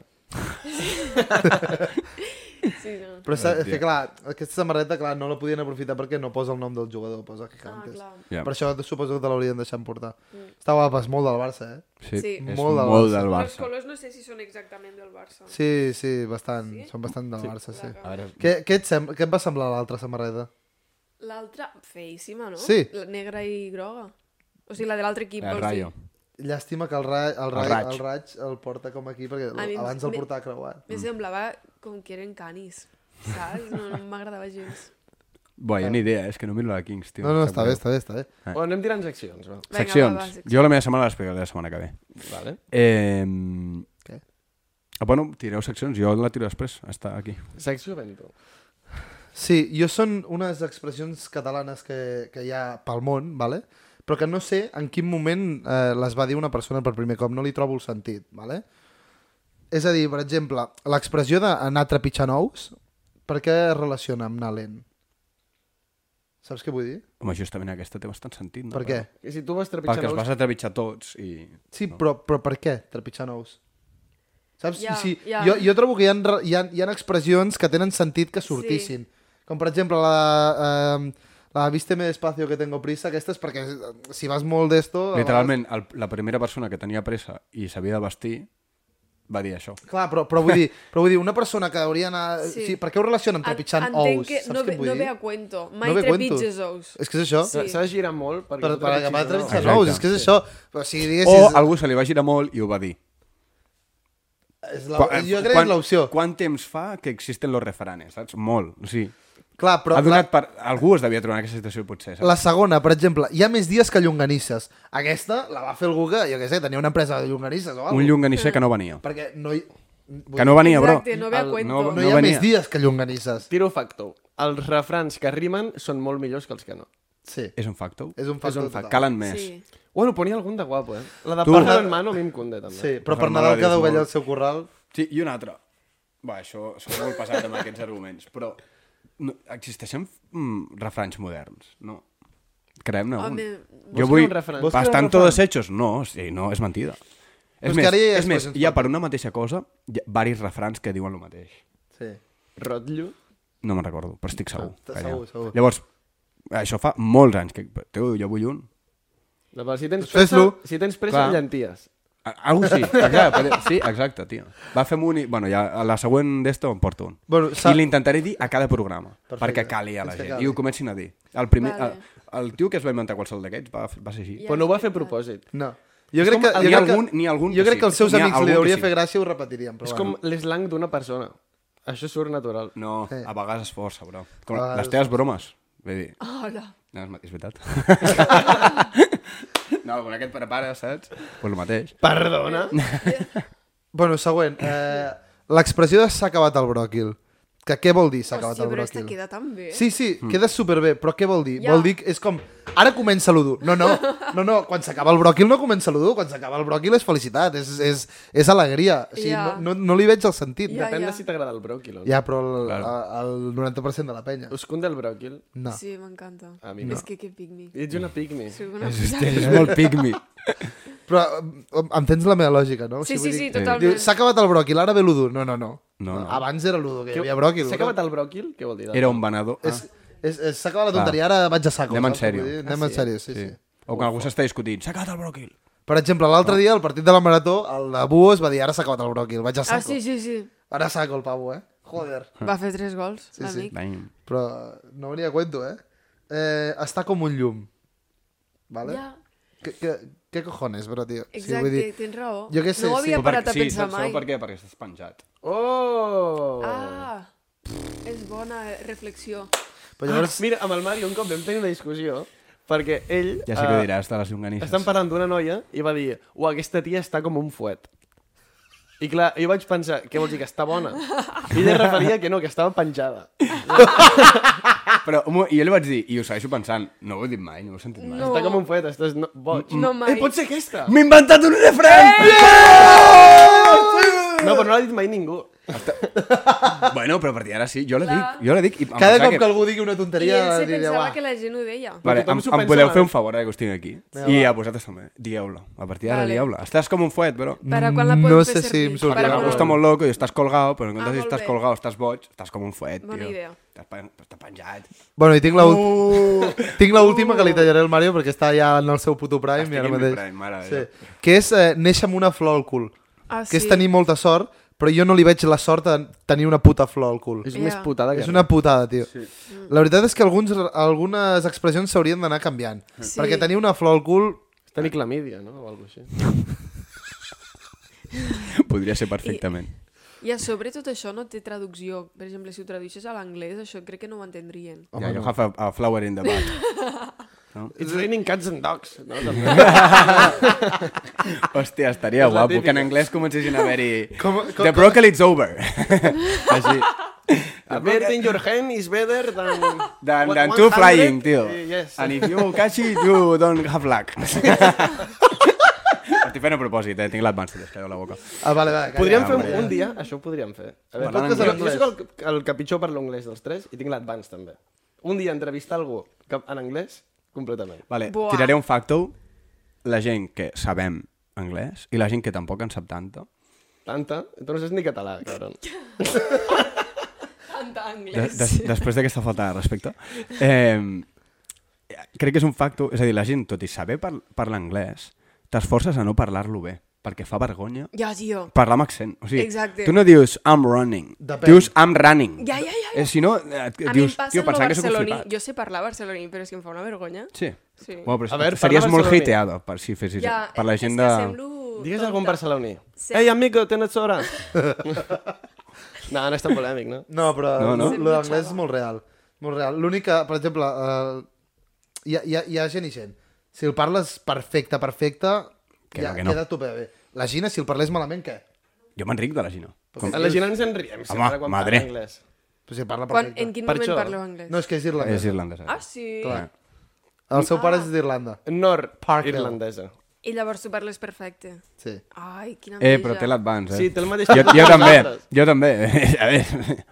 Speaker 4: Sí, no.
Speaker 1: Però sa- és que clar, aquesta samarreta clar, no la podien aprofitar perquè no posa el nom del jugador, posa
Speaker 4: Ah,
Speaker 1: Gigantes.
Speaker 4: clar. Mm.
Speaker 2: Ja.
Speaker 1: Per això suposo que te l'haurien deixat portar. Està guapa, és molt del Barça, eh?
Speaker 4: Sí.
Speaker 2: És
Speaker 1: Molt del
Speaker 2: molt
Speaker 1: Barça.
Speaker 2: del
Speaker 4: Però
Speaker 2: Barça.
Speaker 4: els
Speaker 2: Eh,
Speaker 4: colors no sé si són exactament del Barça.
Speaker 1: Sí, sí, bastant. Són bastant del Barça, sí.
Speaker 4: A
Speaker 2: veure.
Speaker 1: Què, què, et sembla, què et va semblar l'altra samarreta?
Speaker 4: L'altra, feíssima, no?
Speaker 1: Sí.
Speaker 4: La negra i groga. O sigui, la de l'altre equip,
Speaker 2: El
Speaker 4: vols
Speaker 2: Rayo.
Speaker 4: dir?
Speaker 1: Llàstima que el, ra el, ra el,
Speaker 2: raig.
Speaker 1: raig. el raig el porta com aquí, perquè
Speaker 4: A mi em-
Speaker 1: abans el
Speaker 4: me-
Speaker 1: portava creuat.
Speaker 2: Mm.
Speaker 4: Me semblava com que eren canis, saps? No, no m'agradava gens.
Speaker 2: Buah, jo ni idea, eh, és que no miro la Kings, tio.
Speaker 1: No, no,
Speaker 2: em sap
Speaker 1: està
Speaker 2: greu.
Speaker 1: bé, està bé, està bé.
Speaker 2: Eh.
Speaker 3: O anem tirant seccions, va.
Speaker 4: Vinga,
Speaker 2: Seccions.
Speaker 4: va, va, seccions.
Speaker 2: Jo la meva setmana l'explicaré la setmana que ve.
Speaker 3: Vale.
Speaker 2: Eh,
Speaker 1: Què?
Speaker 2: Ah, bueno, tireu seccions, jo la tiro després. Està aquí.
Speaker 3: Secció vento.
Speaker 1: Sí, jo són unes expressions catalanes que, que hi ha pel món, vale? però que no sé en quin moment eh, les va dir una persona per primer cop, no li trobo el sentit. Vale? És a dir, per exemple, l'expressió d'anar trepitjant ous, per què es relaciona amb anar lent? Saps què vull dir?
Speaker 2: Home, justament aquesta té bastant sentit, no?
Speaker 1: per què?
Speaker 3: I si tu vas
Speaker 2: Perquè
Speaker 3: trepitjant...
Speaker 2: els
Speaker 3: ous-
Speaker 2: vas atrevitjar tots i...
Speaker 1: Sí, però, però per què trepitjant ous? Saps?
Speaker 4: Ja,
Speaker 1: Yeah, sí,
Speaker 4: ja.
Speaker 1: yeah. Jo, jo trobo que hi ha, re- hi, ha, hi ha expressions que tenen sentit que sortissin. Sí. Com per exemple la... Eh, la vísteme despacio que tengo prisa, aquesta és perquè eh, si vas molt d'esto... a
Speaker 2: Literalment, el, la primera persona que tenia pressa i s'havia de vestir va dir això.
Speaker 1: vegades- Clar, però, però, vull dir, però vull dir, una persona que hauria anar...
Speaker 4: Sí.
Speaker 1: Sí. Sí, per què ho relaciona amb trepitjant
Speaker 4: En- entenc
Speaker 1: ous?
Speaker 4: Que
Speaker 1: Saps
Speaker 4: no,
Speaker 1: què
Speaker 4: ve,
Speaker 1: vull
Speaker 4: no
Speaker 1: dir?
Speaker 4: ve a cuento. Mai
Speaker 1: ve a cuento.
Speaker 4: trepitges ous.
Speaker 1: És que és això.
Speaker 4: Sí.
Speaker 1: Sí.
Speaker 3: S'ha de girar molt perquè...
Speaker 1: Per,
Speaker 3: tu
Speaker 1: per acabar
Speaker 3: trepitgis,
Speaker 1: trepitjant
Speaker 2: Exacte.
Speaker 1: ous, és que és això. Però si
Speaker 2: O
Speaker 1: diguessis...
Speaker 2: algú se li va girar molt i ho va dir.
Speaker 1: és la, jo crec que és l'opció.
Speaker 2: Quant temps fa que existen los refranes, saps? Molt, o sigui...
Speaker 1: Clar,
Speaker 2: Però
Speaker 1: però
Speaker 2: ha donat per... Algú es devia trobar en aquesta situació, potser, saps?
Speaker 1: La segona, per exemple, hi ha més dies que llonganisses. Aquesta la va fer algú que, jo què sé, tenia una empresa de llonganisses o alguna
Speaker 2: Un llonganisser que no venia.
Speaker 1: Perquè no hi... vull
Speaker 2: Que no venia, bro.
Speaker 4: Exacte, no ve a
Speaker 3: El-
Speaker 4: cuento.
Speaker 2: no-
Speaker 1: dir, no hi
Speaker 2: no
Speaker 1: ha
Speaker 2: venia.
Speaker 1: més dies que llonganisses.
Speaker 3: Tiro facto. Els refrans que rimen són molt millors que els que no.
Speaker 1: Sí,
Speaker 2: És un facto?
Speaker 1: és un factor
Speaker 3: un
Speaker 1: total.
Speaker 2: Calen més.
Speaker 4: Sí.
Speaker 3: Bueno, ponia algun de guapo, eh? La de
Speaker 2: Tu.
Speaker 3: Pájaro en mano a mi em conté, també.
Speaker 1: Sí, però per
Speaker 2: Fermada
Speaker 1: Nadal
Speaker 2: dius
Speaker 1: cada ovella
Speaker 2: molt.
Speaker 1: al seu corral...
Speaker 2: Sí, i un altre. Va, això, soc molt pesat amb aquests arguments, però no, existeixen mm, refranys moderns, no? Creem-ne un.
Speaker 4: Home,
Speaker 2: jo
Speaker 3: vols
Speaker 2: vull...
Speaker 3: crear un refrany? Vols crear un
Speaker 2: Bastant
Speaker 3: refrany?
Speaker 2: todos hechos? No, sí, no, és mentida.
Speaker 1: Però és
Speaker 2: És més,
Speaker 1: que ara ja hi ha
Speaker 2: és més,
Speaker 1: expressions
Speaker 2: hi ha per una mateixa cosa hi ha diversos refrans que diuen el mateix.
Speaker 1: Sí.
Speaker 3: Rotllo.
Speaker 2: No me'n recordo, però estic Ah, segur.
Speaker 1: Segur,
Speaker 2: que hi ha.
Speaker 1: segur, segur.
Speaker 2: Llavors, això fa molts anys que... Teu, jo vull un.
Speaker 3: La part, si tens
Speaker 1: Doncs
Speaker 3: pressa,
Speaker 1: fes-lo.
Speaker 3: si tens pressa
Speaker 2: Clar.
Speaker 3: llenties.
Speaker 2: Algú sí, exacte, però- sí, exacte, tio. Va, fem un i... Bueno, ja, a la següent d'esto em porto un.
Speaker 1: Bueno,
Speaker 2: I
Speaker 1: sa...
Speaker 2: l'intentaré dir a cada programa, Perfecte. perquè cali a la
Speaker 1: Fins que
Speaker 2: gent,
Speaker 1: cali.
Speaker 2: i ho comencin a dir. El, primer,
Speaker 4: Vale.
Speaker 2: el, el tio que es va inventar qualsevol d'aquests va, va ser així.
Speaker 4: Ja
Speaker 3: Però no ho va
Speaker 4: és
Speaker 3: fer a
Speaker 4: veritat.
Speaker 3: propòsit.
Speaker 1: No. Jo
Speaker 2: És
Speaker 1: crec
Speaker 2: com
Speaker 1: que,
Speaker 2: el-
Speaker 1: jo
Speaker 2: n'hi ha
Speaker 1: crec que,
Speaker 2: algun- n'hi ha algun
Speaker 1: jo
Speaker 2: que
Speaker 1: crec que
Speaker 2: sí.
Speaker 1: els seus
Speaker 2: N'hi ha
Speaker 1: amics
Speaker 2: algun
Speaker 1: li
Speaker 2: que
Speaker 1: hauria
Speaker 2: sí.
Speaker 1: fer gràcia i ho repetirien. Però
Speaker 3: És com
Speaker 1: bueno.
Speaker 3: l'eslang d'una persona. Això surt natural.
Speaker 2: No,
Speaker 1: Sí.
Speaker 2: a vegades es força, bro. Com
Speaker 1: A vegades
Speaker 2: les teves bromes. Vull dir,
Speaker 4: Hola.
Speaker 2: no, és, ma- és veritat. *laughs* no, quan aquest prepara, saps? Doncs pues el mateix.
Speaker 3: Perdona?
Speaker 1: Bueno, següent. Eh, L'expressió de s'ha acabat el bròquil. Que què vol dir s'ha acabat
Speaker 4: Hòstia,
Speaker 1: el
Speaker 4: però
Speaker 1: bròquil?
Speaker 4: aquesta queda tan bé.
Speaker 1: Sí, sí, mm. queda superbé, però què vol dir?
Speaker 4: Ja.
Speaker 1: Ja. Vol dir que és com, ara comença l'Udu. No, no, no, no, quan s'acaba el bròquil no comença l'Udu, quan s'acaba el bròquil és felicitat, és, és, és alegria. O sigui,
Speaker 4: Ja.
Speaker 1: yeah. no, no, no li veig el sentit.
Speaker 4: Ja,
Speaker 1: Yeah.
Speaker 3: Depèn
Speaker 4: ja.
Speaker 3: de si t'agrada el bròquil o no.
Speaker 1: Ja, però el, el, el 90% de la penya.
Speaker 3: Us conté el bròquil?
Speaker 1: No.
Speaker 4: Sí, m'encanta.
Speaker 3: A mi no.
Speaker 4: És que que pigmi.
Speaker 3: Ets una pigmi.
Speaker 4: Soc una
Speaker 2: Hòstia, és molt pigmi.
Speaker 1: Però eh, entens la meva lògica, no? O
Speaker 4: Sí,
Speaker 1: sigui,
Speaker 4: sí,
Speaker 1: vull
Speaker 4: sí,
Speaker 1: dir-
Speaker 4: totalment.
Speaker 1: Diu, s'ha acabat el bròquil, ara ve l'Udu. No, no, no.
Speaker 2: No, no.
Speaker 1: Abans era l'Udu, que hi havia bròquil.
Speaker 3: S'ha acabat el bròquil? Què vol dir? doncs?
Speaker 2: Era un venedor. Ah,
Speaker 1: És- és- és- S'ha acabat la tonteria, ara vaig a saco.
Speaker 2: Anem en
Speaker 1: saps què vull
Speaker 2: sèrio.
Speaker 1: dir?
Speaker 4: Ah,
Speaker 1: Anem en sèrio, sí, sí. sí.
Speaker 2: o quan algú s'està discutint. S'ha acabat el bròquil.
Speaker 1: Per exemple,
Speaker 2: Ah.
Speaker 1: l'altre dia, al partit de la Marató, el de Buo es va dir, ara s'ha acabat el bròquil, vaig a saco.
Speaker 4: Ah, sí, sí, sí.
Speaker 1: Ara saco el pavo, eh? Joder.
Speaker 4: Va fer tres gols, sí, l'amic.
Speaker 2: Bang.
Speaker 1: Però no venia a cuento, eh? eh està com un llum. Vale?
Speaker 4: Ja,
Speaker 1: Que, que, què cojones, bro, tio? O sigui,
Speaker 4: exacte,
Speaker 1: vull dir,
Speaker 4: tens raó.
Speaker 1: Jo què sé,
Speaker 4: no ho havia
Speaker 1: sí.
Speaker 4: parat a
Speaker 2: sí,
Speaker 4: pensar
Speaker 2: saps-
Speaker 4: mai.
Speaker 2: sabeu per què? Perquè estàs penjat.
Speaker 3: Oh!
Speaker 4: Ah, és bona reflexió.
Speaker 1: però llavors...
Speaker 2: Ah,
Speaker 3: Mira, amb el Mario un cop vam tenir una discussió perquè ell...
Speaker 2: Ja sé què
Speaker 3: eh,
Speaker 2: diràs de les llonganisses.
Speaker 3: Estan parlant d'una noia i va dir, uau, aquesta tia està com un fuet. I clar, jo vaig pensar, què vols dir, que està bona? I ella es referia que no, que estava penjada.
Speaker 2: Però home, jo li vaig dir, i ho segueixo pensant, no ho he dit mai, no ho he sentit mai.
Speaker 4: No.
Speaker 3: Està com un fuet, estàs no, boig.
Speaker 4: No, mai.
Speaker 3: Eh, pot ser aquesta?
Speaker 2: M'he inventat un refrany!
Speaker 3: No, però no l'ha dit mai ningú.
Speaker 2: Bueno, però a partir d'ara sí, jo la dic, jo la dic. I em
Speaker 1: Cada
Speaker 2: pensava
Speaker 1: cop que algú digui una
Speaker 4: I
Speaker 1: tonteria...
Speaker 4: ell se
Speaker 1: diré,
Speaker 4: pensava
Speaker 1: "Uah".
Speaker 4: que la gent ho deia.
Speaker 1: Mm,
Speaker 2: Vale,
Speaker 3: Tothom
Speaker 2: em,
Speaker 3: s'ho
Speaker 2: em
Speaker 3: pensava.
Speaker 2: podeu fer un favor, eh, que ho estic aquí. I
Speaker 1: va.
Speaker 2: a vosaltres també. Digueu-lo. A partir d'ara,
Speaker 4: Vale.
Speaker 2: digueu-lo. Estàs com un fuet, però...
Speaker 4: Per a quan la podem
Speaker 1: No
Speaker 4: fer
Speaker 1: sé si
Speaker 4: servir?
Speaker 1: em sortirà.
Speaker 4: Per a
Speaker 2: Perquè
Speaker 1: Però-
Speaker 4: quan-
Speaker 2: algú està molt loco i estàs colgado, però en
Speaker 4: Ah,
Speaker 2: comptes de si
Speaker 4: molt
Speaker 2: estàs
Speaker 4: bé.
Speaker 2: colgado, estàs boig, estàs com un fuet,
Speaker 4: Bona
Speaker 2: tio.
Speaker 4: idea.
Speaker 2: Estàs, pen- estàs penjat. *laughs*
Speaker 1: Bueno, i tinc la, uh! *laughs* tinc la última que li tallaré al Mario perquè està ja en el seu puto prime
Speaker 2: Estic
Speaker 1: i ara
Speaker 2: en mi
Speaker 1: mateix.
Speaker 2: prime, mare de
Speaker 1: sí. Que és eh, néixer amb una flor al cul.
Speaker 4: Ah,
Speaker 1: que és
Speaker 4: sí.
Speaker 1: tenir molta sort, però jo no li veig la sort de tenir una puta flor al cul.
Speaker 3: És
Speaker 4: Ja.
Speaker 3: més putada que
Speaker 1: És una putada, tio. Sí. La veritat és que alguns, algunes expressions s'haurien d'anar canviant.
Speaker 4: Sí.
Speaker 1: Sí. Perquè tenir una flor al cul...
Speaker 3: res. Tenir clamídia, no? O alguna cosa així.
Speaker 2: Podria ser perfectament.
Speaker 4: I a sobre tot això no té traducció. Per exemple, si ho traduïssis a l'anglès, això crec que no ho entendrien.
Speaker 2: I... Yeah, you have a, a flower in the bud.
Speaker 3: It's raining cats and dogs. *laughs* No?
Speaker 2: Hòstia, estaria
Speaker 3: És la
Speaker 2: guapo que en
Speaker 3: típica.
Speaker 2: anglès comencessin a haver-hi...
Speaker 1: Com- com-
Speaker 2: The broccoli is over. *laughs* Així.
Speaker 3: A bird in your hand is better than...
Speaker 2: Than,
Speaker 3: what-
Speaker 2: than two
Speaker 3: 100,
Speaker 2: flying, tio.
Speaker 3: eh, Yes.
Speaker 2: And if you catch it, you don't have
Speaker 3: *laughs*
Speaker 2: luck. Estic fent a propòsit, eh? Tinc l'advance, es caiu la boca.
Speaker 1: Ah, vale, vale. calla,
Speaker 3: Podríem fer
Speaker 1: vale,
Speaker 3: un dia, això ho podríem fer. A veure,
Speaker 2: Parlant
Speaker 3: podcast, jo, jo
Speaker 1: anglès.
Speaker 3: soc el, que- el que pitjor parla anglès dels tres i tinc l'advance també. Un dia entrevistar algú que, en anglès completament.
Speaker 2: Vale,
Speaker 4: Buah.
Speaker 2: tiraré un facto. La gent que sabem anglès i la gent que tampoc en sap tanta.
Speaker 3: Tanta, tu no saps ni català, cabron.
Speaker 4: Tanta
Speaker 2: De,
Speaker 1: Eh?
Speaker 4: anglès.
Speaker 2: de, després d'aquesta falta de respecte. Eh, crec que és un facto, és a dir, la gent, tot i saber par parlar anglès, t'esforces a no parlar-lo bé, perquè fa vergonya
Speaker 4: Ja, tio.
Speaker 2: parlar amb accent. O sigui,
Speaker 4: Exacte.
Speaker 2: tu no dius I'm running,
Speaker 1: Depèn.
Speaker 2: dius I'm running.
Speaker 4: Ja, ja, ja, ja.
Speaker 2: Eh, si no, eh, et,
Speaker 4: A mi em
Speaker 2: dius,
Speaker 4: passa
Speaker 2: tio,
Speaker 4: el
Speaker 2: pensant que sóc un
Speaker 4: barceloní.
Speaker 2: flipat.
Speaker 4: Jo sé parlar barceloní, però és que em fa una vergonya.
Speaker 2: Sí.
Speaker 4: Sí.
Speaker 2: Bueno, però
Speaker 3: A veure,
Speaker 2: series
Speaker 3: parla
Speaker 2: molt
Speaker 3: barceloní.
Speaker 2: hateado per si fessis...
Speaker 4: Ja,
Speaker 2: per la gent
Speaker 4: És
Speaker 2: de...
Speaker 4: que semblo...
Speaker 3: Digues
Speaker 4: tonta.
Speaker 3: algun barceloní.
Speaker 4: Sí.
Speaker 3: Ei, amigo, tens
Speaker 4: *laughs*
Speaker 3: hora? no, no és tan polèmic, no?
Speaker 1: No, però no,
Speaker 2: No, no?
Speaker 1: no? lo d'anglès és molt real. Molt real. L'únic que, per exemple, eh, hi, ha, hi, ha, hi ha gent i gent. Si el parles perfecte, perfecte, que
Speaker 2: Que
Speaker 1: ja,
Speaker 2: no,
Speaker 1: no,
Speaker 2: que
Speaker 1: que
Speaker 2: no.
Speaker 1: queda a tope bé. La Gina, si el parlés malament, què?
Speaker 2: Jo m'enric de la Gina.
Speaker 4: Pues
Speaker 2: Com...
Speaker 3: A la gent ens en riem sempre quan
Speaker 2: madre.
Speaker 3: parla anglès.
Speaker 1: Però si parla
Speaker 4: Quan,
Speaker 1: perfecte.
Speaker 4: en quin
Speaker 3: Per
Speaker 4: moment
Speaker 3: això.
Speaker 4: parleu anglès?
Speaker 1: No, és que és d'Irlanda.
Speaker 2: És irlandesa.
Speaker 4: Ah, sí?
Speaker 1: Clar. El seu
Speaker 4: Ah.
Speaker 1: pare és d'Irlanda.
Speaker 3: Nord
Speaker 1: Parkdale.
Speaker 3: irlandesa.
Speaker 4: I llavors tu parles perfecte.
Speaker 1: Sí.
Speaker 4: Ai, quina enveja.
Speaker 2: Eh, però té l'advance, eh?
Speaker 3: Sí, té el mateix
Speaker 2: Jo,
Speaker 3: xip que
Speaker 2: jo també,
Speaker 3: nosaltres.
Speaker 2: jo també. *laughs* a veure,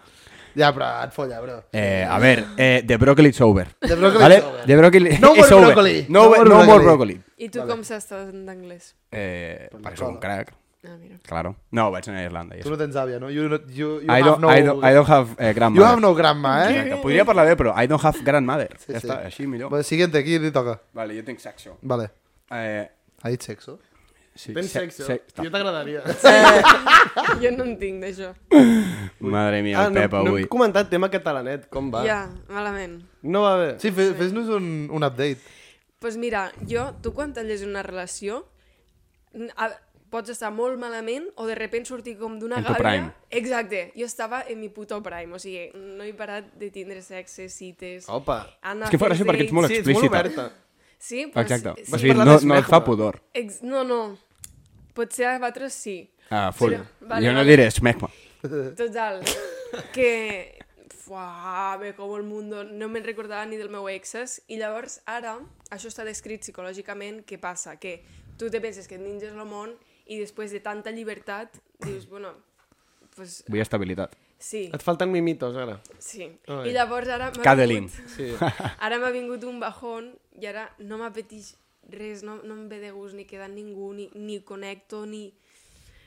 Speaker 1: Ja, però et folla, bro.
Speaker 2: eh, a veure eh, the broccoli is over.
Speaker 1: The broccoli
Speaker 2: vale?
Speaker 1: is over.
Speaker 2: The broccoli
Speaker 1: No more
Speaker 2: is over.
Speaker 1: broccoli.
Speaker 2: No, no, more, no more broccoli.
Speaker 4: I tu com s'estàs en anglès?
Speaker 2: Eh,
Speaker 1: Pues
Speaker 2: perquè sóc un crac,
Speaker 4: Ah, mira.
Speaker 2: claro. No, vaig anar a Irlanda. I
Speaker 1: Tu
Speaker 2: això.
Speaker 1: no tens àvia, no? You, not- you, you
Speaker 2: I,
Speaker 1: have
Speaker 2: don't,
Speaker 1: no...
Speaker 2: I, don't, I don't have eh, grandmother.
Speaker 1: You have no grandma, eh?
Speaker 2: Exacte. Podria parlar bé, però I don't have grandmother.
Speaker 1: Sí,
Speaker 2: ja
Speaker 1: sí.
Speaker 2: està, així millor.
Speaker 1: Bueno, siguiente, aquí li toca.
Speaker 2: Vale, jo tinc sexo.
Speaker 1: Vale.
Speaker 2: Eh,
Speaker 1: Ha dit sexo?
Speaker 2: sí,
Speaker 3: Tens
Speaker 2: se-
Speaker 3: sexe?
Speaker 2: se-
Speaker 3: Jo t'agradaria.
Speaker 2: Ah!
Speaker 4: Jo no entenc d'això.
Speaker 2: Madre mia,
Speaker 3: Ah,
Speaker 2: el
Speaker 3: no,
Speaker 2: Pep
Speaker 3: no
Speaker 2: avui.
Speaker 3: hem comentat tema catalanet, com va?
Speaker 4: Ja, malament.
Speaker 3: No va bé.
Speaker 1: Sí, fe- fes-nos un, un update.
Speaker 4: Doncs pues mira, jo, tu quan talles una relació, n- a, pots estar molt malament o de repent sortir com d'una
Speaker 2: En tu
Speaker 4: gàbia...
Speaker 2: prime.
Speaker 4: Exacte, jo estava en mi puto prime, o sigui, no he parat de tindre sexe, cites...
Speaker 3: Opa.
Speaker 4: Anar
Speaker 2: És que fa
Speaker 4: a fer
Speaker 2: gràcia perquè ets
Speaker 4: dates.
Speaker 2: molt
Speaker 3: sí, ets molt
Speaker 2: explícita.
Speaker 3: oberta.
Speaker 4: Sí, però
Speaker 2: Exacte.
Speaker 4: sí,
Speaker 2: O
Speaker 4: sí.
Speaker 2: sigui,
Speaker 3: parlar
Speaker 2: no,
Speaker 3: més
Speaker 2: no et fa
Speaker 3: mècula.
Speaker 2: pudor.
Speaker 4: Ex no, no. Potser a vosaltres sí.
Speaker 2: Ah, full.
Speaker 4: Però- vale,
Speaker 2: jo no
Speaker 4: vale.
Speaker 2: diré smegma.
Speaker 4: Total, que... Fuà, me como el mundo, no me'n recordava ni del meu exes. I llavors, ara, això està descrit psicològicament, què passa? Que tu te penses que et ninges el món i després de tanta llibertat dius, bueno, pues,
Speaker 2: Vull estabilitat.
Speaker 4: sí,
Speaker 3: Et falten mimitos, ara.
Speaker 4: sí.
Speaker 3: Ai.
Speaker 4: I llavors ara m'ha
Speaker 2: Cadeline.
Speaker 4: vingut,
Speaker 3: Sí.
Speaker 4: *laughs* ara m'ha vingut un bajón i ara no m'apeteix res, no, no em ve de gust ni quedar amb ningú, ni, ni connecto, ni...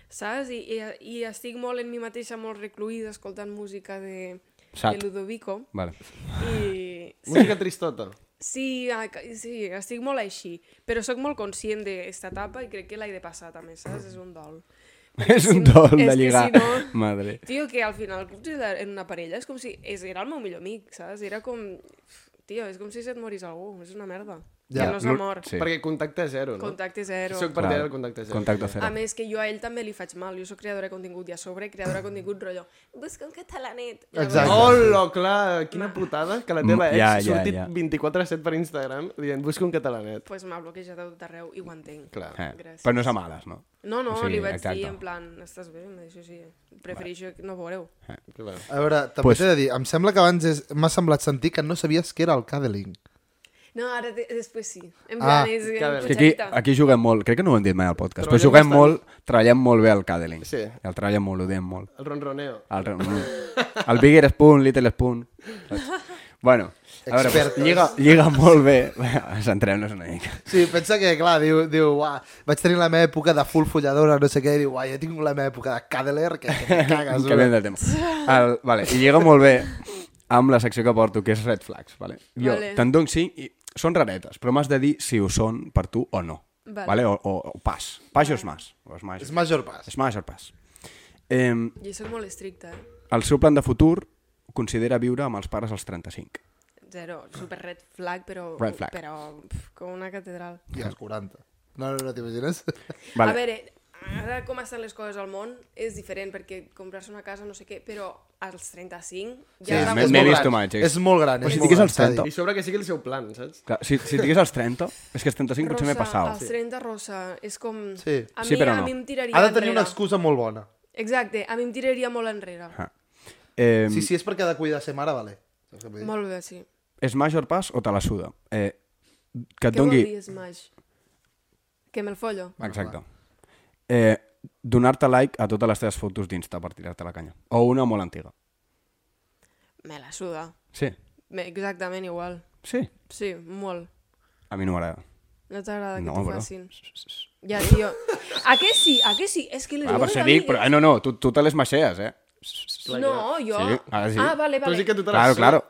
Speaker 4: Saps? I, i, I estic molt en mi mateixa, molt recluïda, escoltant música de, de
Speaker 2: Sad.
Speaker 4: Ludovico.
Speaker 2: Vale.
Speaker 4: I...
Speaker 3: Música tristota.
Speaker 4: Sí, a- sí, estic molt així, però sóc molt conscient d'aquesta etapa i crec que l'he de passar també, saps? És un dol. Perquè
Speaker 2: És
Speaker 4: si
Speaker 2: un
Speaker 4: no-
Speaker 2: dol
Speaker 4: és
Speaker 2: de
Speaker 4: que
Speaker 2: lligar.
Speaker 4: Si no,
Speaker 2: Madre.
Speaker 4: tio, que al final en una parella és com si... És, era el meu millor amic, saps? Era com... Tio, és com si se't morís algú, és una merda.
Speaker 1: Ja,
Speaker 4: Ja, no s'ha mort.
Speaker 2: Sí.
Speaker 3: Perquè contacte zero, no?
Speaker 4: Contacte zero.
Speaker 3: Soc
Speaker 2: Clar.
Speaker 3: partidari del contacte zero.
Speaker 2: Contacte zero.
Speaker 4: A més, que jo a ell també li faig mal. Jo sóc creadora de contingut i a sobre creadora de contingut rotllo. Busca un catalanet. Llavors,
Speaker 1: Exacte.
Speaker 3: Hola, clar, quina putada que la
Speaker 2: Mm,
Speaker 3: teva ex
Speaker 2: ja,
Speaker 3: ha
Speaker 2: ja,
Speaker 3: sortit
Speaker 2: ja.
Speaker 3: 24-7 per Instagram dient busco un catalanet.
Speaker 4: Pues m'ha bloquejat a tot arreu i ho entenc.
Speaker 3: Clar.
Speaker 2: Eh,
Speaker 4: Gràcies.
Speaker 2: però no és a males, no?
Speaker 4: No, no,
Speaker 2: O
Speaker 4: o
Speaker 2: sigui,
Speaker 4: sigui, li vaig
Speaker 2: exacte.
Speaker 4: dir en plan, estàs bé? Em va dir, sí, sí, prefereixo que no veureu.
Speaker 2: Eh. Ah.
Speaker 3: Clar.
Speaker 1: A veure, també
Speaker 2: Pues-
Speaker 1: pues... t'he de dir, em sembla que abans és- m'ha semblat sentir que no sabies què era el cadeling.
Speaker 4: No, ara de, després sí. En
Speaker 1: Ah,
Speaker 4: plan, és
Speaker 3: que a
Speaker 4: en
Speaker 3: veure.
Speaker 2: És que aquí,
Speaker 4: putxarita.
Speaker 2: aquí juguem molt, crec que no ho hem dit mai al podcast, però
Speaker 3: Treballem
Speaker 2: juguem
Speaker 3: bastant.
Speaker 2: molt, treballem molt bé al Cadeling.
Speaker 3: Sí.
Speaker 2: El treballem molt, l'odiem molt.
Speaker 3: El ronroneo.
Speaker 2: El, re- el Bigger Spoon, Little Spoon... saps? Bueno, a veure, pues,
Speaker 1: Expertos.
Speaker 2: lliga, lliga molt bé. Centrem-nos una mica.
Speaker 1: Sí, pensa que, clar, diu, diu uah, vaig tenir la meva època de full folladora, no sé què, i diu, uah, jo tinc la meva època de cadeler, que, que te cagues.
Speaker 2: que
Speaker 1: bro.
Speaker 2: del tema. El, vale, I lliga molt bé amb la secció que porto, que és red flags. Vale? Jo
Speaker 4: Vale.
Speaker 2: te'n dono cinc i són raretes, però m'has de dir si ho són per tu o no.
Speaker 4: Vale.
Speaker 2: Vale? O, o, o pas. Pas o es mas. O es mas.
Speaker 1: És major pas.
Speaker 2: Es mas o pas. Eh,
Speaker 4: Jo soc molt estricta, eh?
Speaker 2: el seu plan de futur considera viure amb els pares als 35.
Speaker 4: Zero, super red flag, però...
Speaker 2: Red flag.
Speaker 4: Però pf, com una catedral.
Speaker 1: I als 40. No, no, no t'imagines?
Speaker 2: Vale.
Speaker 4: A veure, ara com estan les coses al món és diferent, perquè comprar-se una casa, no sé què, però als 35 ja
Speaker 1: Sí,
Speaker 4: era
Speaker 1: me-
Speaker 4: molt
Speaker 1: me he
Speaker 4: gran.
Speaker 2: vist too much, sí.
Speaker 1: És molt gran.
Speaker 2: Però
Speaker 1: és
Speaker 2: si
Speaker 1: molt
Speaker 2: digués
Speaker 1: gran,
Speaker 2: als
Speaker 1: s'ha de
Speaker 2: 30.
Speaker 3: I
Speaker 1: dir.
Speaker 3: sobre que sigui el seu plan, saps?
Speaker 2: Clar, si, si et digués als 30, és que als 35 potser m'he
Speaker 4: Rosa,
Speaker 2: passat.
Speaker 4: Als 30 rosa, és com...
Speaker 1: Sí.
Speaker 4: A mi,
Speaker 2: Sí, però
Speaker 4: a
Speaker 2: no.
Speaker 4: mi em tiraria
Speaker 1: Ha de tenir
Speaker 4: enrere.
Speaker 1: una excusa molt bona.
Speaker 4: Exacte, a mi em tiraria molt enrere.
Speaker 2: Ah. Eh,
Speaker 1: Si, si és perquè ha de cuidar ser mare, vale. Saps què vull dir?
Speaker 4: Molt bé, sí.
Speaker 2: És major pas o te la suda? Eh, que et
Speaker 4: Què vol
Speaker 2: doni...
Speaker 4: dir smash? Que me'l follo?
Speaker 2: Exacte. Eh, Donar-te like a totes les teves fotos d'Insta per tirar-te la canya. O una molt antiga.
Speaker 4: Me la suda.
Speaker 2: Sí.
Speaker 4: Me- Exactament igual.
Speaker 2: Sí.
Speaker 4: Sí, molt.
Speaker 2: A mi no m'agrada.
Speaker 4: No t'agrada que
Speaker 2: No,
Speaker 4: t'ho
Speaker 2: però-
Speaker 4: facin. Ja, tio. A què sí? A què sí? És que les
Speaker 2: Ah, per
Speaker 4: meves
Speaker 2: això dic,
Speaker 4: amigues-
Speaker 2: però... Ah, no, no, tu, tu te les maxees, eh?
Speaker 4: No, jo...
Speaker 2: Sí, ara sí.
Speaker 4: Ah, vale,
Speaker 3: Tu
Speaker 4: vale.
Speaker 3: sí que tu te
Speaker 2: Claro,
Speaker 3: la
Speaker 2: claro.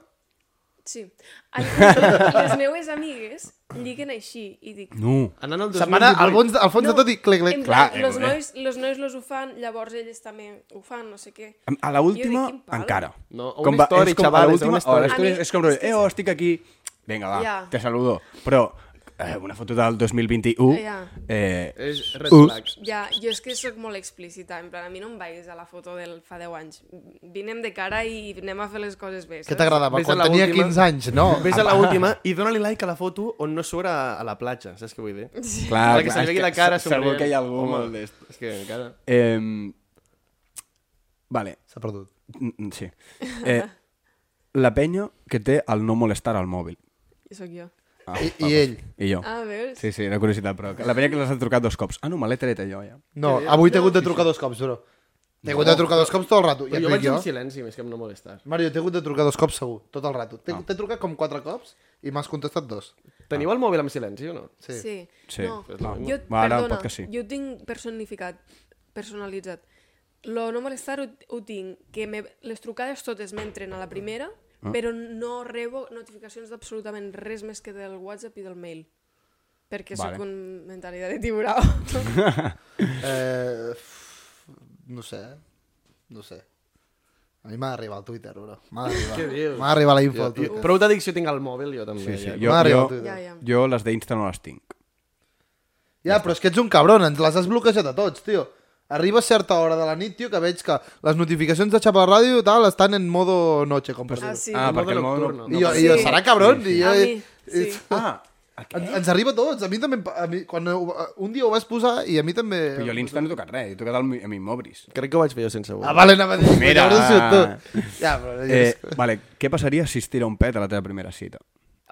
Speaker 4: Sí. Les meves amigues lliguen així i dic...
Speaker 2: No.
Speaker 3: Anant al 2018...
Speaker 1: Setmana, al fons, al fons de tot i clic,
Speaker 4: en
Speaker 1: clic.
Speaker 4: plan,
Speaker 2: Clar, eh,
Speaker 4: los,
Speaker 2: eh.
Speaker 4: nois, los nois los ho fan, llavors elles també ho fan, no sé què.
Speaker 2: A la última,
Speaker 4: quin pal.
Speaker 2: encara.
Speaker 3: No, a un
Speaker 2: Com va-
Speaker 3: story,
Speaker 2: és com a
Speaker 3: xavales, a
Speaker 2: l'última-
Speaker 3: un story.
Speaker 2: a la story
Speaker 4: A mi-
Speaker 2: és com,
Speaker 4: és que-
Speaker 2: eh, oh, estic aquí. Vinga, va,
Speaker 4: Ja.
Speaker 2: te saludo. Però eh, una foto del 2021...
Speaker 4: Ja.
Speaker 2: Eh,
Speaker 3: És red flags.
Speaker 4: Ja, jo és que sóc molt explícita, en plan, a mi no em vaguis a la foto del fa 10 anys. Vinem de cara i anem a fer les coses bé,
Speaker 1: Què
Speaker 4: saps?
Speaker 1: t'agradava?
Speaker 3: Ves a
Speaker 1: Quan
Speaker 3: la
Speaker 1: tenia
Speaker 3: última.
Speaker 1: 15 anys, no?
Speaker 3: Ves a l'última i dóna-li like a la foto on no surt a, a la platja, saps què vull dir?
Speaker 2: Clar, Ah,
Speaker 3: que
Speaker 2: clar,
Speaker 3: se li
Speaker 2: és
Speaker 3: vegi
Speaker 2: que
Speaker 3: la cara
Speaker 2: se- segur
Speaker 3: somrient.
Speaker 2: que hi ha algú
Speaker 3: Home,
Speaker 2: molt d'est.
Speaker 3: És que encara...
Speaker 2: Eh, vale,
Speaker 1: S'ha perdut.
Speaker 2: mm, mm, sí. Eh, la penya que té el no molestar al mòbil.
Speaker 4: I sóc jo.
Speaker 2: Ah,
Speaker 1: I,
Speaker 2: va,
Speaker 1: I ell.
Speaker 2: I jo.
Speaker 4: Ah, veus?
Speaker 2: Sí, sí, era curiositat, però que- la penya que les ha trucat dos cops. Ah, no, me l'he tret jo, ja.
Speaker 1: No, avui t'he hagut de trucar dos cops, però. T'he hagut de trucar dos cops tot el rato. I
Speaker 3: Però
Speaker 1: et
Speaker 3: jo
Speaker 1: dic
Speaker 3: vaig
Speaker 1: jo.
Speaker 3: en silenci, més que em no molestar.
Speaker 1: Mario, t'he hagut de trucar dos cops segur, tot el rato. T'he t'he trucat com quatre cops i m'has contestat dos.
Speaker 3: Teniu el mòbil en silenci o no?
Speaker 1: Sí. sí.
Speaker 4: Sí.
Speaker 2: Sí.
Speaker 4: No,
Speaker 2: Pues la-
Speaker 4: jo,
Speaker 2: Va, ara el
Speaker 4: perdona,
Speaker 2: podcast sí.
Speaker 4: jo ho tinc personificat, personalitzat. Lo no molestar ho, ho tinc, que me, les trucades totes m'entren a la primera, ah. però no rebo notificacions d'absolutament res més que del WhatsApp i del mail. Perquè
Speaker 2: Vale.
Speaker 4: vale. sóc un mentalitat de
Speaker 2: *laughs*
Speaker 4: tiburó.
Speaker 1: Eh, f- no sé, no sé. A mi m'ha d'arribar al Twitter, bro. M'ha
Speaker 3: Què
Speaker 1: d'arribar.
Speaker 3: dius?
Speaker 1: M'ha d'arribar la info
Speaker 3: Jo,
Speaker 1: al
Speaker 3: jo,
Speaker 1: Twitter.
Speaker 3: prou d'addicció tinc al mòbil, jo també.
Speaker 2: Sí, sí.
Speaker 3: ja.
Speaker 2: Jo,
Speaker 1: Mare,
Speaker 2: jo,
Speaker 1: tu.
Speaker 4: ja, ja.
Speaker 2: jo les d'Insta no les tinc.
Speaker 1: Ja, però és que ets un cabron, ens les has bloquejat a tots, tio. Arriba a certa hora de la nit, tio, que veig que les notificacions de Xapa Ràdio tal, estan en modo noche, com per
Speaker 4: Ah,
Speaker 1: dir-ho.
Speaker 4: sí.
Speaker 2: Ah,
Speaker 3: El
Speaker 2: perquè el
Speaker 3: mode
Speaker 2: mòbil...
Speaker 3: nocturno.
Speaker 2: No...
Speaker 1: I jo,
Speaker 4: Sí.
Speaker 1: i jo serà cabron. I jo,
Speaker 4: A mi, sí.
Speaker 1: i-
Speaker 2: Ah,
Speaker 1: Ens, ens arriba a tots. A mi també... em pa- A mi, quan ho- un dia ho vas posar i a mi també...
Speaker 2: però jo a l'Insta no he tocat res, he tocat el, mi- a mi mobris.
Speaker 3: Crec que ho vaig fer jo sense voler.
Speaker 1: Ah, vale, anava a dir...
Speaker 2: Mira.
Speaker 1: llavors has sigut tu. Ja, però...
Speaker 2: Eh,
Speaker 1: Eh,
Speaker 2: vale, què passaria si es tira un pet a la teva primera cita?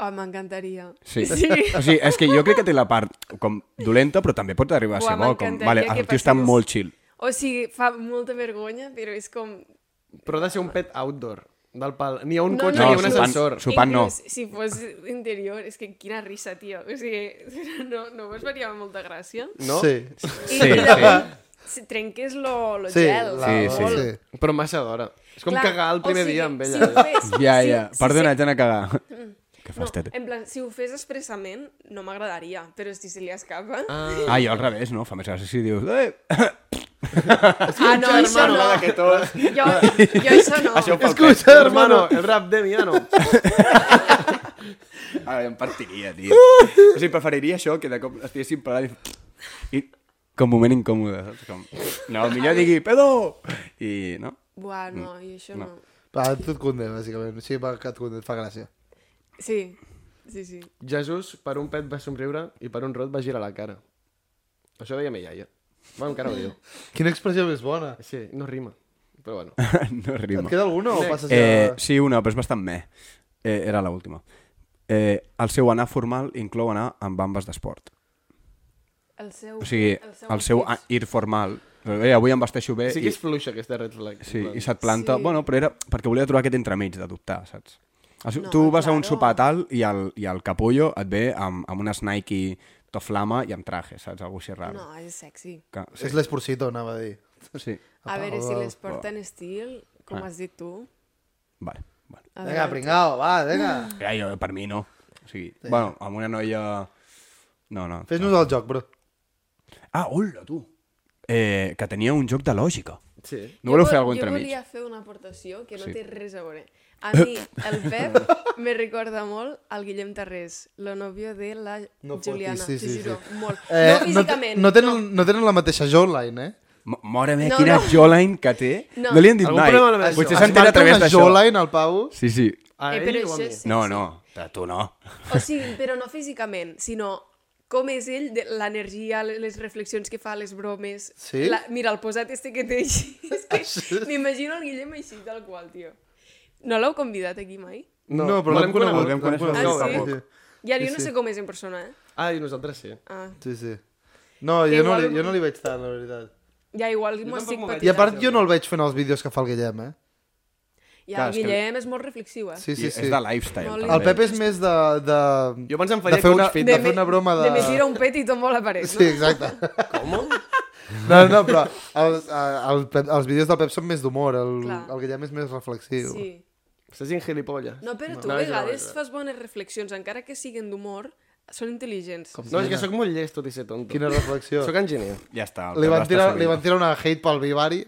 Speaker 4: Oh, m'encantaria.
Speaker 2: Sí.
Speaker 4: sí.
Speaker 2: O sigui, és que jo crec que té la part com dolenta, però també pot arribar a
Speaker 4: Buah,
Speaker 2: ser bo. Com,
Speaker 4: m'encantaria
Speaker 2: vale,
Speaker 4: que
Speaker 2: el tio està
Speaker 4: passés.
Speaker 2: molt chill.
Speaker 4: O sigui, fa molta vergonya, però és com...
Speaker 3: Però ha de ser un pet outdoor. Del pal. Ni a un
Speaker 4: No,
Speaker 3: cotxe
Speaker 4: no,
Speaker 3: ni a un
Speaker 4: no.
Speaker 3: ascensor.
Speaker 2: Su pan no.
Speaker 4: Inclús, si fos interior, és que quina risa, tio. O sigui, *laughs* no, no vos faria molta gràcia?
Speaker 3: No?
Speaker 1: Sí.
Speaker 4: I
Speaker 2: Sí,
Speaker 4: literalment si trenques lo, lo
Speaker 1: Sí,
Speaker 4: gel.
Speaker 1: la-
Speaker 2: Sí, sí.
Speaker 1: sí.
Speaker 3: Però massa d'hora. És com
Speaker 4: Clar,
Speaker 3: cagar el primer
Speaker 4: o sigui,
Speaker 3: dia amb
Speaker 4: Si ho
Speaker 3: ella.
Speaker 2: *laughs*
Speaker 4: fes,
Speaker 2: Ja,
Speaker 4: si-
Speaker 2: ja.
Speaker 4: si-
Speaker 2: Perdona,
Speaker 4: si-
Speaker 2: ets anar a cagar. Que fas,
Speaker 4: Mm. no, em-
Speaker 2: tete?
Speaker 4: en plan, si ho fes expressament, no m'agradaria, però si se li escapa... Ah,
Speaker 2: Ah, jo al revés, no? Fa més gràcia si dius... Eh!
Speaker 4: Ah, no, això no.
Speaker 3: que tot. *laughs*
Speaker 4: Jo, jo això no.
Speaker 2: Això ho fa el pet.
Speaker 1: Escucha,
Speaker 3: *laughs* Hermano,
Speaker 1: hermano.
Speaker 3: el rap de Miano.
Speaker 2: Ah, em partiria, tio. O sigui, preferiria això que de cop estiguéssim parlant i... i com moment incòmode, saps? Com... No, millor digui, pedo! I no. *laughs*
Speaker 4: Buah, no,
Speaker 2: Mm.
Speaker 4: i això no. no.
Speaker 1: Va, tu et condé, bàsicament. Sí, va, que et condé, et fa gràcia.
Speaker 4: Sí, sí, sí.
Speaker 3: Jesús, per un pet va somriure i per un rot va girar la cara. Això deia mi iaia. Bueno, encara ho diu.
Speaker 1: Quina expressió més bona.
Speaker 3: Sí, no rima. Però bueno.
Speaker 2: no
Speaker 1: Et
Speaker 2: rima.
Speaker 1: queda alguna o passes
Speaker 2: Eh,
Speaker 1: ja...
Speaker 2: sí, una, però és bastant meh. Eh, era l'última. Eh, el seu anar formal inclou anar amb ambes d'esport.
Speaker 4: El seu...
Speaker 2: O sigui, el seu a- ir formal... Eh, avui em vesteixo bé
Speaker 3: Sí
Speaker 2: i,
Speaker 3: que és fluixa aquesta red flag.
Speaker 2: sí, i se't planta...
Speaker 4: Sí.
Speaker 2: Sí. Bueno, però era perquè volia trobar aquest entremig d'adoptar, saps? El,
Speaker 4: No,
Speaker 2: no, tu vas a un
Speaker 4: claro.
Speaker 2: sopar tal i el, i el capullo et ve amb, amb unes Nike toflama i amb traje, saps? Algo així raro.
Speaker 4: No, és sexy.
Speaker 2: Que,
Speaker 1: Sí. És l'esporcito, anava a dir.
Speaker 2: sí.
Speaker 4: A veure si les porten estil, com has dit tu.
Speaker 2: Vale, vale.
Speaker 4: A
Speaker 1: Vinga,
Speaker 4: veure.
Speaker 1: pringao, va,
Speaker 4: *gasps*
Speaker 1: vinga.
Speaker 2: Ja, jo, per mi no. O sigui, sí. bueno, amb una noia... No, no.
Speaker 1: Fes-nos el joc, bro.
Speaker 2: Ah, hola, tu. Eh, que tenia un joc de lògica.
Speaker 3: Sí.
Speaker 2: No voleu
Speaker 4: Jo
Speaker 2: fer alguna
Speaker 4: vol-
Speaker 2: cosa entremig?
Speaker 4: Jo volia fer una aportació que no
Speaker 2: Sí.
Speaker 4: té res a veure. A mi, el Pep me recorda molt al Guillem Tarrés, lo novio de la
Speaker 1: No fotis,
Speaker 4: Juliana.
Speaker 1: sí, sí,
Speaker 4: T'ho juro,
Speaker 1: sí.
Speaker 4: molt.
Speaker 1: Eh,
Speaker 4: no Eh, físicament.
Speaker 1: No, te- no, tenen, no. no tenen la mateixa jawline, eh?
Speaker 2: M- Mora meva,
Speaker 4: No,
Speaker 2: quina
Speaker 4: no.
Speaker 2: jawline que té. No,
Speaker 4: No.
Speaker 2: li han dit
Speaker 3: Algun
Speaker 2: mai.
Speaker 3: problema amb la meva
Speaker 2: Potser
Speaker 3: jawline.
Speaker 2: s'ha entès a
Speaker 1: marca
Speaker 2: través
Speaker 1: una
Speaker 2: d'això.
Speaker 1: jawline al Pau?
Speaker 2: Sí, sí.
Speaker 3: A
Speaker 4: Eh,
Speaker 3: ell
Speaker 4: però
Speaker 3: o a
Speaker 4: això
Speaker 3: mi?
Speaker 4: és-
Speaker 2: No, no, de tu no.
Speaker 4: O sigui, però no físicament, sinó com és ell, de l'energia, les reflexions que fa, les bromes.
Speaker 1: Sí?
Speaker 4: La, mira, el posat este que té així. És que m'imagino el Guillem així, tal qual, tio. No l'heu convidat aquí mai?
Speaker 1: No, no però l'hem
Speaker 3: l'hem
Speaker 1: conegut.
Speaker 2: l'hem
Speaker 1: l'hem
Speaker 2: conegut.
Speaker 4: Ah,
Speaker 1: conegut.
Speaker 4: sí? Ja, jo no sé com és en persona, eh?
Speaker 3: Ah, i nosaltres sí.
Speaker 4: Ah,
Speaker 1: Sí, sí. No,
Speaker 4: Que
Speaker 1: jo no,
Speaker 4: igual-
Speaker 1: li, jo no li veig tant, la veritat.
Speaker 4: ja igual m'ho
Speaker 3: tampoc
Speaker 4: estic
Speaker 3: m'ho veig.
Speaker 4: patint.
Speaker 1: I a part jo no el veig fent els vídeos que fa el Guillem, eh?
Speaker 4: Ja,
Speaker 2: Clar,
Speaker 4: el
Speaker 2: és que-
Speaker 4: Guillem és molt reflexiu, eh?
Speaker 1: Sí, sí, sí.
Speaker 2: És de lifestyle.
Speaker 4: No li-
Speaker 2: també.
Speaker 1: El Pep és més de... de...
Speaker 3: Jo abans em
Speaker 1: de
Speaker 3: faria
Speaker 1: fer una,
Speaker 3: coach fit.
Speaker 1: de
Speaker 4: me-
Speaker 1: fer una broma de...
Speaker 4: De me tira un pet i tombo a la
Speaker 1: *laughs*
Speaker 4: paret,
Speaker 1: Sí,
Speaker 4: no?
Speaker 1: exacte. Com? No, no, però els, el, Pep, els vídeos del Pep són més d'humor, el,
Speaker 4: Clar.
Speaker 1: el Guillem és més reflexiu.
Speaker 4: Sí.
Speaker 3: Estàs un gilipolles.
Speaker 4: No, però tu
Speaker 3: No,
Speaker 4: a
Speaker 3: és una
Speaker 4: vegades
Speaker 3: broma.
Speaker 4: fas bones reflexions, encara que siguin d'humor, són intel·ligents.
Speaker 3: No, és que sóc molt llest, tot i ser tonto.
Speaker 1: Quina reflexió.
Speaker 3: Sóc enginyer.
Speaker 2: Ja està. el
Speaker 1: Li
Speaker 2: Pep
Speaker 1: van,
Speaker 2: està
Speaker 1: tirar,
Speaker 2: servit.
Speaker 1: li van tirar una hate pel Vivari.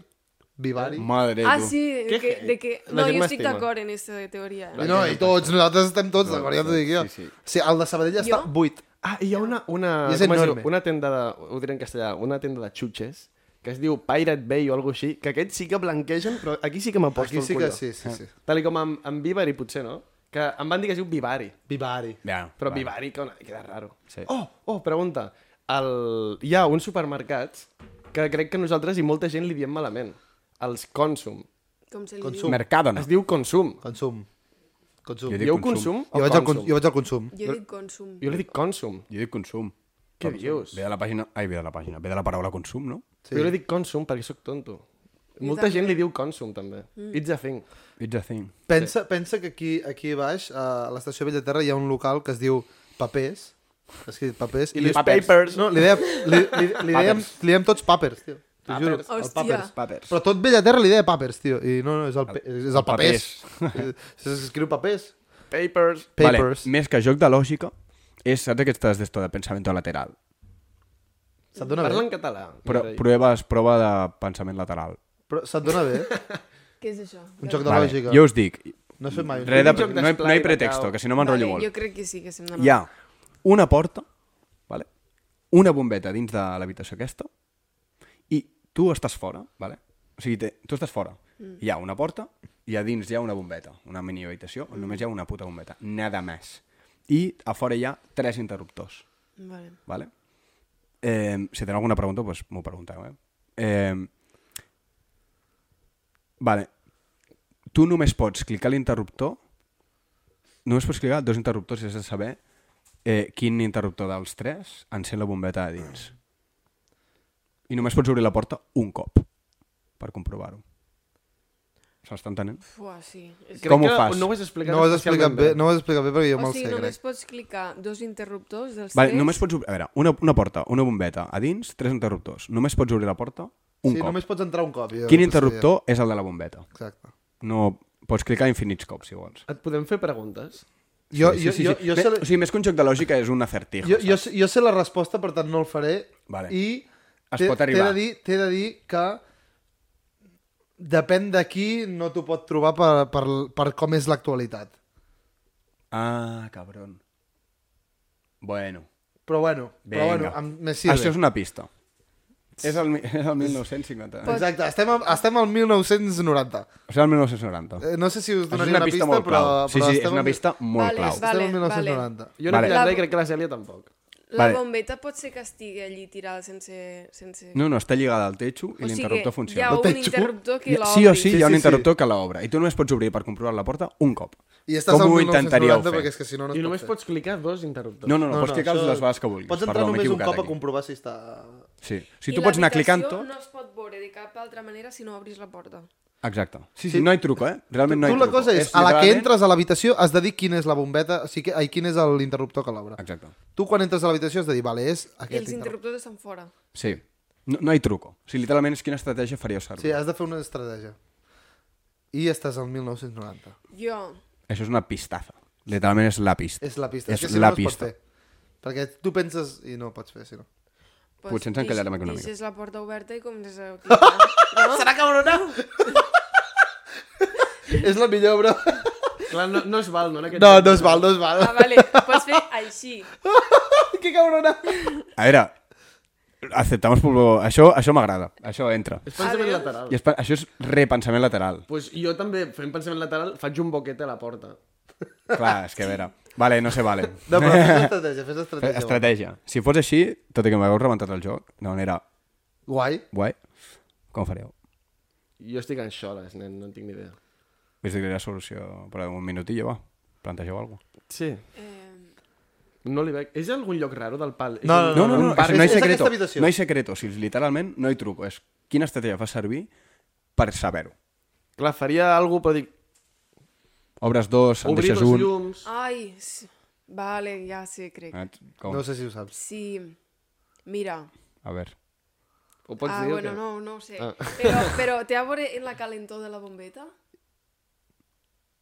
Speaker 1: Vivari.
Speaker 2: Madre,
Speaker 4: Ah,
Speaker 2: tu.
Speaker 4: sí, de que, de que...
Speaker 3: La
Speaker 4: No,
Speaker 3: gent
Speaker 4: jo estic
Speaker 3: m'estima.
Speaker 4: d'acord en aquesta teoria.
Speaker 1: I no, i tots, nosaltres estem tots d'acord, ja t'ho dic jo.
Speaker 2: sí, sí.
Speaker 1: Sí, el de Sabadell està
Speaker 4: Jo?
Speaker 1: buit.
Speaker 3: Ah, hi ha una, una,
Speaker 1: I és
Speaker 3: com es diu?
Speaker 1: enorme.
Speaker 3: una tenda de, ho diré en castellà, una tenda de xutxes, que es diu Pirate Bay o alguna així, que aquests sí que blanquegen, però aquí sí que m'aposto
Speaker 1: Aquí
Speaker 3: el
Speaker 1: sí
Speaker 3: colló.
Speaker 1: que sí, sí, sí.
Speaker 3: Tal i com amb, amb Vivari, potser, no? Que em van dir que es diu Vivari,
Speaker 1: Vivari.
Speaker 2: Ja,
Speaker 3: però
Speaker 2: va.
Speaker 3: Vivari que una, queda raro.
Speaker 2: Sí.
Speaker 3: Oh, oh, pregunta. El, hi ha uns supermercats que crec que nosaltres i molta gent li diem malament. Els Consum.
Speaker 4: Com se li
Speaker 1: Consum.
Speaker 4: Consum.
Speaker 2: Mercadona.
Speaker 3: Es diu Consum.
Speaker 1: Consum. Consum.
Speaker 2: Jo dic
Speaker 1: Jo,
Speaker 3: Dieu
Speaker 2: Consum.
Speaker 3: Consum,
Speaker 1: jo,
Speaker 3: o
Speaker 1: vaig al, cons-
Speaker 3: Consum?
Speaker 1: jo vaig al consum.
Speaker 4: diu? Jo dic consum.
Speaker 3: Jo li dic Consum.
Speaker 2: Jo dic consum.
Speaker 3: Què dius?
Speaker 2: Ve de la pàgina... Ai, ve de la pàgina. Ve de la paraula consum, no?
Speaker 1: Sí.
Speaker 3: Sí. Jo li dic Consum perquè sóc tonto. Molta gent li diu Consum, també. Mm. It's a thing.
Speaker 2: It's a thing.
Speaker 1: Pensa, pensa que aquí, aquí baix, a l'estació Bellaterra, hi ha un local que es diu Papers. Escrit Papers.
Speaker 3: I les
Speaker 2: papers.
Speaker 3: papers.
Speaker 1: No, li, deia, li, li, li, dèiem, li dèiem tots papers, tio. T'ho
Speaker 3: Papers.
Speaker 1: juro. el
Speaker 4: Hòstia.
Speaker 1: papers.
Speaker 2: Papers.
Speaker 1: Però tot Bellaterra li deia papers, tio. I no, no, és el, pe- és el papers.
Speaker 2: papers.
Speaker 1: *laughs* S'escriu papers.
Speaker 3: Papers.
Speaker 1: Papers.
Speaker 2: Vale, més que joc de lògica, és, saps aquestes d'esto de pensament lateral?
Speaker 1: Se't dona
Speaker 3: Parla en
Speaker 1: bé?
Speaker 3: català.
Speaker 2: Pro,
Speaker 3: Mireia.
Speaker 2: proves, prova de pensament lateral.
Speaker 1: Però se't dona bé? eh?
Speaker 4: Què és això?
Speaker 1: Un joc de
Speaker 2: Vale,
Speaker 1: lògica.
Speaker 2: jo us dic,
Speaker 1: No has fet mai. un
Speaker 2: re
Speaker 1: joc
Speaker 2: de,
Speaker 3: Un joc
Speaker 2: no, hi,
Speaker 3: d'esplai,
Speaker 2: no hi
Speaker 3: de
Speaker 2: pretexto,
Speaker 3: cau.
Speaker 2: que si no m'enrotllo molt.
Speaker 4: Jo crec que sí que se'm dona.
Speaker 2: Hi ha una porta, vale? una bombeta dins de l'habitació aquesta, i tu estàs fora, vale? o sigui, te, tu estás fora.
Speaker 4: Mm.
Speaker 2: Hi ha una porta i a dins hi ha una bombeta, una mini habitació,
Speaker 4: Mm.
Speaker 2: on només hi ha una puta bombeta, nada més. I a fora hi ha tres interruptors.
Speaker 4: Vale.
Speaker 2: ¿vale? Eh, si tenéis alguna pregunta, pues me pregunteu, eh? Eh, vale. Tu només pots clicar l'interruptor, només pots clicar dos interruptors i has de saber eh, quin interruptor dels tres encén la bombeta de dins. I només pots obrir la porta un cop per comprovar-ho. S'està entenent?
Speaker 4: Fuà, sí. És...
Speaker 3: Crec
Speaker 2: Com ho
Speaker 3: que
Speaker 2: fas?
Speaker 3: No ho has explicat
Speaker 1: No ho has explicat
Speaker 3: especialment
Speaker 1: bé, no ho has explicat bé perquè jo
Speaker 4: O
Speaker 1: me'l
Speaker 4: sigui,
Speaker 1: sé,
Speaker 4: només
Speaker 1: crec.
Speaker 4: pots clicar dos interruptors dels
Speaker 2: Vale,
Speaker 4: tres.
Speaker 2: només pots obrir... A veure, una, una porta, una bombeta, a dins, tres interruptors. Només pots obrir la porta un
Speaker 1: Sí,
Speaker 2: cop.
Speaker 1: només pots entrar un cop. Jo no
Speaker 2: Quin
Speaker 1: ho sabia.
Speaker 2: interruptor és el de la bombeta?
Speaker 1: Exacte.
Speaker 2: No, pots clicar infinits cops, si vols.
Speaker 3: Et podem fer preguntes?
Speaker 1: Jo,
Speaker 2: Sí,
Speaker 1: jo,
Speaker 2: sí, sí.
Speaker 1: jo, jo,
Speaker 2: Bé,
Speaker 1: sé,
Speaker 2: O sigui, més que un joc de lògica és un acertijo.
Speaker 1: jo, jo,
Speaker 2: saps?
Speaker 1: sé- jo sé la resposta, per tant no el faré.
Speaker 2: Vale.
Speaker 1: I
Speaker 2: Es
Speaker 1: t'he-
Speaker 2: pot
Speaker 1: t'he de
Speaker 2: arribar.
Speaker 1: dir, t'he de dir que depèn de qui no t'ho pot trobar per, per, per com és l'actualitat.
Speaker 2: Ah, cabron. Bueno.
Speaker 1: Però bueno, però
Speaker 2: Vinga.
Speaker 1: bueno em, me sirve.
Speaker 2: Això és una pista. És el, mi- és el 1950. eh?
Speaker 1: Exacte, estem, al- estem al 1990.
Speaker 2: O sigui, el 1990.
Speaker 1: Eh, No sé si us
Speaker 2: Això és
Speaker 1: donaria una, pista,
Speaker 2: molt
Speaker 1: però,
Speaker 2: clau. Sí,
Speaker 1: però
Speaker 2: sí,
Speaker 1: estem
Speaker 2: és una
Speaker 1: al-
Speaker 2: pista molt
Speaker 4: Vale,
Speaker 2: clau.
Speaker 1: Estem al
Speaker 4: Vale,
Speaker 1: 1990
Speaker 3: Jo no
Speaker 2: Vale.
Speaker 3: he pillat
Speaker 4: La-
Speaker 3: bé i crec que la Cèlia tampoc.
Speaker 4: La
Speaker 2: Vale.
Speaker 4: bombeta pot ser que estigui allí tirada sense... sense...
Speaker 2: No, no, està lligada al techo i
Speaker 4: O sigui,
Speaker 2: l'interruptor
Speaker 4: hi ha
Speaker 2: funciona.
Speaker 1: Ho
Speaker 4: un
Speaker 1: tens tu?
Speaker 4: interruptor que l'obri.
Speaker 2: Sí o sí, hi
Speaker 1: Sí,
Speaker 2: ha un
Speaker 1: sí, sí.
Speaker 2: interruptor que l'obre. I tu només pots obrir per comprovar la porta un cop.
Speaker 1: I estàs
Speaker 2: Com
Speaker 1: al
Speaker 2: ho
Speaker 1: 1990
Speaker 2: intentaríeu fer?
Speaker 1: perquè és que si no no es
Speaker 3: I només
Speaker 1: pot fer.
Speaker 3: pots clicar dos interruptors.
Speaker 2: No, no, no, pots clicar
Speaker 1: això-
Speaker 2: les vegades que vulguis.
Speaker 1: Pots entrar
Speaker 2: Perdó, m'he
Speaker 1: només un
Speaker 2: equivocat eh?
Speaker 1: cop a
Speaker 2: aquí.
Speaker 1: comprovar si està...
Speaker 2: Sí. Si
Speaker 4: I
Speaker 2: tu pots anar clicant
Speaker 4: l'habitació
Speaker 2: tot...
Speaker 4: no es pot veure de cap altra manera si no obris la porta.
Speaker 2: Exacte. Sí, sí, no hi truco, eh?
Speaker 1: Tu,
Speaker 2: Realment no hi
Speaker 1: tu la
Speaker 2: truco.
Speaker 1: cosa és, a la que
Speaker 2: literalment-
Speaker 1: entres a l'habitació has de dir quina és la bombeta, o sigui, que- ai, quin és l'interruptor que l'obre.
Speaker 2: Exacte.
Speaker 1: Tu quan entres a l'habitació has de dir, vale, és
Speaker 4: I els
Speaker 1: aquest interruptor.
Speaker 4: interruptors estan fora.
Speaker 2: Sí. No, no hi truco. O sigui, literalment és quina estratègia faríeu servir.
Speaker 1: Sí, has de fer una estratègia. I estàs al 1990.
Speaker 4: Jo,
Speaker 2: Això és una pistaza. Literalment és la pista.
Speaker 1: És la pista.
Speaker 2: És
Speaker 1: És, que si
Speaker 2: la
Speaker 1: no, no es pot
Speaker 2: pista.
Speaker 1: fer. Perquè tu penses i no ho pots fer, si no.
Speaker 4: Pues
Speaker 2: Potser ens encallarem
Speaker 4: deix-
Speaker 2: econòmicament.
Speaker 4: Deixes la porta oberta i comences a... No?
Speaker 3: Serà cabrona?
Speaker 1: És la millor, bro.
Speaker 4: *laughs*
Speaker 3: Clar, no, no es val, no? En aquest
Speaker 1: No,
Speaker 3: sentit.
Speaker 1: no es val, no es val.
Speaker 4: Ah, vale, pots fer així.
Speaker 1: *laughs* Que cabrona.
Speaker 2: A veure, acceptamos por... Això, això m'agrada, això entra.
Speaker 3: És pensament lateral.
Speaker 2: I és, pe- això és repensament lateral.
Speaker 3: Pues jo també, fent pensament lateral, faig un boquet a la porta.
Speaker 2: Clar, és que a veure... Vale, no sé, vale.
Speaker 1: *laughs*
Speaker 2: Eh,
Speaker 1: No, però fes estratègia, fes estratègia.
Speaker 2: Estratègia. Si fos així, tot i que m'hagueu rebentat el joc, de manera
Speaker 1: Guai.
Speaker 2: guai, com ho fareu?
Speaker 3: Jo estic en xoles, nen, no en tinc ni idea.
Speaker 2: Us diré la solució, però un minutillo, va. Plantegeu alguna cosa.
Speaker 3: Sí.
Speaker 4: Eh,
Speaker 3: No li veig. És algun lloc raro del pal? És
Speaker 1: No,
Speaker 3: un-
Speaker 2: No, no, no,
Speaker 1: Un
Speaker 2: no,
Speaker 1: bar.
Speaker 2: és, no hi
Speaker 1: És- és
Speaker 2: secreto.
Speaker 1: aquesta habitació.
Speaker 2: No hi secreto, o sigui, literalment no hi truco. És quina estratègia fa servir per saber-ho.
Speaker 3: Clar, faria alguna cosa, però dic...
Speaker 2: Obres dos, en
Speaker 3: Obrir
Speaker 2: deixes
Speaker 3: els
Speaker 2: un...
Speaker 3: llums...
Speaker 4: ai, sí. vale, ja sé, crec.
Speaker 2: Ah, Et- Com?
Speaker 1: No sé si ho saps.
Speaker 4: Sí, mira.
Speaker 2: A veure.
Speaker 3: Ho pots
Speaker 4: ah,
Speaker 3: dir? o
Speaker 4: bueno,
Speaker 3: què?
Speaker 4: no, no ho sé.
Speaker 3: Ah.
Speaker 2: *laughs*
Speaker 4: Però, però té a veure en la calentor de la bombeta?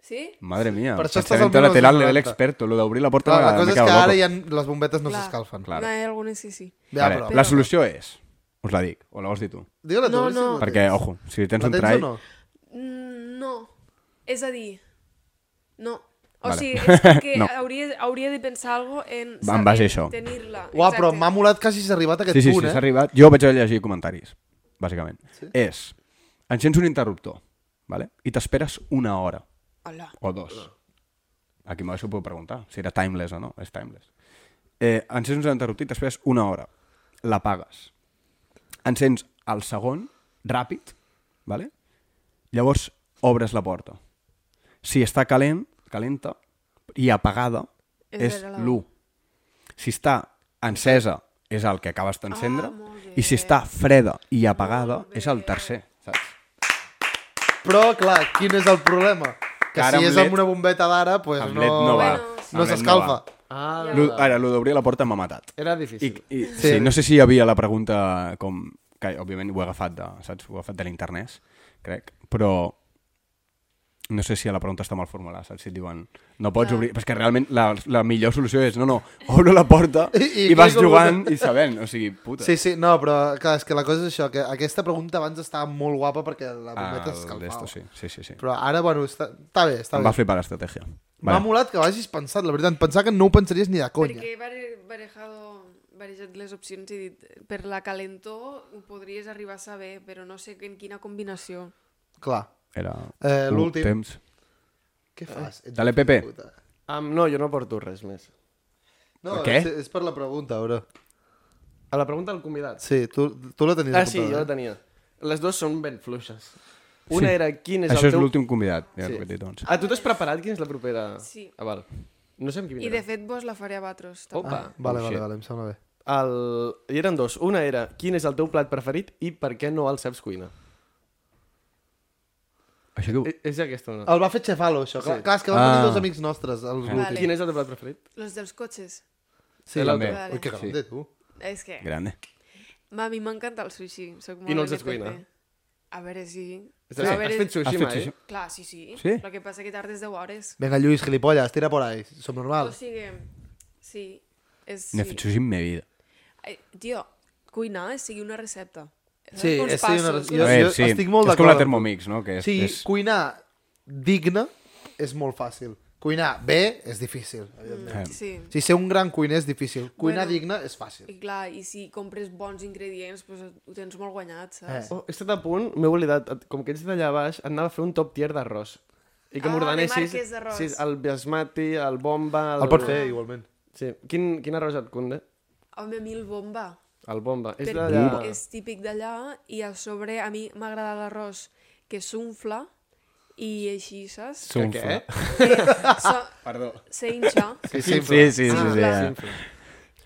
Speaker 4: Sí?
Speaker 2: Madre mía,
Speaker 1: Per
Speaker 2: per
Speaker 1: això
Speaker 2: això
Speaker 1: estàs al
Speaker 2: estàs lateral
Speaker 1: 1990.
Speaker 2: de l'experto, lo d'obrir la porta
Speaker 1: Clar, la
Speaker 2: m'ha-
Speaker 1: cosa
Speaker 2: m'he
Speaker 1: és que
Speaker 2: quedat
Speaker 1: ara
Speaker 2: loco.
Speaker 1: ja les bombetes no
Speaker 4: Clar.
Speaker 1: s'escalfen.
Speaker 2: Clar.
Speaker 4: No, hi ha algunes que sí.
Speaker 1: Ja,
Speaker 2: vale,
Speaker 1: però...
Speaker 2: La solució és... Us la dic, o la vols dir tu?
Speaker 1: Digue-la tu.
Speaker 4: No,
Speaker 1: sí,
Speaker 4: no.
Speaker 1: la
Speaker 2: Perquè,
Speaker 1: tens.
Speaker 2: ojo, si tens
Speaker 1: La
Speaker 2: un
Speaker 1: tens
Speaker 2: trai...
Speaker 1: o no?
Speaker 4: Mm, No. És a dir, no. O
Speaker 2: Vale.
Speaker 4: sigui, és que
Speaker 2: *laughs* No.
Speaker 4: hauria, hauria de pensar alguna cosa en,
Speaker 2: Va, en base a
Speaker 4: saber
Speaker 2: això.
Speaker 4: tenir-la.
Speaker 1: Uah, però
Speaker 4: Exacte.
Speaker 1: m'ha molat que hagis arribat a aquest
Speaker 2: Sí, sí,
Speaker 1: punt,
Speaker 2: sí, s'ha
Speaker 1: eh?
Speaker 2: arribat. Jo vaig a llegir comentaris, bàsicament. Sí? És, encens un interruptor, vale? i t'esperes una hora
Speaker 4: Hola.
Speaker 2: o dos. Ah. Aquí m'ho puc preguntar, si era timeless o no. És timeless. Eh, encens un interruptor i t'esperes una hora. L'apagues. Encens el segon, ràpid, vale? llavors obres la porta. Si està calent, calenta i apagada,
Speaker 4: És
Speaker 2: és
Speaker 4: vera la-
Speaker 2: l'1. Si està encesa, és el que acabes d'encendre.
Speaker 4: Ah, molt
Speaker 2: I si està freda i apagada, és el tercer. Saps?
Speaker 1: Però, clar, quin és el problema? Que
Speaker 2: Ara
Speaker 1: si
Speaker 2: amb
Speaker 1: és amb
Speaker 2: LED-
Speaker 1: una bombeta d'ara, pues
Speaker 2: Amb
Speaker 1: no...
Speaker 2: LED no va.
Speaker 4: Bueno,
Speaker 1: No
Speaker 2: Amb LED
Speaker 1: s'escalfa.
Speaker 2: va.
Speaker 3: Ah,
Speaker 4: Ja.
Speaker 2: Lo- Ara, lo d'obrir la porta m'ha matat.
Speaker 3: era
Speaker 2: I,
Speaker 3: difícil.
Speaker 2: i sí. sí, no sé si hi havia la pregunta com... Que, òbviament, ho he agafat de, saps? Ho he agafat de l'internet, crec. Però no sé si la pregunta està mal formulada, saps? Si et diuen, no pots obrir... Però és que realment la, la millor solució és, no, no, obro la porta i,
Speaker 1: I- i
Speaker 2: i vas
Speaker 1: clico
Speaker 2: jugant i sabent. O sigui, puta.
Speaker 1: Sí, sí, no, però clar, és que la cosa és això, que aquesta pregunta abans estava molt guapa perquè la bombeta
Speaker 2: Ah,
Speaker 1: s'escalfava.
Speaker 2: d'esto, sí, sí, sí. sí.
Speaker 1: Però ara, bueno, està, està bé, està
Speaker 2: Em
Speaker 1: bé.
Speaker 2: va flipar l'estratègia.
Speaker 1: M'ha
Speaker 2: Vale.
Speaker 1: molat que ho hagis pensat, la veritat. Pensar que no ho pensaries ni de conya.
Speaker 4: Perquè he bare- barejado, barejat les opcions i he dit, per la calentor ho podries arribar a saber, però no sé en quina combinació.
Speaker 1: Clar.
Speaker 2: Era
Speaker 1: Eh,
Speaker 2: un
Speaker 1: l'últim.
Speaker 2: Temps.
Speaker 1: Què fas? Ets
Speaker 2: Dale,
Speaker 1: un fill de
Speaker 2: Pepe.
Speaker 1: puta.
Speaker 3: Um, no, jo no porto res més.
Speaker 1: No,
Speaker 2: Què?
Speaker 1: és, és per la pregunta, bro.
Speaker 3: A la pregunta del convidat.
Speaker 1: Sí, tu, tu la tenies
Speaker 3: Ah, sí, jo
Speaker 1: apuntada,
Speaker 3: la
Speaker 1: eh?
Speaker 3: tenia. Les dues són ben fluixes. Una sí. era quin és
Speaker 2: Això
Speaker 3: el
Speaker 2: és
Speaker 3: teu...
Speaker 2: l'últim convidat, ja
Speaker 3: Sí.
Speaker 2: sí. dit, doncs.
Speaker 3: Ah, tu t'has preparat quina és la propera?
Speaker 4: Sí.
Speaker 3: Ah, val. No sé amb qui
Speaker 4: I
Speaker 3: vindrà.
Speaker 4: de fet vos la faré a Batros. també.
Speaker 3: Opa.
Speaker 1: Vale,
Speaker 2: Oh,
Speaker 1: vale,
Speaker 2: shit.
Speaker 1: vale, em sembla bé.
Speaker 3: El... Hi eren dos. Una era quin és el teu plat preferit i per què no el saps cuinar.
Speaker 2: Això que...
Speaker 3: E és aquesta una.
Speaker 1: El va fer Chefalo, això. Clar,
Speaker 3: Sí.
Speaker 1: clar és que van venir
Speaker 2: Ah.
Speaker 1: dos amics nostres, els
Speaker 4: Vale.
Speaker 1: l'últim.
Speaker 3: Quin és el teu plat preferit?
Speaker 4: Los dels cotxes.
Speaker 2: Sí, també.
Speaker 4: Vale.
Speaker 1: Ui, que
Speaker 2: Sí.
Speaker 1: grande, tu.
Speaker 4: És
Speaker 1: eh,
Speaker 4: que,
Speaker 2: Grande.
Speaker 4: mami, m'encanta el sushi. Soc molt
Speaker 3: no els
Speaker 4: NPC.
Speaker 3: has cuinat?
Speaker 4: A veure si...
Speaker 3: És a dir,
Speaker 4: a veure...
Speaker 3: has fet
Speaker 2: Has
Speaker 3: sushi
Speaker 2: fet
Speaker 3: mai?
Speaker 2: sushi?
Speaker 3: eh?
Speaker 4: Clar, sí, sí.
Speaker 2: Sí?
Speaker 4: Lo que passa que tardes 10 hores.
Speaker 1: Venga, Lluís, gilipollas, tira por ahí. Som
Speaker 4: O
Speaker 1: normal.
Speaker 4: sigui, sí. És, sí.
Speaker 2: No he fet sushi en mi vida.
Speaker 4: Ai, tio, cuinar és seguir una recepta.
Speaker 1: Sí,
Speaker 4: Uns
Speaker 1: és seguir una
Speaker 4: passos,
Speaker 1: rec-
Speaker 4: uns-
Speaker 1: Jo-
Speaker 2: A veure,
Speaker 1: jo estic molt
Speaker 2: És com
Speaker 1: d'acord amb
Speaker 2: la
Speaker 1: tu.
Speaker 2: Thermomix, no? Que és,
Speaker 1: Sí,
Speaker 2: és...
Speaker 1: cuinar digne és molt fàcil. Cuinar bé és difícil, evidentment.
Speaker 2: Eh,
Speaker 4: Sí.
Speaker 1: Si ser un gran cuiner és difícil, cuinar
Speaker 4: Bueno.
Speaker 1: digne és fàcil.
Speaker 4: I clar, i si compres bons ingredients, pues, ho tens molt guanyat, saps?
Speaker 1: Eh.
Speaker 3: Oh, he estat a punt, m'he oblidat, Et- com que ets d'allà baix, et anava a fer un top tier d'arròs. I que
Speaker 4: Ah, de
Speaker 3: m'ordenessis...
Speaker 4: marques d'arròs.
Speaker 3: Sí, el basmati, el bomba... El,
Speaker 1: El pots fer, igualment.
Speaker 3: Sí. Quin, quin arròs et conde?
Speaker 4: Home, a mi el bomba.
Speaker 3: El bomba. És
Speaker 4: perquè
Speaker 3: d'allà...
Speaker 4: és típic d'allà i a sobre a mi m'agrada l'arròs que s'unfla i així, saps?
Speaker 2: S'unfla.
Speaker 3: Que eh? què?
Speaker 4: So,
Speaker 2: Perdó.
Speaker 4: S'inxa.
Speaker 1: Sí,
Speaker 2: Sí,
Speaker 1: sí,
Speaker 2: sí, sí. sí,
Speaker 4: Ah,
Speaker 2: sí,
Speaker 4: clar.
Speaker 2: ja.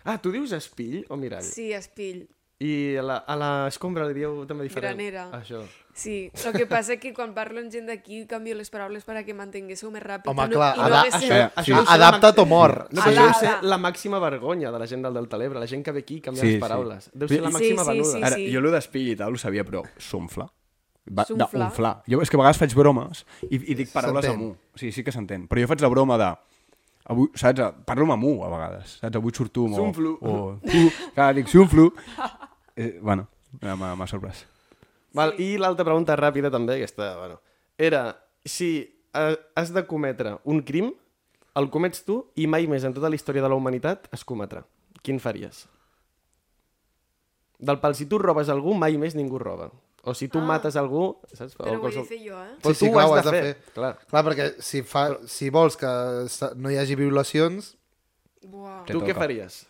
Speaker 3: Ah, tu dius espill o mirall?
Speaker 4: Sí, espill.
Speaker 3: I a la, a la escombra li dieu també diferent.
Speaker 4: Granera.
Speaker 3: Això.
Speaker 4: Sí, el que passa és que quan parlo amb gent d'aquí canvio les paraules per a que m'entenguéssiu més ràpid.
Speaker 1: Home,
Speaker 4: i no-
Speaker 1: clar,
Speaker 4: i no
Speaker 1: ada-
Speaker 4: haguéssiu-
Speaker 2: això-
Speaker 1: sí.
Speaker 3: deu ser la
Speaker 1: Adapta't
Speaker 3: ma-
Speaker 1: o mor.
Speaker 3: No, però
Speaker 4: Ala,
Speaker 3: deu ser
Speaker 4: ala.
Speaker 3: la màxima vergonya de la gent del Delta de l'Ebre, la gent que ve aquí canviant
Speaker 2: Sí,
Speaker 3: les
Speaker 2: sí.
Speaker 3: paraules. Deu ser la
Speaker 4: Sí,
Speaker 3: màxima
Speaker 4: sí,
Speaker 3: venuda.
Speaker 4: sí.
Speaker 2: Ara, jo allò d'espill i tal ho sabia, però s'unfla. Va,
Speaker 4: S'unfla.
Speaker 2: D'unflar. Jo és que a vegades faig bromes i, i dic paraules
Speaker 1: S'entén.
Speaker 2: amb u. O sigui, sí que s'entén. Però jo faig la broma de... Avui, saps? Parlo amb u a vegades. Saps? Avui surto... amb- o-
Speaker 3: S'unflo.
Speaker 2: O, tu, clar, dic s'unflo. Eh, bueno, m'ha m'ha sorprès.
Speaker 3: Val, I l'altra pregunta ràpida també, aquesta, bueno, era si eh, has de cometre un crim, el comets tu i mai més en tota la història de la humanitat es cometrà. Quin faries? Del pal, si tu robes algú, mai més ningú roba. O si tu ah. mates algú, saps?
Speaker 4: Però
Speaker 3: o
Speaker 4: ho he de fer jo, eh?
Speaker 3: Però tu ho has de fer. Clar.
Speaker 1: Clar, perquè si, fa, si vols que se- no hi hagi violacions...
Speaker 4: Buah.
Speaker 2: Te
Speaker 3: tu què
Speaker 2: toca.
Speaker 3: faries?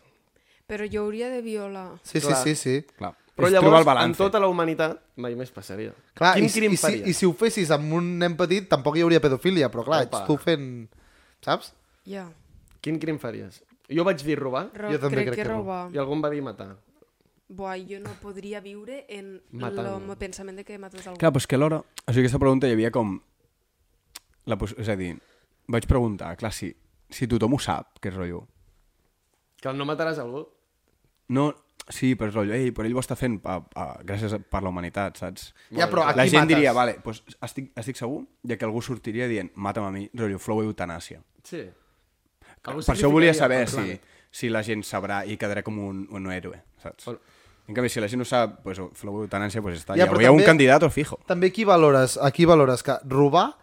Speaker 4: Però jo hauria de violar.
Speaker 1: Sí, sí,
Speaker 3: Clar.
Speaker 1: sí, sí.
Speaker 2: Clar.
Speaker 3: Però
Speaker 2: És trobar
Speaker 3: llavors,
Speaker 2: el
Speaker 3: en
Speaker 2: balance.
Speaker 3: tota la humanitat, mai més passaria.
Speaker 1: Clar,
Speaker 3: Quin
Speaker 1: i, si-
Speaker 3: crim
Speaker 1: i, si,
Speaker 3: faries?
Speaker 1: I si ho fessis amb un nen petit, tampoc hi hauria pedofilia, però clar,
Speaker 3: Opa.
Speaker 1: ets tu fent... Saps?
Speaker 4: Ja.
Speaker 3: Quin crim faries? Jo vaig dir robar
Speaker 4: Ro
Speaker 1: Jo també
Speaker 4: crec,
Speaker 1: crec
Speaker 4: que
Speaker 1: que no.
Speaker 4: robar.
Speaker 3: i algú em va dir matar.
Speaker 4: Buah, jo no podria viure en
Speaker 3: Matar
Speaker 4: el
Speaker 3: algú.
Speaker 4: meu pensament de que mates algú.
Speaker 2: Clar, però és que alhora... O sigui, aquesta pregunta hi havia com... La pos... És a dir, vaig preguntar, clar, si, si tothom ho sap, que és rotllo.
Speaker 3: Que no mataràs algú.
Speaker 2: No, sí, però és rotllo, ei, però ell ho està fent a, a, gràcies a, per la humanitat, saps?
Speaker 1: Ja, però a
Speaker 2: la
Speaker 1: qui
Speaker 2: gent
Speaker 1: mates?
Speaker 2: diria, vale, pues, estic, estic segur de que algú sortiria dient, mata'm a mi, rotllo, flow eutanàsia.
Speaker 3: Sí.
Speaker 2: Algú per això volia saber si, si la gent sabrà i quedarà com un, un héroe, saps?
Speaker 3: Bueno.
Speaker 2: En canvi, si la gent no sap, pues, flow eutanàsia, pues està,
Speaker 1: Ja,
Speaker 2: ja, ja
Speaker 1: però
Speaker 2: hi ha un
Speaker 1: també-
Speaker 2: candidat o fijo.
Speaker 1: També aquí valores, aquí valores que robar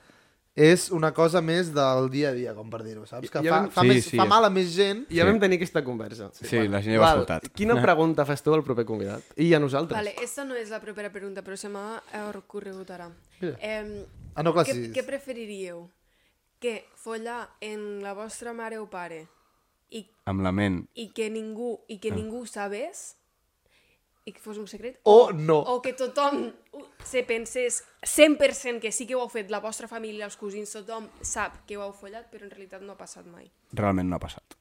Speaker 1: és una cosa més del dia a dia, com per dir-ho, saps? Que
Speaker 3: Ja
Speaker 1: fa,
Speaker 3: vam-
Speaker 1: fa,
Speaker 2: Sí,
Speaker 1: més,
Speaker 2: sí,
Speaker 1: fa
Speaker 2: és-
Speaker 1: mal a més gent.
Speaker 3: Ja vam tenir aquesta conversa.
Speaker 2: Sí, la gent ja ho ha escoltat.
Speaker 3: Quina
Speaker 2: *laughs*
Speaker 3: pregunta fas tu al proper convidat? I a nosaltres?
Speaker 4: Vale, esta no és la propera pregunta, però se m'ha ocorregut ara. Eh,
Speaker 1: Ah, no, clar,
Speaker 4: què,
Speaker 1: sí.
Speaker 4: què preferiríeu? Que follar en la vostra mare o pare i,
Speaker 2: Amb la ment.
Speaker 4: i que ningú i que ningú sabés i que fos un secret?
Speaker 1: O no.
Speaker 4: O que tothom ho- se pensés 100% que sí que ho heu fet, la vostra família, els cosins, tothom sap que ho heu follat, però en realitat no ha passat mai.
Speaker 2: Realment no ha passat.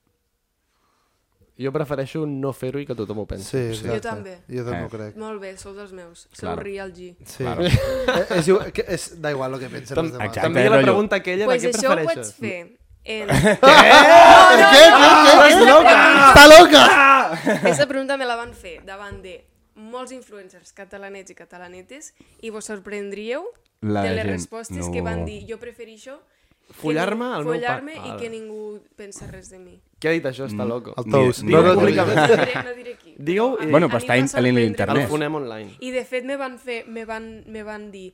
Speaker 3: Jo prefereixo no fer-ho i que tothom ho pensi.
Speaker 1: Sí, exacte.
Speaker 4: Jo també.
Speaker 1: Jo també
Speaker 2: Eh.
Speaker 1: ho crec.
Speaker 4: Molt bé, sou dels meus. Sou
Speaker 2: Claro.
Speaker 4: claro. real G.
Speaker 1: Sí. Claro. Eh, és, igual- que és, da igual el que pensen els demás.
Speaker 2: Exacte,
Speaker 3: També hi ha la
Speaker 2: rotllo.
Speaker 3: pregunta aquella
Speaker 4: Pues
Speaker 3: de què
Speaker 4: això ho
Speaker 3: prefereixes.
Speaker 4: pots fer. En...
Speaker 1: Què? Què? Què? Estàs loca? Ah! Està loca!
Speaker 4: Aquesta pregunta me la van fer davant de molts influencers catalanets i catalanetes i vos sorprendríeu
Speaker 2: La
Speaker 4: de les
Speaker 2: gent,
Speaker 4: respostes
Speaker 2: no.
Speaker 4: que van dir jo prefereixo que
Speaker 3: Follar-me
Speaker 4: ni-
Speaker 3: al meu
Speaker 4: follar-me
Speaker 3: pa-
Speaker 4: i
Speaker 3: Ara.
Speaker 4: que ningú pensa res de mi.
Speaker 3: Què ha dit això?
Speaker 2: Mm.
Speaker 3: Està loco.
Speaker 1: El tous.
Speaker 2: Ni-
Speaker 1: No, no,
Speaker 3: ni-
Speaker 1: no,
Speaker 3: públicament.
Speaker 1: no.
Speaker 2: *laughs*
Speaker 4: No diré, no diré qui.
Speaker 3: Digueu-
Speaker 4: però a mi-
Speaker 2: Bueno,
Speaker 4: a
Speaker 2: però
Speaker 4: mi
Speaker 2: està
Speaker 4: em
Speaker 2: in-
Speaker 4: va
Speaker 2: a l'in-
Speaker 4: sorprendre
Speaker 2: l'internet.
Speaker 3: El
Speaker 2: Ernest.
Speaker 3: fonem online.
Speaker 4: i de fet me van fer, me van, me van dir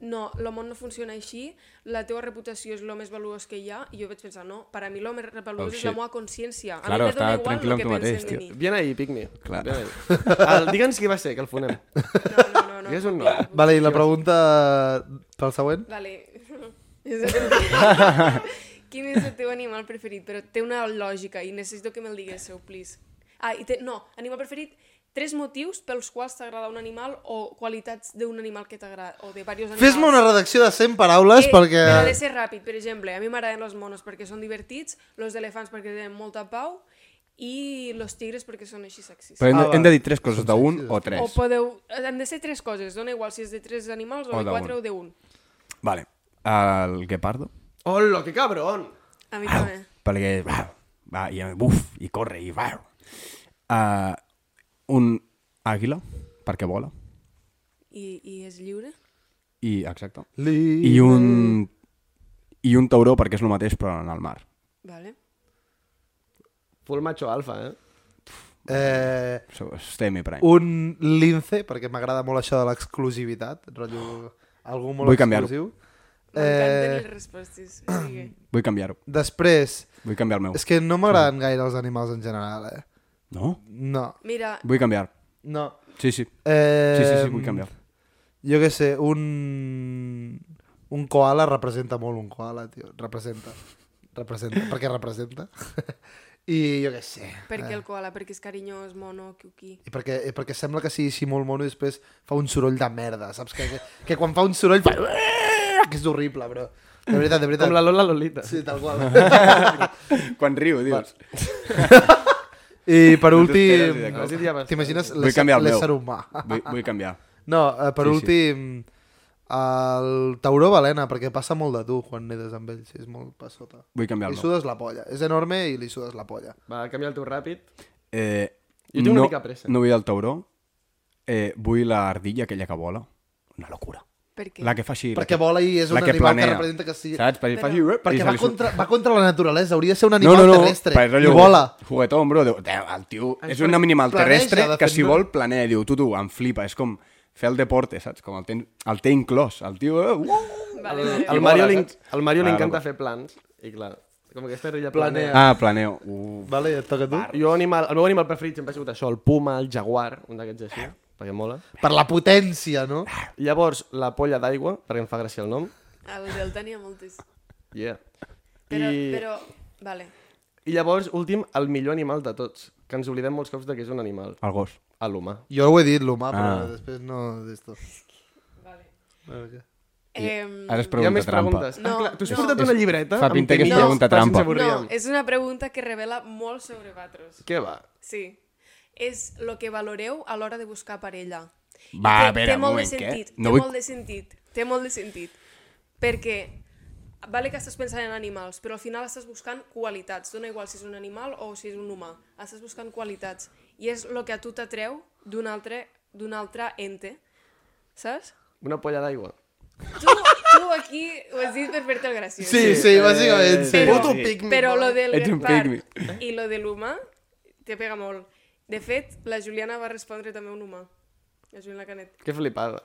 Speaker 4: no, el món no funciona així, la teva reputació és el més valuós que hi ha, i jo vaig pensar, no, per a mi el més valuós
Speaker 2: Oh,
Speaker 4: és
Speaker 2: shit.
Speaker 4: la meva consciència. A
Speaker 2: Claro,
Speaker 4: mi me
Speaker 2: està
Speaker 4: dona igual
Speaker 2: tranquil
Speaker 4: el
Speaker 2: amb
Speaker 4: que
Speaker 2: tu mateix,
Speaker 4: pensen de
Speaker 2: tio.
Speaker 4: mi.
Speaker 3: Bien ahí, Pigme.
Speaker 2: Clar.
Speaker 3: Bien ahí. El- Digue'ns qui va ser, que
Speaker 2: *laughs*
Speaker 3: el fonem.
Speaker 4: No, no, no. no.
Speaker 3: Digues un nom.
Speaker 1: Vale, i la pregunta pel següent?
Speaker 4: Vale. *laughs* És el- Quin és el teu animal preferit? Però té una lògica i necessito que me'l diguéssiu, please. Ah, i té... no, animal preferit, tres motius pels quals t'agrada un animal o qualitats d'un animal que t'agrada, o de diversos animals.
Speaker 1: Fes-me una redacció de 100 paraules
Speaker 4: Eh,
Speaker 1: perquè...
Speaker 4: Però ha de ser ràpid, per exemple, a mi m'agraden els monos perquè són divertits, els elefants perquè tenen molta pau i els tigres perquè són així sexis.
Speaker 2: Però hem,
Speaker 1: Ah,
Speaker 2: de,
Speaker 1: vale.
Speaker 2: hem de dir tres coses d'un o
Speaker 4: O
Speaker 2: tres.
Speaker 4: podeu... Han de ser tres coses, dona igual si és de tres animals o,
Speaker 2: O
Speaker 4: de
Speaker 2: d'un.
Speaker 4: quatre o de un.
Speaker 2: Vale. El guepardo.
Speaker 3: Hola, que cabrón!
Speaker 4: A mi també.
Speaker 2: Perquè va, va i, buf, i corre i va. Uh, un àguila, perquè vola.
Speaker 4: I, I és lliure?
Speaker 2: I, exacte.
Speaker 1: Li...
Speaker 2: I un, I un tauró, perquè és el mateix, però en el mar.
Speaker 4: Vale.
Speaker 3: Full macho alfa, eh?
Speaker 1: Eh,
Speaker 2: So, Estem i prime.
Speaker 1: un lince, perquè m'agrada molt això de l'exclusivitat, rotllo... Algú molt
Speaker 2: Vull canviar-ho.
Speaker 1: exclusiu.
Speaker 4: M'encanten les
Speaker 1: Eh,
Speaker 4: respostes.
Speaker 3: *clears throat*
Speaker 4: Sigue.
Speaker 2: Vull canviar-ho.
Speaker 1: després,
Speaker 2: Vull canviar el meu.
Speaker 1: és que no m'agraden gaire els animals en general, eh?
Speaker 2: No?
Speaker 1: No,
Speaker 4: Mira,
Speaker 2: Vull canviar.
Speaker 1: no.
Speaker 2: Sí, sí.
Speaker 1: Eh,
Speaker 2: Sí, sí, sí, vull canviar.
Speaker 1: Jo què sé, un... Un koala representa molt un koala, tio. Representa. Representa. Perquè representa. *laughs* I jo què sé.
Speaker 4: per
Speaker 3: Eh.
Speaker 4: què el koala? Perquè és carinyós, mono, cuqui.
Speaker 1: I perquè, i perquè sembla que sigui així molt mono i després fa un soroll de merda, saps? Que, que, que quan fa un soroll fa... Que és horrible, bro. De veritat, de veritat.
Speaker 3: Com la Lola Lolita.
Speaker 1: Sí, tal qual.
Speaker 2: Quan riu, dius.
Speaker 1: I per
Speaker 2: No t'esperes ni de
Speaker 1: últim...
Speaker 2: cop.
Speaker 3: Has dit ja bastant.
Speaker 1: T'imagines
Speaker 2: Vull canviar el meu.
Speaker 1: l'ésser humà.
Speaker 2: Vull, vull canviar.
Speaker 1: No, eh, per
Speaker 2: Sí, sí.
Speaker 1: últim... El tauró balena, perquè passa molt de tu quan nedes amb ell, si és molt pa sota.
Speaker 2: Vull canviar
Speaker 1: Li
Speaker 2: el meu.
Speaker 1: sudes la polla. És enorme i li sudes la polla.
Speaker 3: Va, canvia el teu ràpid.
Speaker 2: Eh,
Speaker 3: Jo tinc una
Speaker 2: no,
Speaker 3: mica pressa.
Speaker 2: No vull el tauró. Eh, vull l'ardilla aquella que vola. Una locura.
Speaker 4: Per què?
Speaker 2: La que fa així. la
Speaker 1: Perquè
Speaker 2: que-
Speaker 1: vola i és
Speaker 2: la
Speaker 1: un animal que
Speaker 2: planea.
Speaker 1: representa que sigui...
Speaker 2: Saps? Perquè,
Speaker 4: Però-
Speaker 2: fa així, uep, i
Speaker 1: Perquè
Speaker 2: se
Speaker 1: va
Speaker 2: li surt-
Speaker 1: contra, va contra la naturalesa, hauria de ser un
Speaker 2: No,
Speaker 1: animal
Speaker 2: no, no.
Speaker 1: terrestre.
Speaker 2: per allò
Speaker 1: I vola.
Speaker 2: Juguetón, bro. Diu, "Déu, el tio és un animal
Speaker 1: planeja,
Speaker 2: terrestre
Speaker 1: de
Speaker 2: que
Speaker 1: fet,
Speaker 2: si
Speaker 1: no?
Speaker 2: vol planea. Diu, tu, tu, em flipa. És com fer el deporte, saps? Com el té, el té inclòs. El tio... eh, Uh,
Speaker 4: Vale,
Speaker 3: El,
Speaker 4: vale.
Speaker 3: el Mario,
Speaker 2: Mola,
Speaker 3: li,
Speaker 2: saps?
Speaker 3: el Mario li
Speaker 2: Claro.
Speaker 3: encanta fer plans, i clar, com aquesta ella planea.
Speaker 2: ah, planeo. Uh.
Speaker 1: Vale, et toca a tu.
Speaker 3: Jo animal, el meu animal preferit sempre ha sigut això, el puma, el jaguar, un d'aquests així, perquè mola.
Speaker 1: Per la potència, no?
Speaker 3: Llavors, la polla d'aigua, perquè em fa gràcia el nom.
Speaker 4: El del tenia moltes.
Speaker 3: Yeah.
Speaker 4: Però,
Speaker 3: I,
Speaker 4: però, vale.
Speaker 3: I llavors, últim, el millor animal de tots, que ens oblidem molts cops de que és un animal,
Speaker 2: El gos.
Speaker 3: a l'humà.
Speaker 1: Jo ho he dit, l'humà, però
Speaker 2: Ah.
Speaker 1: després no... d'esto.
Speaker 4: Em,
Speaker 2: Ara es
Speaker 3: Hi ha
Speaker 2: pregunta
Speaker 3: més
Speaker 2: trampa.
Speaker 3: preguntes.
Speaker 4: No,
Speaker 3: ah, clar, tu has
Speaker 4: no.
Speaker 3: portat una llibreta?
Speaker 2: Fa
Speaker 3: amb
Speaker 2: pinta que és
Speaker 3: temes
Speaker 2: pregunta
Speaker 3: per si ens
Speaker 2: trampa.
Speaker 4: no,
Speaker 3: avorríem.
Speaker 4: és una pregunta que revela molt sobre vosaltres.
Speaker 3: Què va?
Speaker 4: Sí. És el que valoreu a l'hora de buscar parella.
Speaker 2: Va,
Speaker 4: Té-
Speaker 2: a veure,
Speaker 4: té
Speaker 2: un
Speaker 4: molt
Speaker 2: moment,
Speaker 4: de
Speaker 2: què?
Speaker 4: sentit,
Speaker 2: No
Speaker 4: té
Speaker 2: vull-
Speaker 4: molt de sentit, té molt de sentit. Perquè, vale que estàs pensant en animals, però al final estàs buscant qualitats. Dona igual si és un animal o si és un humà. Estàs buscant qualitats. I és el que a tu t'atreu d'un altre, d'un altre ente. Saps?
Speaker 3: Una polla d'aigua.
Speaker 4: Tu, tu aquí ho has dit per fer-te el graciós.
Speaker 1: Sí, sí,
Speaker 2: Eh,
Speaker 1: bàsicament. Sí.
Speaker 4: Però,
Speaker 1: Puto pic.
Speaker 4: però lo del
Speaker 2: Ets un
Speaker 4: Gaspar
Speaker 2: pigmi.
Speaker 4: i lo de l'humà te pega molt. De fet, la Juliana va respondre també un humà. La Juliana Canet.
Speaker 3: Que flipada.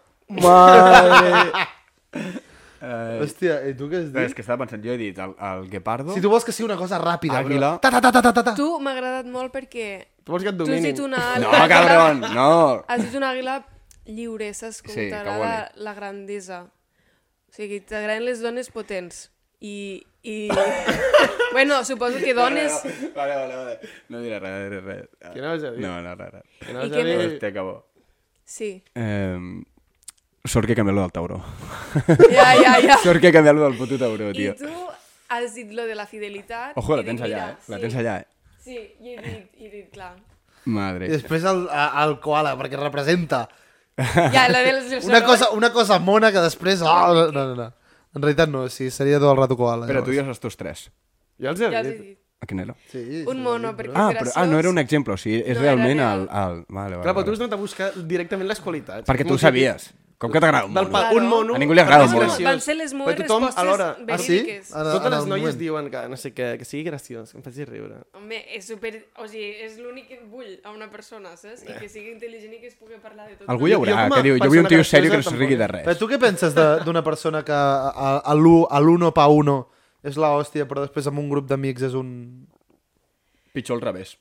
Speaker 2: Eh.
Speaker 1: Hòstia, i tu què has
Speaker 2: És
Speaker 1: dit?
Speaker 2: que estava pensant, jo he dit el, el guepardo...
Speaker 1: Si tu vols que sigui una cosa ràpida,
Speaker 2: Àguila.
Speaker 1: bro. Ta, ta, ta, ta, ta, ta, ta.
Speaker 4: Tu m'ha agradat molt perquè
Speaker 3: Tu vols que et
Speaker 4: tu has
Speaker 3: dominin?
Speaker 4: dit una
Speaker 2: No,
Speaker 4: àguila-
Speaker 2: cabron, no!
Speaker 4: Has dit una àguila lliure, saps? Com
Speaker 2: Sí, que
Speaker 4: t'agrada la grandesa. O sigui, t'agraden les dones potents. I...
Speaker 2: *laughs*
Speaker 4: i... bueno, suposo que dones...
Speaker 2: Vale, vale, vale. No diré res, no diré res.
Speaker 3: Que no vas a dir?
Speaker 2: No, no, res, res.
Speaker 3: Que no
Speaker 4: I
Speaker 3: has
Speaker 4: què
Speaker 3: de dir-
Speaker 2: Te acabo.
Speaker 4: Sí.
Speaker 2: Eh, sort que he canviat lo del tauró.
Speaker 4: Ja, ja, ja.
Speaker 2: *laughs* Sort que he canviat lo del puto tauró,
Speaker 4: I
Speaker 2: tio.
Speaker 4: tu has dit lo de la fidelitat.
Speaker 2: Ojo,
Speaker 4: i
Speaker 2: la
Speaker 4: dic,
Speaker 2: tens allà,
Speaker 4: mira,
Speaker 2: eh? La
Speaker 4: sí.
Speaker 2: tens allà, eh?
Speaker 4: Sí, i he dit, i he dit clar.
Speaker 1: I
Speaker 2: Madre.
Speaker 1: després el, a- el koala, perquè representa
Speaker 4: Ja, la de les les
Speaker 1: una
Speaker 4: hormones.
Speaker 1: cosa, una cosa mona que després... Oh, no, no, no. En realitat no, sí, seria tot el rato koala.
Speaker 2: Però tu
Speaker 1: llavors.
Speaker 2: dius els teus tres.
Speaker 3: Ja els he ja
Speaker 4: Ja us he
Speaker 3: dit.
Speaker 4: dit.
Speaker 2: A quin era?
Speaker 1: Sí,
Speaker 4: Un mono, perquè
Speaker 2: Ah,
Speaker 4: és
Speaker 2: però,
Speaker 4: graciós.
Speaker 2: ah, no era un exemple, o sigui, és
Speaker 4: No, era
Speaker 2: realment
Speaker 4: real.
Speaker 2: el... el... Vale, vale,
Speaker 3: Clar, però tu
Speaker 2: vale.
Speaker 3: has anat a buscar directament les qualitats.
Speaker 2: Perquè
Speaker 3: És
Speaker 2: tu ho
Speaker 3: molt típic.
Speaker 2: sabies. Com que t'agrada un
Speaker 3: Del
Speaker 2: mono.
Speaker 3: pa,
Speaker 4: Claro.
Speaker 3: un mono...
Speaker 2: A ningú li agrada
Speaker 3: és
Speaker 2: el mono.
Speaker 3: graciós.
Speaker 4: Van ser les meves
Speaker 3: Però tothom,
Speaker 4: respostes
Speaker 3: alhora,
Speaker 1: Ah, sí?
Speaker 4: verídiques.
Speaker 1: Ara,
Speaker 3: Totes
Speaker 1: ara,
Speaker 3: les
Speaker 1: un
Speaker 3: noies
Speaker 1: moment.
Speaker 3: diuen que, no sé què, que sigui graciós, que em faci riure.
Speaker 4: Home, és super... O sigui, és l'únic que vull a una persona, saps? I que sigui intel·ligent i que es pugui parlar de tot.
Speaker 2: Algú hi
Speaker 3: Jo- jo
Speaker 2: haurà
Speaker 3: com a
Speaker 2: que diu, jo vull un
Speaker 3: persona
Speaker 2: tio
Speaker 3: graciosa
Speaker 2: sèrio que no es
Speaker 3: tampoc.
Speaker 2: rigui de
Speaker 1: Però
Speaker 2: res.
Speaker 1: tu què penses de- d'una persona que a- a l'u- a l'uno pa uno és la hòstia, però després amb un grup d'amics és un...
Speaker 2: Pitjor al revés.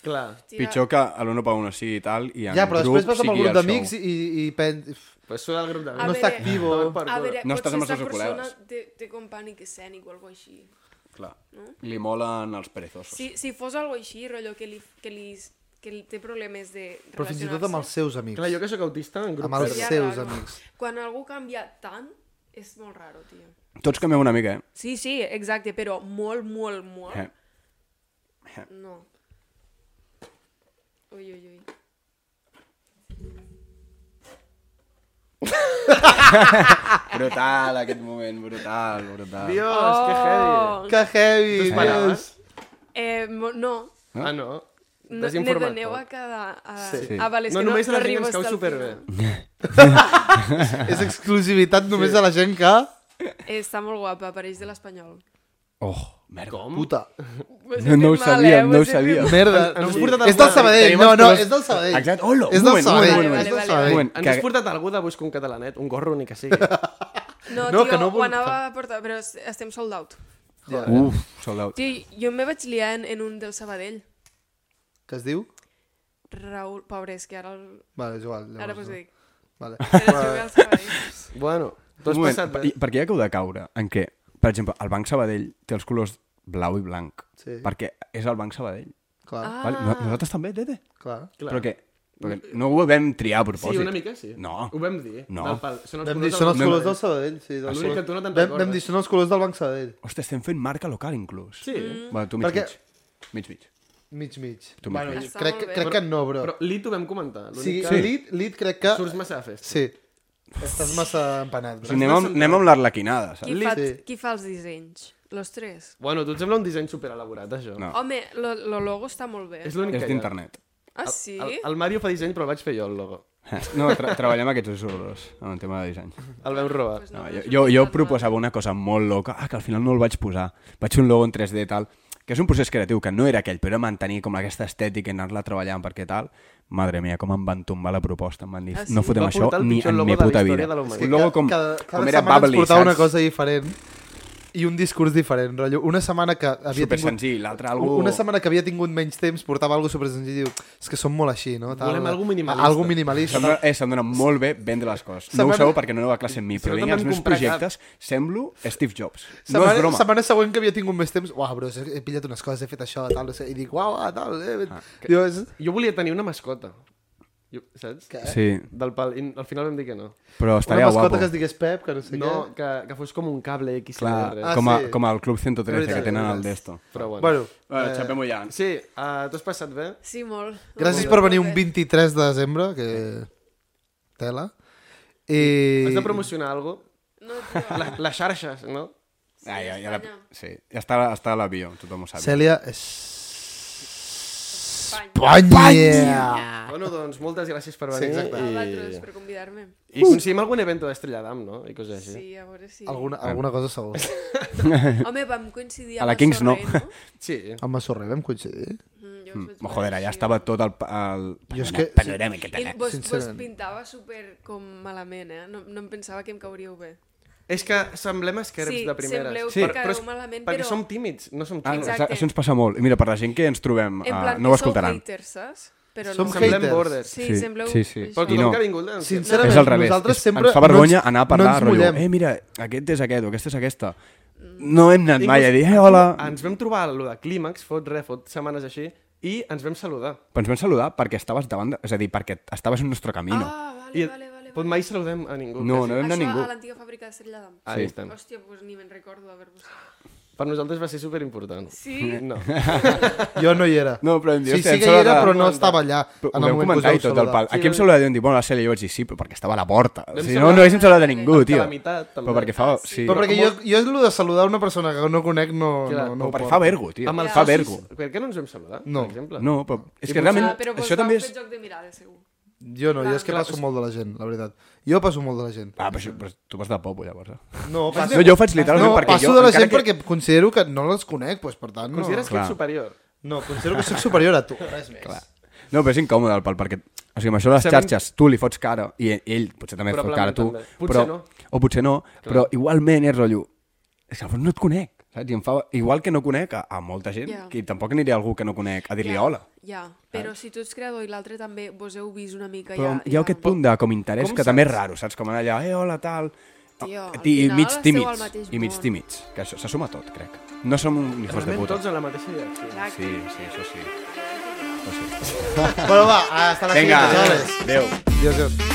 Speaker 3: Clar.
Speaker 4: Tira-
Speaker 2: Pitjor que l'uno per uno sigui i tal, i en
Speaker 1: Ja, però després
Speaker 2: grup
Speaker 1: vas amb el
Speaker 2: sigui
Speaker 1: grup
Speaker 2: el
Speaker 1: d'amics
Speaker 2: show.
Speaker 1: i, i penses...
Speaker 3: Pues surt del grup de
Speaker 4: A
Speaker 1: No
Speaker 3: no,
Speaker 4: veure,
Speaker 1: està activo.
Speaker 4: A veure,
Speaker 2: No
Speaker 4: no
Speaker 2: estàs
Speaker 4: potser
Speaker 2: amb els
Speaker 4: esta
Speaker 2: seus
Speaker 4: persona
Speaker 2: col·legues.
Speaker 4: té, té com pànic escènic o alguna així.
Speaker 2: Clar. Li molen els perezosos.
Speaker 4: Si, si fos algo així, rotllo, que li, que li, que li té problemes de relacionar-se...
Speaker 1: Però fins i tot amb els seus amics.
Speaker 3: Clar, jo que sóc autista, en grup
Speaker 1: Amb els
Speaker 3: zero.
Speaker 4: Seria
Speaker 1: seus
Speaker 4: raro.
Speaker 1: amics.
Speaker 4: Quan algú canvia tant, és molt raro, tio.
Speaker 2: Tots canviem una mica, eh?
Speaker 4: Sí, sí, exacte, però molt, molt, molt... *laughs*
Speaker 2: eh?
Speaker 4: No. Ui, ui, ui.
Speaker 2: Brutal, aquest moment, brutal, brutal.
Speaker 3: Dios, oh. que heavy.
Speaker 1: Que
Speaker 3: Tu
Speaker 1: heavy!
Speaker 3: esperaves?
Speaker 4: Eh, mo- no,
Speaker 3: Ah, no.
Speaker 4: no
Speaker 3: T'has
Speaker 4: me
Speaker 3: informat.
Speaker 4: doneu a
Speaker 3: poc.
Speaker 4: cada... A, Ah,
Speaker 2: Sí.
Speaker 4: sí. a València,
Speaker 3: No,
Speaker 4: no,
Speaker 3: només
Speaker 4: no,
Speaker 3: la
Speaker 4: arribo
Speaker 3: gent ens cau
Speaker 4: hasta el
Speaker 3: superbé.
Speaker 4: final.
Speaker 1: És exclusivitat només de la gent que...
Speaker 4: Eh, Està molt guapa, apareix de l'Espanyol.
Speaker 2: Oh, merda.
Speaker 3: Com?
Speaker 1: Puta.
Speaker 2: No, no ho sabíem, no ho sabíem.
Speaker 1: Merda.
Speaker 3: Ens- ens porta
Speaker 1: És del
Speaker 3: alguna-
Speaker 1: Sabadell.
Speaker 2: tenim
Speaker 1: No,
Speaker 2: els
Speaker 1: no,
Speaker 2: colors-
Speaker 1: és del Sabadell.
Speaker 2: Exacte.
Speaker 1: És
Speaker 2: Hola, un
Speaker 1: del
Speaker 2: moment, un
Speaker 1: Sabadell.
Speaker 4: moment, un
Speaker 1: és del
Speaker 4: moment.
Speaker 1: Sabadell.
Speaker 2: moment.
Speaker 3: Ens
Speaker 2: Que-
Speaker 3: has portat algú de buscar un catalanet, un gorro ni que sigui.
Speaker 1: No,
Speaker 4: No, no
Speaker 1: que
Speaker 4: tio,
Speaker 1: no
Speaker 4: no
Speaker 1: vol-
Speaker 4: ho anava a portar, però es- estem sold out.
Speaker 2: Uf, sold out.
Speaker 4: Tio, jo me vaig liar en, en un del Sabadell.
Speaker 1: Què es diu?
Speaker 4: Raül, pobre, és que ara... El,
Speaker 1: Vale, és igual.
Speaker 4: ara pues ho dic.
Speaker 1: Vale.
Speaker 4: Però juga
Speaker 3: *laughs*
Speaker 4: al Sabadell.
Speaker 3: Bueno, tu has
Speaker 2: Un moment,
Speaker 3: passat...
Speaker 2: per, per què hi ha que heu de caure? En què? Per exemple, el Banc Sabadell té els colors blau i blanc.
Speaker 1: Sí.
Speaker 2: Perquè és el Banc Sabadell.
Speaker 1: Clar,
Speaker 4: Ah.
Speaker 2: Vale? No- Nosaltres també, Tete.
Speaker 1: clar.
Speaker 3: Clar.
Speaker 2: Però què? Perquè no ho vam triar a propòsit.
Speaker 3: Sí, una mica sí.
Speaker 2: No.
Speaker 3: Ho vam dir.
Speaker 2: No.
Speaker 3: Del pal.
Speaker 4: Doncs
Speaker 3: Són els
Speaker 1: Vam
Speaker 3: colors
Speaker 1: dir, són els
Speaker 3: del-
Speaker 1: colors del Sabadell. Sí, del
Speaker 3: sí?
Speaker 1: color-
Speaker 3: Que tu no
Speaker 1: vam,
Speaker 3: te'n
Speaker 1: vam
Speaker 3: recordes.
Speaker 1: dir, són els colors del Banc Sabadell.
Speaker 2: Hòstia, estem fent marca local, inclús.
Speaker 3: Sí. Mm.
Speaker 2: Vale, tu mig,
Speaker 1: Perquè-
Speaker 2: mig. Mig, mig.
Speaker 1: Mig, mig.
Speaker 2: Tu
Speaker 1: bueno,
Speaker 2: mig,
Speaker 1: jo
Speaker 4: mig.
Speaker 1: crec,
Speaker 4: Està
Speaker 1: que-
Speaker 4: molt bé.
Speaker 1: crec que no, bro.
Speaker 3: Però l'I t'ho vam comentar.
Speaker 1: O sigui,
Speaker 3: L'únic
Speaker 1: sí.
Speaker 3: que
Speaker 1: Lid, Lid crec que...
Speaker 3: surts massa a festa.
Speaker 1: Sí. Estàs massa empanat,
Speaker 2: Sí,
Speaker 1: bro.
Speaker 2: anem, amb, anem amb l'arlequinada,
Speaker 4: Qui,
Speaker 2: saps?
Speaker 4: fa,
Speaker 1: Sí.
Speaker 4: qui fa els dissenys? Los tres.
Speaker 3: Bueno, tu et sembla un disseny super elaborat, això.
Speaker 2: No.
Speaker 4: Home, lo, lo logo està molt bé.
Speaker 3: És l'únic
Speaker 2: És
Speaker 3: que hi ha.
Speaker 2: d'internet. Eh,
Speaker 4: Ah, sí?
Speaker 3: El, el Mario fa disseny, però el vaig fer jo, el logo.
Speaker 2: No, tra treballem aquests dos horrors en el tema de disseny.
Speaker 3: El vam robar.
Speaker 2: No, jo, jo, jo proposava una cosa molt loca, ah, que al final no el vaig posar. Vaig fer un logo en 3D i tal, que és un procés creatiu, que no era aquell, però era mantenir com aquesta estètica i anar-la treballant perquè tal. Madre mia, com em van tombar la proposta. Em van dir,
Speaker 4: Ah, sí?
Speaker 2: no fotem
Speaker 3: Va
Speaker 2: això
Speaker 3: portar el
Speaker 2: ni
Speaker 3: pitjor
Speaker 2: en la
Speaker 3: logo
Speaker 2: meva
Speaker 3: de la
Speaker 2: puta
Speaker 3: història
Speaker 2: vida.
Speaker 3: de la humanitat.
Speaker 2: Un logo com,
Speaker 1: cada, cada
Speaker 2: com era
Speaker 1: setmana ens
Speaker 2: Bubbly,
Speaker 1: portava
Speaker 2: saps?
Speaker 1: una cosa diferent i un discurs diferent. Rotllo. Una setmana que havia
Speaker 2: Super
Speaker 1: tingut...
Speaker 2: senzill, l'altra algo-
Speaker 1: Una setmana que havia tingut menys temps portava algo super senzill i diu, és que som molt així, no?
Speaker 3: Volem algo minimalista."
Speaker 1: Algo minimalista.
Speaker 2: Sembla, eh, se'm dona molt bé vendre les coses. No
Speaker 1: Setmana-
Speaker 2: ho sabeu perquè no aneu a classe amb mi, però
Speaker 3: no
Speaker 2: vinc
Speaker 3: te'n
Speaker 2: als
Speaker 3: vam
Speaker 2: meus
Speaker 3: comprar
Speaker 2: projectes, semblo Steve Jobs. No
Speaker 1: Setmana,
Speaker 2: és broma.
Speaker 1: setmana següent que havia tingut més temps, uau, bro, he pillat unes coses, he fet això, tal, no sé, i dic, uau, ah, tal, eh, ah, diu, és...
Speaker 3: Jo volia tenir una mascota. Jo, saps?
Speaker 1: Que-
Speaker 2: Sí,
Speaker 3: Del pal. I al final vam dir que no.
Speaker 2: però
Speaker 1: Una
Speaker 2: estaria
Speaker 1: mascota
Speaker 2: guapo.
Speaker 1: que es digués Pep, que no sé
Speaker 3: No,
Speaker 1: què.
Speaker 3: que, que fos com un cable
Speaker 2: Clar,
Speaker 3: XLR.
Speaker 1: Ah,
Speaker 2: com, a,
Speaker 1: sí.
Speaker 2: com al Club 113
Speaker 1: Veritat,
Speaker 2: que tenen
Speaker 1: veritat.
Speaker 2: el d'esto.
Speaker 3: Però bueno.
Speaker 1: Bueno,
Speaker 4: Eh,
Speaker 2: Bueno, xapem-ho ja.
Speaker 3: Sí, uh, t'ho has passat bé?
Speaker 4: Sí, molt.
Speaker 1: gràcies
Speaker 4: Molt
Speaker 1: per
Speaker 4: bé,
Speaker 1: venir un
Speaker 4: molt bé.
Speaker 1: 23 de desembre, que... Tela.
Speaker 3: I...
Speaker 1: I...
Speaker 3: Has de promocionar alguna cosa?
Speaker 4: No, tio.
Speaker 3: La, les xarxes, no?
Speaker 2: Ah, ja, ja, la,
Speaker 4: Espanya.
Speaker 2: sí, ja està, està a la bio, tothom ho sap.
Speaker 1: Cèlia és... Espanya!
Speaker 3: Bueno, doncs moltes gràcies per
Speaker 1: Sí,
Speaker 3: venir.
Speaker 1: exacte.
Speaker 4: Ah. A
Speaker 3: i...
Speaker 4: vosaltres per convidar-me.
Speaker 3: I aconseguim algun evento d'Estrella d'Am, no? I coses així.
Speaker 4: Sí, a veure si...
Speaker 1: Alguna, alguna cosa segur.
Speaker 2: *laughs*
Speaker 4: Home, vam coincidir
Speaker 2: A
Speaker 4: amb
Speaker 2: la
Speaker 4: el
Speaker 2: Kings no.
Speaker 4: Sorrent,
Speaker 2: *laughs*
Speaker 3: Sí.
Speaker 1: Amb Massorrer vam coincidir?
Speaker 4: Mm, jo us vaig
Speaker 2: Mm,
Speaker 4: veure
Speaker 2: Joder, allà
Speaker 4: així.
Speaker 2: estava tot el, pa- el
Speaker 1: Jo és que-
Speaker 2: panorama que eh.
Speaker 4: I
Speaker 2: tenia.
Speaker 4: vos, vos
Speaker 1: Sincerament.
Speaker 4: pintava super com malament, eh? No, no em pensava que em cauríeu bé.
Speaker 3: És que semblem esquerps
Speaker 4: Sí,
Speaker 3: de primeres.
Speaker 4: sembleu
Speaker 2: Sí.
Speaker 4: que
Speaker 3: Però és-
Speaker 4: cagueu malament,
Speaker 3: perquè
Speaker 4: però-
Speaker 3: som tímids, no som
Speaker 2: Ah, no,
Speaker 3: tímids.
Speaker 4: Exacte.
Speaker 2: això ens passa molt. I Mira, per la gent que ens trobem,
Speaker 4: En
Speaker 2: uh,
Speaker 4: plan,
Speaker 2: no ho
Speaker 4: que sou
Speaker 2: escoltaran.
Speaker 4: haters, saps? Però
Speaker 1: Som
Speaker 4: no.
Speaker 1: haters.
Speaker 3: Semblem borders.
Speaker 4: Sí,
Speaker 2: Sí,
Speaker 4: sembleu...
Speaker 2: sí, sí.
Speaker 3: Però
Speaker 4: això.
Speaker 3: tothom
Speaker 2: no.
Speaker 3: que ha vingut... doncs, ens-
Speaker 1: Sincerament.
Speaker 2: és al revés.
Speaker 1: Nosaltres
Speaker 2: és,
Speaker 1: sempre
Speaker 2: ens fa vergonya
Speaker 1: no ens-
Speaker 2: anar a
Speaker 1: no
Speaker 2: parlar,
Speaker 1: ens
Speaker 2: rotllo,
Speaker 1: mullem.
Speaker 2: eh, mira, aquest és aquest, o aquesta és aquesta.
Speaker 4: Mm.
Speaker 2: No hem anat
Speaker 3: Inclús-
Speaker 2: mai a dir, eh, hola.
Speaker 3: Ens vam trobar a lo de clímax, fot re, fot setmanes així, i ens vam saludar.
Speaker 2: Però ens vam saludar perquè estaves davant, de... és a dir, perquè estaves en el nostre camí, no?
Speaker 4: Ah, vale,
Speaker 3: I
Speaker 4: vale, vale.
Speaker 3: Pot
Speaker 4: vale.
Speaker 3: mai saludem a ningú.
Speaker 2: No,
Speaker 3: quasi.
Speaker 2: no hem
Speaker 4: Això
Speaker 2: anat ningú.
Speaker 4: a l'antiga fàbrica d'Estrella d'Am.
Speaker 3: Ahí
Speaker 2: Sí.
Speaker 3: estem.
Speaker 4: Hòstia, pues ni me'n recordo haver-vos...
Speaker 3: Per nosaltres va ser superimportant.
Speaker 4: Sí?
Speaker 3: *laughs* No.
Speaker 1: Jo no hi era.
Speaker 2: No, però em diu,
Speaker 1: sí,
Speaker 2: hòstia,
Speaker 1: sí
Speaker 2: em
Speaker 1: que hi era,
Speaker 2: saluda-
Speaker 1: però no estava allà.
Speaker 2: Però
Speaker 1: en
Speaker 2: ho
Speaker 1: el
Speaker 2: vam
Speaker 1: moment que us
Speaker 2: comentar i
Speaker 1: vau
Speaker 2: tot el pal.
Speaker 1: saludar.
Speaker 2: Aquí em saludeu i em diu, bueno, la Cèlia, jo vaig dir sí, però perquè estava a la porta. O sigui, no,
Speaker 3: saludar-
Speaker 2: no haguéssim saludat a ningú,
Speaker 3: Que
Speaker 2: tio.
Speaker 3: la meitat, també.
Speaker 2: Però perquè fa...
Speaker 4: Ah, sí.
Speaker 2: Sí.
Speaker 1: Però perquè jo,
Speaker 3: Com-
Speaker 1: jo és el de saludar una persona que no conec, no,
Speaker 3: Clar,
Speaker 1: no, no
Speaker 2: No,
Speaker 1: ho
Speaker 2: perquè
Speaker 1: porto.
Speaker 2: fa vergo, tio.
Speaker 3: Amb els
Speaker 2: Fa
Speaker 3: socis-
Speaker 2: vergo.
Speaker 3: Per què no ens vam saludar,
Speaker 1: No.
Speaker 3: per exemple?
Speaker 2: No, però és que
Speaker 3: potser-
Speaker 2: realment...
Speaker 4: Ah, però vos
Speaker 2: això també és...
Speaker 4: fet joc de mirada, segur.
Speaker 1: Jo no, jo és que
Speaker 3: Clar,
Speaker 1: passo molt de la gent, la veritat. Jo passo molt de la gent.
Speaker 2: Ah, però, això- però tu vas de popo, llavors. eh?
Speaker 1: No, passo,
Speaker 2: No, jo ho faig literalment
Speaker 1: no,
Speaker 2: perquè
Speaker 1: passo
Speaker 2: jo...
Speaker 1: de la
Speaker 2: encara
Speaker 1: gent perquè considero que no les conec, doncs, per tant... No,
Speaker 3: Consideres que
Speaker 2: Clar.
Speaker 3: ets superior?
Speaker 1: no considero que sóc superior a tu. Res més.
Speaker 2: No, però és incòmode el pal, perquè... O sigui, amb això de les
Speaker 3: Sabem-
Speaker 2: xarxes, tu li fots cara, i ell- ell potser també et fot cara a tu,
Speaker 3: Probablement també. Potser
Speaker 2: però,
Speaker 3: no.
Speaker 2: o potser no, però igualment és rotllo... És que al fons no et conec, saps? I em fa... Igual que no conec a, a molta gent,
Speaker 4: Ja.
Speaker 2: que tampoc aniré a algú que no conec a dir-li
Speaker 4: Ja,
Speaker 2: hola.
Speaker 4: Ja, però si tu ets creador i l'altre també, vos heu vist una mica
Speaker 2: Però
Speaker 4: ja.
Speaker 2: hi ha aquest punt de com interès
Speaker 3: Com
Speaker 2: que també és
Speaker 3: saps?
Speaker 2: raro, saps? Com anar allà, eh, hola, tal...
Speaker 4: Tio, al
Speaker 2: Ah, I
Speaker 4: final
Speaker 2: mig
Speaker 4: esteu al
Speaker 2: tímids,
Speaker 4: mateix
Speaker 2: i mig
Speaker 4: món.
Speaker 2: tímids, que això se suma tot, crec. No som un hijos de
Speaker 3: Anem
Speaker 2: puta.
Speaker 3: tots en la mateixa direcció.
Speaker 4: Exacte.
Speaker 2: Sí, sí, això sí. Això sí.
Speaker 1: Bueno, va, hasta la
Speaker 2: Vinga,
Speaker 1: siguiente, chavales.
Speaker 2: adéu.
Speaker 1: Adiós, adiós.